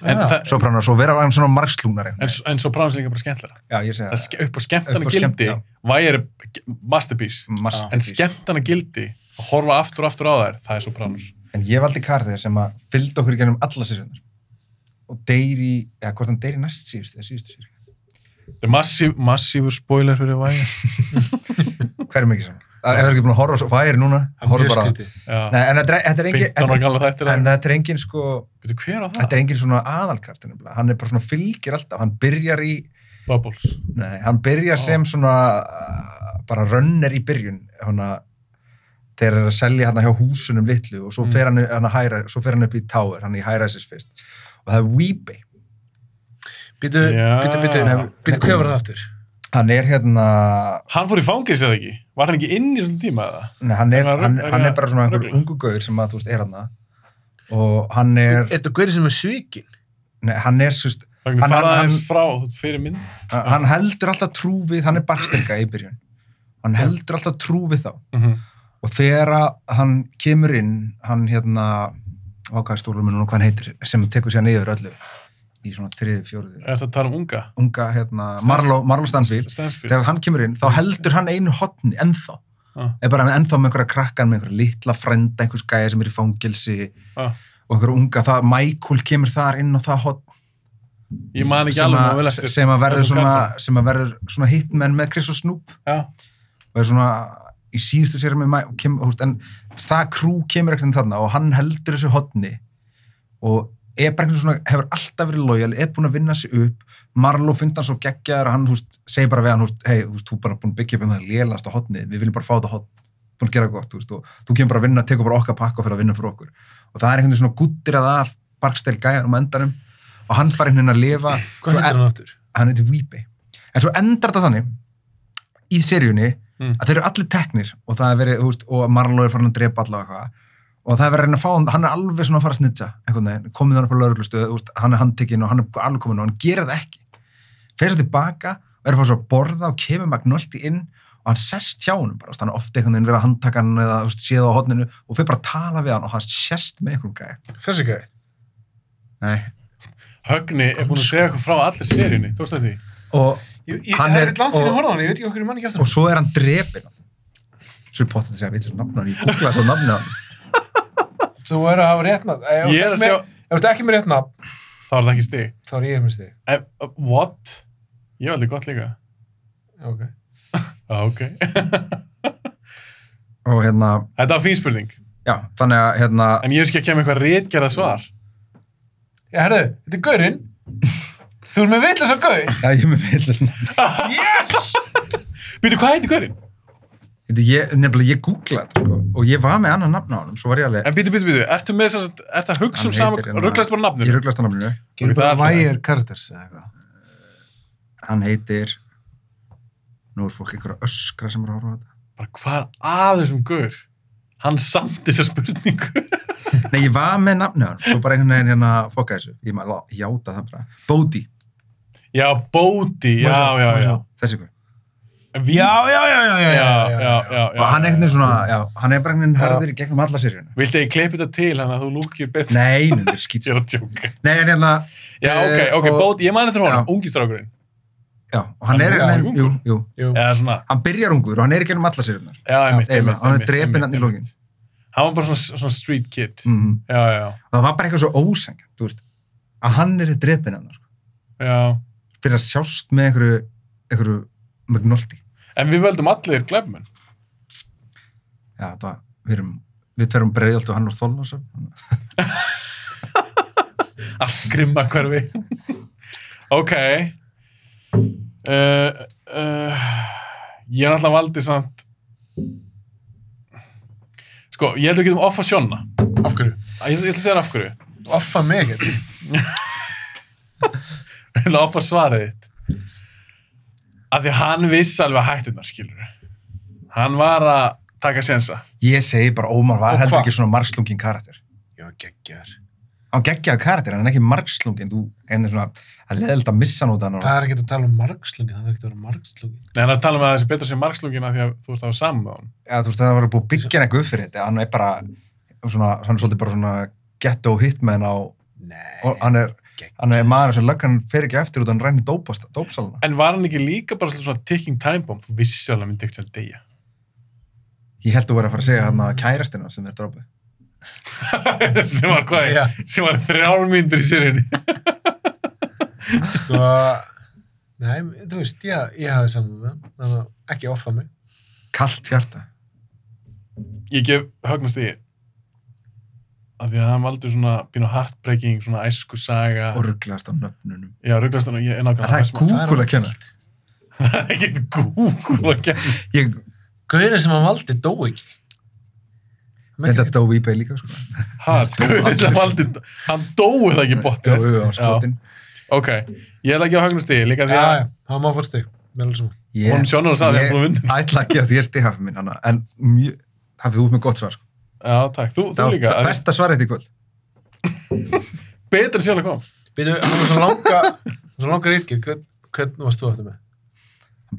En,
Já.
það-
Sopranos og vera var hann svona margslúnari.
en, s- en svo bránast líka bara skemmtilega.
Já, ég segi
Það er
það.
ske- Upp á skemmtana
Upp á skemmt-
gildi,
já.
væri masterpiece.
Masterpiece.
En skemmtana gildi, að horfa aftur og aftur á þær, það er svo bránast.
En ég valdi Karþegar sem að fylgdi okkur í gennum alla sérstjörnur. Og deyr í, eða hvort hann deyr í næst síðustu, eða síðustu sérstjörn.
Það er massíf, massífur spoiler fyrir væri.
Hver er mikið saman? Það er ekki búin að horfa svo, hvað er núna? Horfa bara. Nei,
Já,
en þetta er- þetta er
15 ára
engin,
gamla þættir.
en þetta er engin sko,
Veitu hver á
þetta
það?
er engin svona aðalkartin. Hann er bara svona fylgir alltaf, hann byrjar í,
Bubbles.
nei, hann
Ó.
byrjar sem svona, uh, bara rönner í byrjun, hana, þegar hann er að selja hann hjá húsunum litlu og svo
Mm.
fer hann, hann, hæra, svo fer hann upp í Tower, hann í High Rises fyrst. Og það er Weebay.
Býtu,
Já.
býtu, býtu,
Nei,
býtu,
nei.
hvað var það aftur?
Hann er hérna,
Hann fór í fangis eða ekki? Var hann ekki inn í svona tíma eða?
Nei, hann er,
Er það-
hann,
er
hann
það
er bara svona einhver
rugl?
ungu gaur sem að, þú veist, er hann og hann
Er
er,
þetta gaurið sem er svikinn?
nei, hann er, sérst,
Þannig að
Hann-
fara
hann-
aðeins frá þú veist, fyrir minn.
hann heldur alltaf trú við, hann er barstenga í byrjun. Hann heldur alltaf trú við þá.
Mhm.
Og þegar að hann kemur inn, hann hérna, ákvæði stólum og hvað hann heitir, sem tekur sér niður öllu í svona þriði, fjóruði.
Er þetta að tala um unga?
Unga, hérna, Marlo, Marlo Stansfield.
Stansfield.
Þegar hann kemur inn, þá heldur hann einu hotni, ennþá.
Ah.
Er bara ennþá með einhverja krakkan, með einhverja litla frenda, einhvers gæja sem er í fangilsi,
Ah.
og einhverja unga, það, Michael kemur þar inn á það hot
Ég man ekki
sem,
alveg nógu vel
að,
eftir.
sem að verður
öllum
svona,
karakterum.
sem að verður svona hitmenn með Chris og Snoop
Já,
og er svona í síðustu sér með Ma- kem, húst, en það krú kemur ekkert inn þarna og hann heldur þessu hotni og er bara einhvern svona, hefur alltaf verið lojal, er búin að vinna sig upp Marlo finnst hann svo geggjaður að hann húst, segir bara við hann, húst, hei, húst, þú bara búin að byggja upp um það lélast á hotni, við viljum bara fá þetta hotn búin að gera gott, þú veist, og þú kemur bara að vinna tekur bara okkar pakka fyrir að vinna fyrir okkur og það er einhvern veginn svona guttir að af Barkstel gæjar um endanum og hann fari henni að lifa
Hvað
Svo
heitir hann aftur?
hann heitir Weeby en svo endar þetta þannig í seríunni
Mm.
að þeir eru allir teknir og það er verið, þú veist, og Marlo er farin að drepa allavega eitthvað og það er verið að reyna að fá hann, hann er alveg svona að fara að snitja einhvern veginn, komið hann upp á lauruglustöð hann er handtekinn og hann er alveg kominn og hann gerir það ekki fer svo tilbaka og er að fá svo að borða og kemur Magnolti inn og hann sest hjá honum bara, þú veist, hann er oft einhvern veginn verið að handtaka hann eða þú veist, séð á hodninu og fer bara að tala við hann og hann sest með einhverjum gæja
Þessi gæði?
Nei.
Högni er búin að segja eitthvað frá allir seríunni. Þú veist þetta því?
og,
Ég, ég,
Hann
það
er-
er eitt langt sinni
og-
að horfa á hann, ég veit ekki okkur í manni ekki eftir
og
hann.
svo er hann drepin svo er pottet að segja, veitur, nafna hann, ég googla þess að nafna hann
Þú er að hafa rétt nafn. Ef
Ég er að
þú ert
segja,
með- Ef þú ert ekki með rétt nafn,
þá er það ekki stig.
þá er ég með stig.
En, uh, What? Ég valdi gott líka.
Ok.
Já, ok.
og hérna,
Þetta var fín spurning.
já, þannig að hérna,
En ég er ekki að kemja eitthvað rétgerða svar.
Já, herðu, þetta er gaurinn. Þú er með vitlega svo gaur.
já, ég er með villast nafn
Yes!
Býtu, hvað heitir Görinn?
Veitu, ég, nefnilega, ég googla þetta, sko, og ég var með annan nafna á hann, svo var ég alveg
En býtu, býtu, býtu. Ertu með þess að, ertu að hugsa um
Hann
sama,
heitir hérna-
rugglaðist bara
ég
nafnir?
rugglast á nafninu,
Gerum bara Wire
Carters eða eitthvað.
hann heitir nú er fólk einhverja öskra sem er að horfa á þetta
Bara hvað er að þessum Gör? Hann samt þessa spurningu.
nei, ég var með nafni á hann, svo bara einhvern veginn hérna fokka þessu, ég maður lá- játa það bara Bódi,
Já, Bóti, já, já, já.
þessi hver
Já,
já, já, já, já,
já, já, já.
og hann er einhvern veginn svona, já, hann er bara einhvern veginn
Já.
harður í gegnum alla seríuna
Viltu að ég klippi þetta til hann að þú lúkir betur?
nei, nei, nei, skýt
Ég er að tjóka.
nei, en hérna,
Já, ok,
Eh,
ok,
og-
Bóti, ég mani þetta frá hann,
Já.
ungi strákurinn.
já, og hann
Hann
er,
er
nei,
ungur.
jú, jú
Jú.
Eða svona,
hann byrjar ungur og hann er ekki ennum alla sérjumnar
já, einmitt,
eiginlega,
einmitt.
hann er
einmitt,
drepinn
einmitt,
þarna í
einmitt. Hann var bara svona, svona street kid.
mm.
Já, já,
það var bara eitthvað svo óseng veist, að hann er í drepin hennar sko,
já.
fyrir að sjást með einhverju, einhverju McNulty
En við völdum allir glæbmenn.
já, það var, við erum við tverum breiðjólt og hann og Þólnars
Allt grimma hverfi. ok. Uh, uh, ég er náttúrulega valdið samt... Sko, ég held að við getum offa sjónna.
Af hverju?
Ég, ég ætla að segja þér af hverju.
Offa mig ekkert.
Ég ætla að offa svarið þitt. Af því að hann vissi alveg hættunar, skilur. Hann var að taka sénsa.
Ég segi bara Ómar var
Og
heldur
hvað?
ekki svona margslungin karakter.
Já, geggjar.
Hann geggjaði karakter, en hann er ekki margslungin. Þú, en það er svona, það er leðild að missa hann út af hann.
Það er ekki að tala um margslungi, það er ekki að vera margslungi.
Nei, hann er að tala um að það sé betra sem margslungina því að þú ert að hafa saman með hann.
eða þú veist, það var búið að byggja hann eitthvað upp fyrir þetta, hann er bara svona, hann er svolítið bara svona ghetto hitman á,
Nei,
Eh,
og hann er, hann er maður sem löggan fer ekki eftir út, hann rænir dópast- dópsalana.
En var hann ekki líka bara svolítið svona ticking time bomb? Þú vissi alveg að myndi ekkert að deyja.
Ég held að vera að fara að segja hann að kærastina sem er drópið.
sem var hvað?
Já.
Sem var þrjár myndir í sérjunni.
Sko, nei, þú veist, ég, ég hafi saman með hann, þannig að ekki offa mig.
Kalt hjarta.
Ég gef högnast í af því að hann valdur svona pínu heartbreaking, svona æsku saga
Og rugglegast á nöfnunum.
Já, rugglastan og ég er
En
nákvæmlega
það er Google að kenna.
Það er ekki Google að kenna
Ég
Gauðin sem hann valdi dó ekki. Hann
reyndi
ekki-
að dó í eBay líka, sko.
Hart, Guðið sem valdur Hann dóið það ekki
Já,
bóttið
já, skotin.
Ok, ég ætla ekki að högnast í líka því
Já,
að
já, hann má fórstu. Mér er alveg saman.
Ég-
Hún sjónar og sagði að hann búið að vinna
Ég ætla ekki að því er stíhafið minn, hana, en mjög, hafið þú út með gott svar, sko.
Já, takk, þú, þú
Það
líka
var besta svar eftir kvöld.
Betur sjálf að kom
Býtu, hann var svo langa, hann var svo langa rítkir, hvern, hvern varst þú aftur með?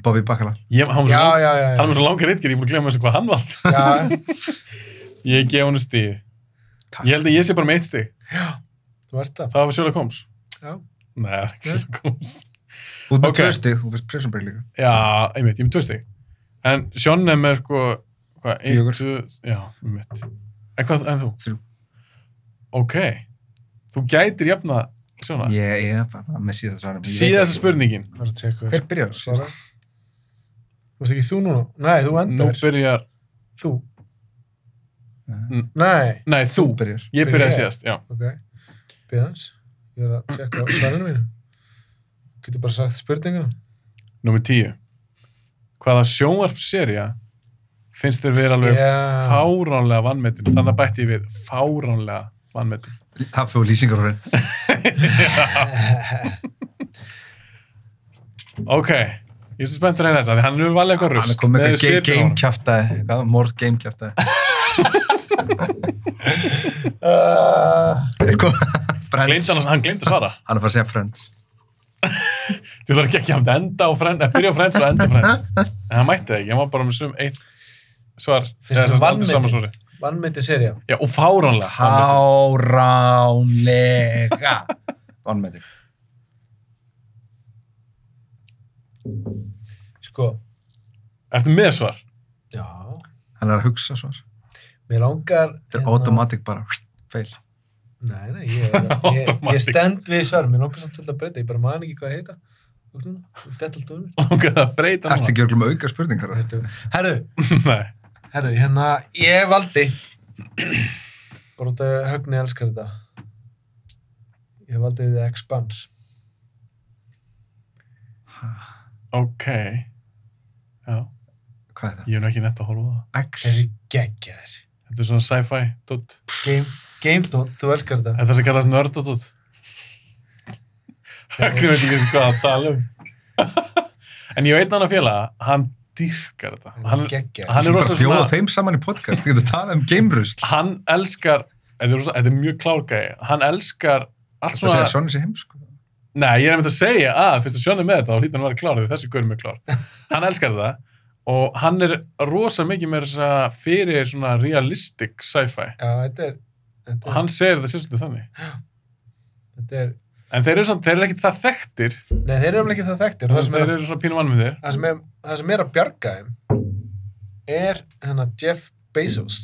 Bobby Bacala.
ég, Hann var
Já,
svo lang-
já, já, já.
hann var svo langar eitkir, ég er búin að glemma þessu hvað hann vald
Já,
Ég gef hann stíð
Takk.
Ég held að ég sé bara með eitt stíð
þú ert það.
Það var sjálf að koms
Já.
Nei, það er ekki
Nei.
sjálf að koms
Út með
Ok.
tvö stig, þú fyrst Prison Break líka.
Já, einmitt, ég er með tvö stig. En Sjón er með sko, hvað, einn,
Fjögur.
tvö, já, einmitt. En hvað, en þú?
Þrjú.
Ok. Þú gætir jafna, svona. Yeah.
Ég er bara með síðasta svarum. Ég veit
Síðasta
ekki.
spurningin.
Það var að tjekka
Hver byrjar?
Svara. Varst ekki þú núna? Nei, þú
Nú
endar.
byrjar,
Þú.
Nei.
Nei,
nei, þú.
Þú byrjar.
Ég
Byrja
byrjaði
ég.
síðast, já.
ok. Bíðans. Ég er að tjekka svarinu mínu. Getur bara sagt spurninguna?
Númer tíu. Hvaða sjónvarpserja finnst þér vera alveg
Já.
fáránlega vannmetin? Þannig að bætti ég við fáránlega vannmetin.
Haffi og lýsingarhórin.
Ok. Ég er svo spenntur að reyna þetta, því hann er nú valið eitthvað rust.
Hann er komið með
Nei,
eitthvað
svipur á honum.
gamekjafta, morð gamekjafta.
Uh,
Friends.
Gleymdi hann- Hann gleymdi að svara.
Hann er bara að segja Friends.
Þú þarf ekki ekki að enda á frends, að byrja á frends og enda á frends. En hann mætti það ekki, hann var bara með sum eitt svar. Eða
Finnst
sem
þér
sagt aldrei
vanmetið?
sama svarið.
Vannmyndi serja.
Já, og fáránlega. vanmetið.
Háránlega. Vannmetir.
Sko.
Ertu með svar?
Já.
Hann er að hugsa svar.
Mér langar...
Þetta er automatic bara. Feil.
Nei, nei, ég, ég, ég
Automatic.
stend við svar. Mér langar samt til að breyta. Ég bara man ekki hvað heita. Þetta alltaf um.
Og það breyta
Ertu ekki örglum með auka spurningar?
Herru,
Nei.
herru, hérna, ég valdi. Bara út að högni elskar þetta. Ég valdi The Expanse.
Ha,
Ok. Já,
Hvað er það?
ég er nú ekki netta að horfa á það.
X.
Þeir eru geggjaðir.
Þetta er svona sci-fi dot.
Game, game dot, þú elskar þetta.
Þetta er sem kallast nörd dot. Högnum veit ekki hvað að tala um. en ég veit hann að félaga, hann dýrkar þetta.
Þeir
Hann,
eru geggjaðir.
hann
Þú
er
bara
rosa
að bjóða þeim saman í podcast. Þú getur talað um gamerust.
hann elskar þetta er, rosa- þetta er mjög klárgæði, hann elskar allt
Þetta segja
svona,
Sonny sé heimsko.
nei ég er einmitt að segja að fyrst að Sjón er með þetta og hlýtan var klár því þessi gaur er mjög klár, hann elskar það og hann er rosa mikið með þess að fyrir svona realistic sci-fi
Já, þetta er... Þetta
og
er,
hann segir þetta sérstöldið þannig
þetta er
en þeir eru, svona, þeir eru ekki það þekktir
nei, þeir eru alveg ekki það þekktir. Það sem
þeir
er að
eru svona pínum vannmyndir
það sem er, það sem er að bjarga þeim er hérna Jeff Bezos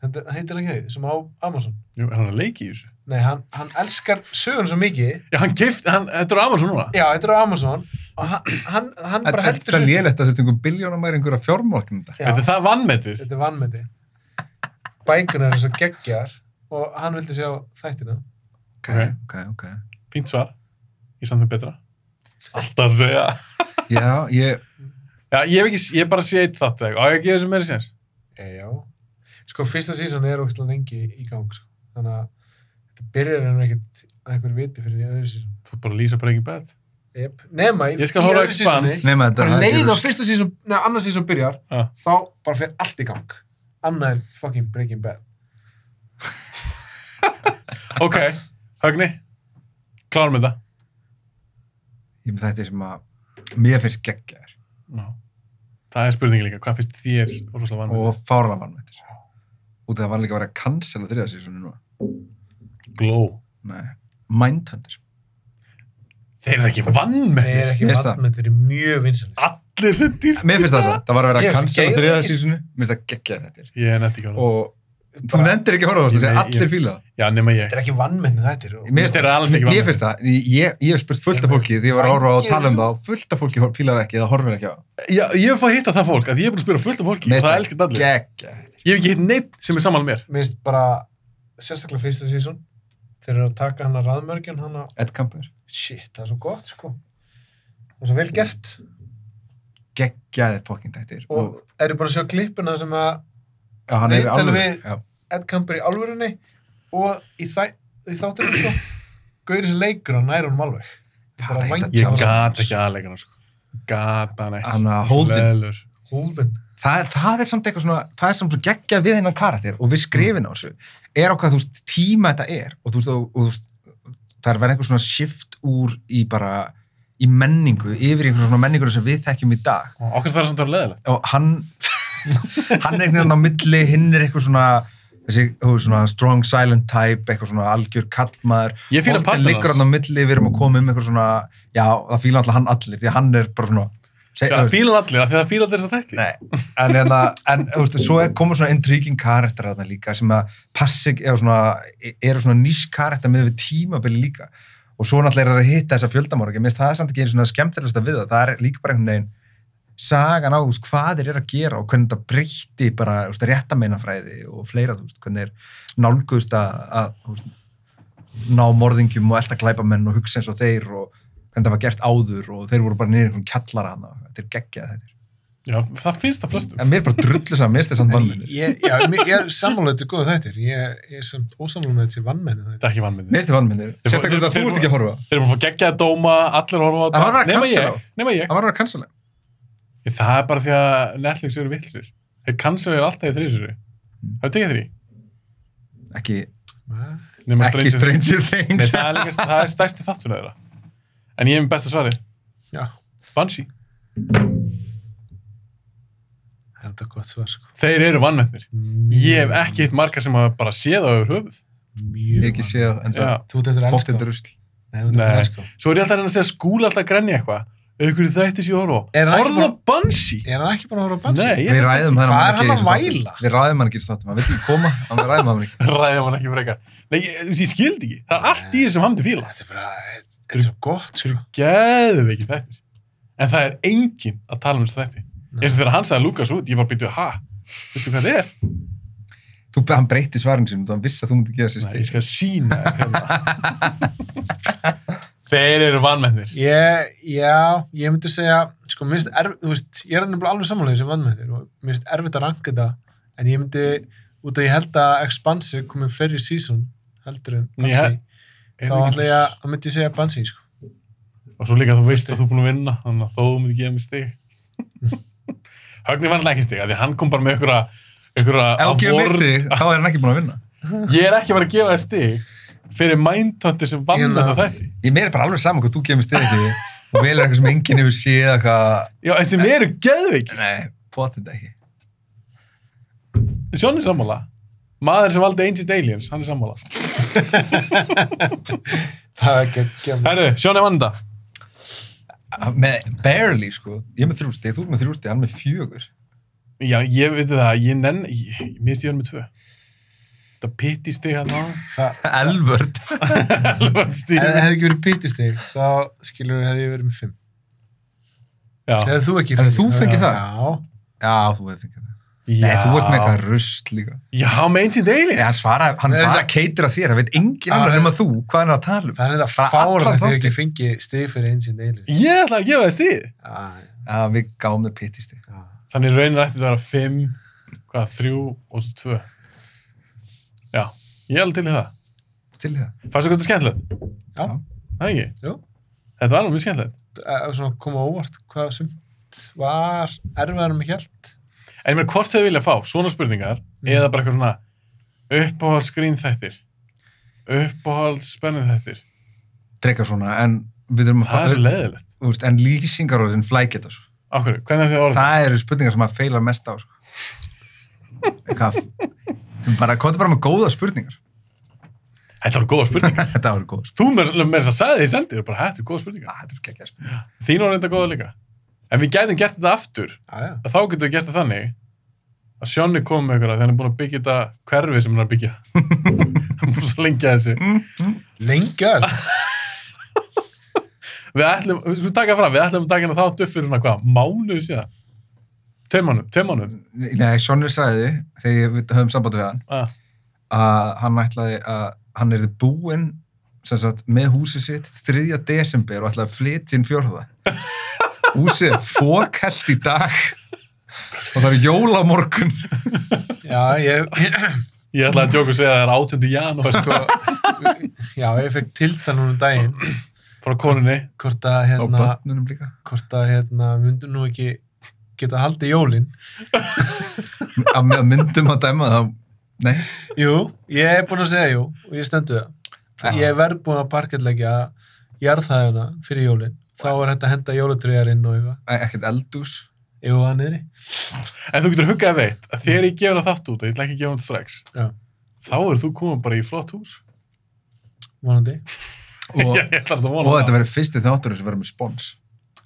þetta hann heitir hann ekki því, sem á Amazon
Jú, er hann að leiki í þessu?
nei, hann, hann elskar sögun svo mikið
Já, hann gift, hann, þetta er Amazon núna
já, þetta er á Amazon og hann, hann, hann bara
Þetta
heldur
er lélegt að þú þurftum biljónum mæri einhverja fjármálknum þetta.
Þetta er
já,
það vannmetið
þetta er vannmeti bækunar er svo geggjar og hann vildi sjá þættina
Ok,
Ok.
ok, ok.
Fínt svar, ég samt með betra Alltaf að segja
Já, ég,
Já, ég hef ekki, ég hef bara sé eitt þátt eða eitthvað. Á ég að gefa þessu meira séns?
e, já sko, fyrsta sísón er ógstlega lengi í gang sko. þannig að þetta byrjar hann ekkert að einhver viti fyrir í öðru sísón
Þú ert bara að lýsa Breaking Bad.
Yep. Nema, í-
Ég skal
í
horfa á
öðru seasoni,
Expanse.
Nefna þetta.
Bara
það er
leið á
rugl.
fyrsta sísón, neða annars sísón byrjar,
Ah.
þá bara fer allt í gang. Annað en fucking Breaking Bad.
Ok, Högni, klárum þetta.
Ég með þetta um sem að mér finnst geggjaður
Já. Það er spurning líka, hvað finnst þér rosalega vann?
og fárlega vanmættir. Út af það var líka að vera að cancela þriða sísónu núna.
Og Glow.
Nei, Mindhunter.
Þeir eru ekki vann með
Nei, er ekki
Mér finnst
vatn, þetta er mjög vinsanir.
allir sem dýr.
Mér finnst það samt, það var að vera
Ég
að
finnst
cancela
geðveiki.
þriða sísónu. Mér finnst það geggjaður þetta er.
Ég er nefndi ekki á það.
Og þú nefndir ekki að horfa á það,
Nei,
segja
ég-
allir fíla það.
Já, nema ég.
Þetta er ekki vannmenni þetta. er-
Mér
finnst þeir alls ekki
Mér
vanmetnir.
finnst það, ég, ég hef spurt fullt af fólki því ég var að horfa á að tala um það og fullt af fólki fílar ekki eða horfir ekki á. það.
Já, ég hef fáið að hitta það fólk, að ég er búin að spila fullt af fólki
Mér
og
finnst
það elskar allir.
Geggjaður.
Ég hef ekki hitt neitt sem er saman mér.
Mér finnst bara, sérstaklega fyrsta sísón, þeir eru að taka hana raðmörgjun, hana,
Ed Camper.
shit, það er svo gott, sko. Það er svo vel gert.
Geggjaður fokkin þættir. Og,
Og eru bara að sjá klippuna sem að
já, hann er
Viðtal
alveg,
við-
já,
Ed Kemper í alvörunni og í, þæ, í þáttunum sko Gauður sem leikur hann nær honum alveg
Það er
Bara
ekkert að
vængjast.
Ég
Já,
gat ekki aðleikana, sko. Gat hann ekki.
hann að
Svo
holdin
leiðinlegur.
Holden
það, það er samt eitthvað svona, það er samt svona geggjað við hennan karakter og við skrifin á þessu er okkar, þú veist, tíma þetta er og þú veist, og, og, þú veist, það er verið einhver svona shift úr í bara í menningu, yfir í einhver svona menningur sem við þekkjum í dag
Okkur þarf samt að vera leiðilegt.
og hann hann er einhvern veginn á milli, hinn er eitthvað svona þessi, þú veist, svona strong silent type, eitthvað svona algjör kallmaður
Ég fíla
Holden
partin
liggur hann á milli, við erum að koma um eitthvað svona, já, það fíla alltaf hann allir því að hann er bara svona seg-
Það fíla hann allir, af því að það fíla allir þess þætti.
Nei, en, en, en þú veist, svo er- komur svona intriguing karakter þarna líka sem að passi, eða svona, eru svona nýs karakter með við tímabili líka og svo náttúrulega er það að hitta þessa fjöldamorgi mér finnst það samt ekki einu svona skemmtilegsta við það það er líka bara einhvern veginn sagan á þú veist, hvað þeir eru að gera og hvernig þetta breytti bara þú veist, réttameinafræði og fleira, þú veist, hvernig er nálgust að, að þú veist, ná morðingjum og elta glæpamenn og hugsa eins og þeir og hvernig það var gert áður og þeir voru bara niður einhvern kjallara hana þetta er geggjað þetta
Já, það finnst það flestum.
En mér er bara drullu saman, mér finnst þess að vannmenni.
Ég, já, mér- ég er sammála þetta er góð þættir ég, ég er samt ósammála með þessi vannmenni
Þetta
þættir
er ekki vannmyndið.
Mér finnst þess vannmenni.
Þeir-
Sérstaklega
þeir-
þegar þú ert ekki að horfa.
Þeir eru búin að fá geggjaða dóma, allir horfa á
Það var að
nema
cancela
ég,
þá.
nema ég.
Það var að vera kansalega.
Ég, Það er bara því að Netflix eru vittlisir. Þeir cancelir alltaf í þrýsuru.
Mm.
Það er tekið þrý.
Ekki,
Nema
ekki Stranger
Nei,
Things.
það er, líka, það er stærsti þáttun þeirra. En ég er með besta svarið.
Já,
Banshee.
það er þetta gott svar sko
Þeir eru vannmennir.
Mjög-
Ég hef ekki hitt margar sem hafa bara séð á yfir höfuð.
Mjög
Ég hef ekki
vannmenni.
séð það, en það
Já.
Þú ert eftir að elska
fóttið
Nei,
rusl.
þú ert eftir að
Nei.
elska
Svo er ég alltaf að reyna að segja skúla alltaf að grenja eitthvað. Aukur þætti sér orða.
Er það ekki
Orða
bara-
Banshee?
Er hann ekki búin að horfa á bansi?
Nei, ég
Við ræðum það.
Hvað er hann að væla?
Við ræðum hann ekki í státtum. Hann vil ekki koma, hann við ræðum hann ekki.
ræðum hann ekki frekar. Nei, ég, ég, ég skildi ekki. Það er allt í þessum hamdi fíla.
Þetta er bara, þetta er svo gott sko
Geðveikir þættir. En það er enginn að tala um þessu þætti. eins og þegar hann sagði Lukas út, ég bara byrjuði, ha, veistu hvað þetta er?
Þú, hann breyti svarinu sínum, þú hann vissi að þú myndi gera sér
Nei, ég
stíl.
skal sína þér hérna. Þeir eru vannmennir.
Ég, já, ég myndi segja, sko, mér finnst erfitt, þú veist, ég er nefnilega alveg samanlega sem vann með þér og mér finnst erfitt að ranka þetta, en ég myndi, út af ég held að Expanse komið fleiri sísón, heldur en
Ég-
Bansi, þá
Eru
ætla
ekki-
ég að, þá myndi ég segja Bansi, sko.
Og svo líka þú veist að þú er búin að vinna, þannig að þú myndir gefa mig stig. Högni var alltaf ekki stig, af því að hann kom bara með ykkur að, ykkur
Ef hann gefur mér
að
stíl, þá er hann ekki búin að vinna.
Ég er ekki að vera að gefa þér stig fyrir mæntöndir sem vann
Hérna.
þetta þætti.
Ég mér er bara alveg saman hvað þú gefur mér stíl ekki. Þú velur eitthvað sem enginn hefur séð eitthvað.
Já, en sem eru geðveikir.
Nei, potið ekki.
Sjón er sammála. Maður sem valdi Ancient Aliens, hann er sammála.
Það er ekki að gefa
Herru, Sjón er vanda.
Með, barely, sko. Ég er með þrjú stíl, þú er með þrjú stíl, hann með fjögur.
Já, ég veit það, ég nenn, ég, ég misti ég hann með tvö. Þetta pitti stig hann á,
það.
Elvörd.
alveg
Ef
stig.
það hefði ekki verið pítisteg, þá skilur hefði ég verið með fimm.
Já.
Hefði þú ekki
Hefði þú fengið
Já.
það?
Já.
Já, þú hefði fengið það.
Já.
Nei, þú ert með eitthvað rusl líka.
Já, með Ancient
Nei, hann
Aliens.
svaraði, hann
Nei,
bara
það-
keitir að þér, það veit engin
Já,
annar
nei.
nema þú hvað hann er að tala um.
Það er þetta
Bara allan
fárað þegar ekki
þáttinn.
fengið steg fyrir eins og neilir.
Ég ætla að gefa það stig.
Já,
Já, við gáum þau pittist þig.
já.
Þannig raunin ætti það að vera 5, hvað, 3 og svo 2. Já, ég er alveg til í það.
Til í það.
Fannst þú hvað þetta er skemmtilegt?
Já.
Það ekki?
Jú.
Þetta var alveg mjög skemmtilegt.
eh, svona koma á óvart hvað sumt var erfiðar með hjælt
En mér hvort þau vilja fá svona spurningar
Mm.
eða bara eitthvað svona uppáhalds grínþættir uppáhalds spennithættir
Drega svona, en við erum að
Það er svo leiðilegt.
þú veist, en lýsingarorðin flækja þetta, sko.
Akkur, hvernig er þau orðið?
Það eru spurningar sem maður feilar mest á, sko. Hvað? Bara, komðu bara með góða spurningar.
Þetta voru góða spurningar.
Þetta eru góða spurningar.
Þú með þess að sagði því sendið, þú bara, "Hæ, þetta er góða spurningar.
Ah, Þetta eru geggjað spurningar.
Þín var reynda góða líka. En við gætum gert þetta aftur,
aðja,
að þá getum við gert þetta þannig að Sjónni kom með ykkur að þegar hann er búin að byggja þetta hverfi sem hann er að byggja. hann er búin að svo lengja þessu.
Mm, mm.
lengjör
Við ætlum, við skulum taka fram, við ætlum að taka hérna þátt upp fyrir svona hvað, mánuðu síðan? Tveim mánuðum, tveim mánuðum.
Nei, Sjónir sagði, þegar við höfum samband við hann,
Ah,
að hann ætlaði að hann erði búinn sem sagt, með húsið sitt 3. desember og ætlaði að flytja inn fjórða. Húsið er fókelt í dag og það er jólamorgun.
já, ég,
ég ætlaði að djóka og segja að það er 18. janúar sko,
já, ég fekk tildan hún um daginn
frá konunni.
hvort að
Á
hérna,
börnunum líka.
hvort að hérna, myndu nú ekki geta haldið jólin
Að með myndum að dæma það. Nei,
jú, ég er búin að segja jú og ég stendu
Já.
það ég verð búin að parketleggja jarðhæðina fyrir jólin þá er hægt að henda jólatrýjar inn og eitthvað
e- ekkert eldús.
jú, að niðri
En þú getur huggað að veit að þegar ég gefur það þátt út, og ég ætla ekki að gefa hann strax,
já,
þá er þú komin bara í flott hús.
vonandi
Og,
ég ætla þetta að
og
vona
þetta
það.
verður fyrsti þátturinn sem verður með spons.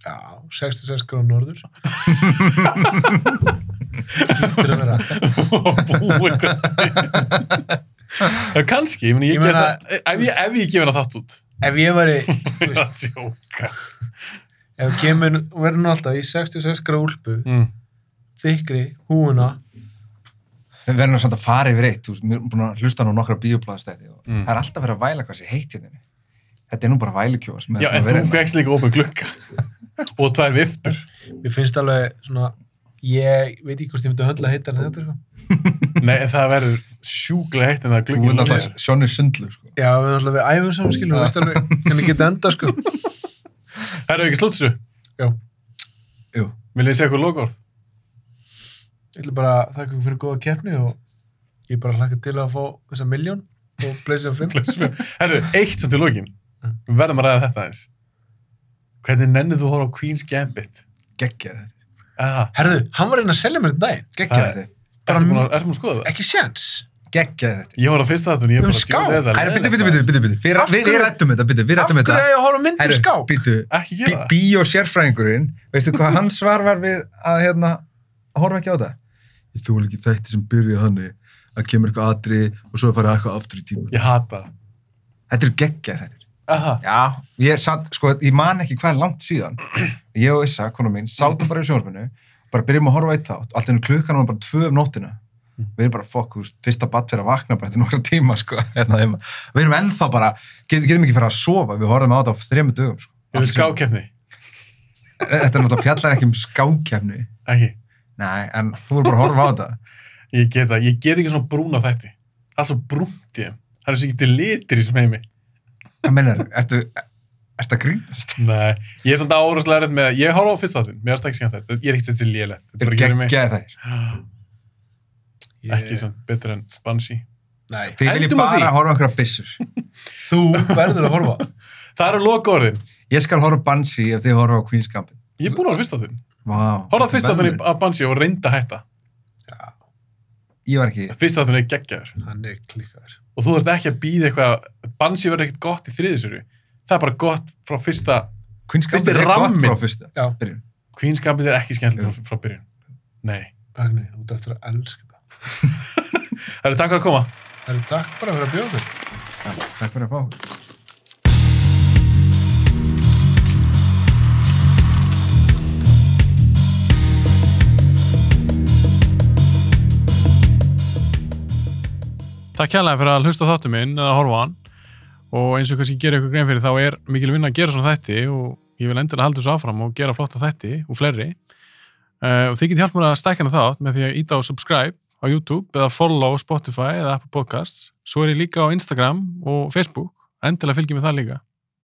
Já, 66 gráð norður. Lítur að vera.
og búið eitthvað. Já, kannski, ég, meni, ég,
Ég
ég meina,
meina-
það, ef ég, ef ég gefur það þátt út.
Ef ég væri,
Ég er að djóka.
ef kemur, verður nú alltaf í 66 gráð úlpu,
Mm.
þykri, húuna,
Við verðum samt að fara yfir eitt, þú veist, við erum búin að hlusta nú nokkra bíopláðastæti og
Mm.
það er alltaf verið að væla hvað sé heitt hérna. Þetta er nú bara vælukjóða sem er
Já, en
búin að vera hérna.
þú fegst líka opið glukka. og tvær viftur.
mér finnst alveg svona, ég veit ekki hvort ég myndi að höndla heitar en þetta, sko.
Nei, en það verður sjúklega heitt en það
Þú er
glukkin
alltaf Sjónir Sundlu, sko.
Já, við erum alltaf við æfum saman, skilur,
Já.
þú veist alveg, hvernig geta enda, sko.
Það eru ekki slútsu.
Já,
Jú.
Vil ég segja eitthvað lokaord?
ég ætla bara að þakka ykkur fyrir góða keppni og ég bara hlakka til að fá þessa miljón og pleysið fimm.
Herru, eitt sem til lokin. Við verðum að ræða þetta eins. Hvernig nennið þú að horfa á Queen's Gambit?
Gekkja þetta.
Ah,
Herðu, hann var einn að selja mér þetta daginn.
Gekkja
Það-
þetta.
Bara-
ertu búin að, ertu búin að skoða það?
Ekki séns.
Gekkja þetta.
Ég horfði á fyrsta þáttun, ég er
Um
bara
skák.
djöfull er það
Æra,
leiðilegt.
bitu, bitu, bitu, bitu, bitu. Við,
Af
við,
hverju-
við rættum þetta, bitu, við
Af
rættum
hverju
þetta.
er ég að horfa á myndir í skák?
bitu,
Ekki gera það.
bíósérfræðingurinn, veistu hvað hans svar var við að, hérna, horfa ekki á þetta? Ég þúl ekki þætti sem byrja þannig að kemur eitthvað atri og svo er farið eitthvað aftur í tíma.
Ég hata það.
Þetta er geggja þetta.
Aha.
Já, ég, satt, sko, ég man ekki hvað er langt síðan ég og Issa, konu mín, sátum bara í sjónvarpinu bara byrjum að horfa á eitt þátt allt ennum klukkan var bara tvö um nóttina við erum bara fokk, þú veist, fyrsta batt fyrir að vakna bara til nokkra tíma, sko, hérna heima við erum ennþá bara, get, getum ekki fyrir að sofa við horfum á þetta á þremu dögum, sko
Ég vil
Allt sem-
skákeppni.
Þetta er náttúrulega fjallar ekki um skákjafni
Ekki.
Nei, en þú voru bara að horfa á þetta
Ég get það. Ég get ekki svona brúna þætti. Allt svo brúnt ég. Það er svo ekki til litir í sem heimi.
Hvað meinar, ertu, ertu að grínast?
Nei. Ég er samt áhrifslega erfitt með að ég horfði á fyrsta þáttun. Mér er ekki skemmt þetta. Ég er ekkert þessi lélegt.
Þetta er geggjaði þær
Ég-
Ekki svona betur en Banshee.
Nei.
Þið viljið
Endum á því.
bara horfa okkur að byssur
Þú verður að horfa.
Það eru loka
Ég skal horfa á Bansi ef þið horfa á Queen's Gambit
Ég er búin að horfa á fyrsta þáttun.
Vá,
Horfði á
þetta er
fyrsta þáttun
verðlaun.
af Banshee og reynda hætta.
Já,
Ég var ekki,
Fyrsta þáttun er geggjaður.
hann er klikkaður.
Og þú ert ekki að býða eitthvað. Banshee verður ekkert gott í þriðisöru. Það er bara gott frá fyrsta.
Queen's
Fyrsti
Gambit er gott
ramminn.
frá fyrsta
Já,
byrjun.
Queenskapið er ekki skemmtilegt frá- frá byrjun. Nei.
Agni, út eftir að elska það.
Það takk fyrir að koma.
Það eru takk bara fyrir að bjóða þér.
Já, Takk fyrir að fá okkur.
Takk hérlega fyrir að hlusta á þáttu minn eða horfa á hann og eins og kannski gera ykkur grein fyrir þá er mikil vinna að gera svona þætti og ég vil endilega halda þessu áfram og gera flotta þætti og fleiri uh, og þið getið hjálp mér að stækja hana þátt með því að íta á subscribe á YouTube eða follow á Spotify eða Apple Podcasts svo er ég líka á Instagram og Facebook endilega fylgjum við það líka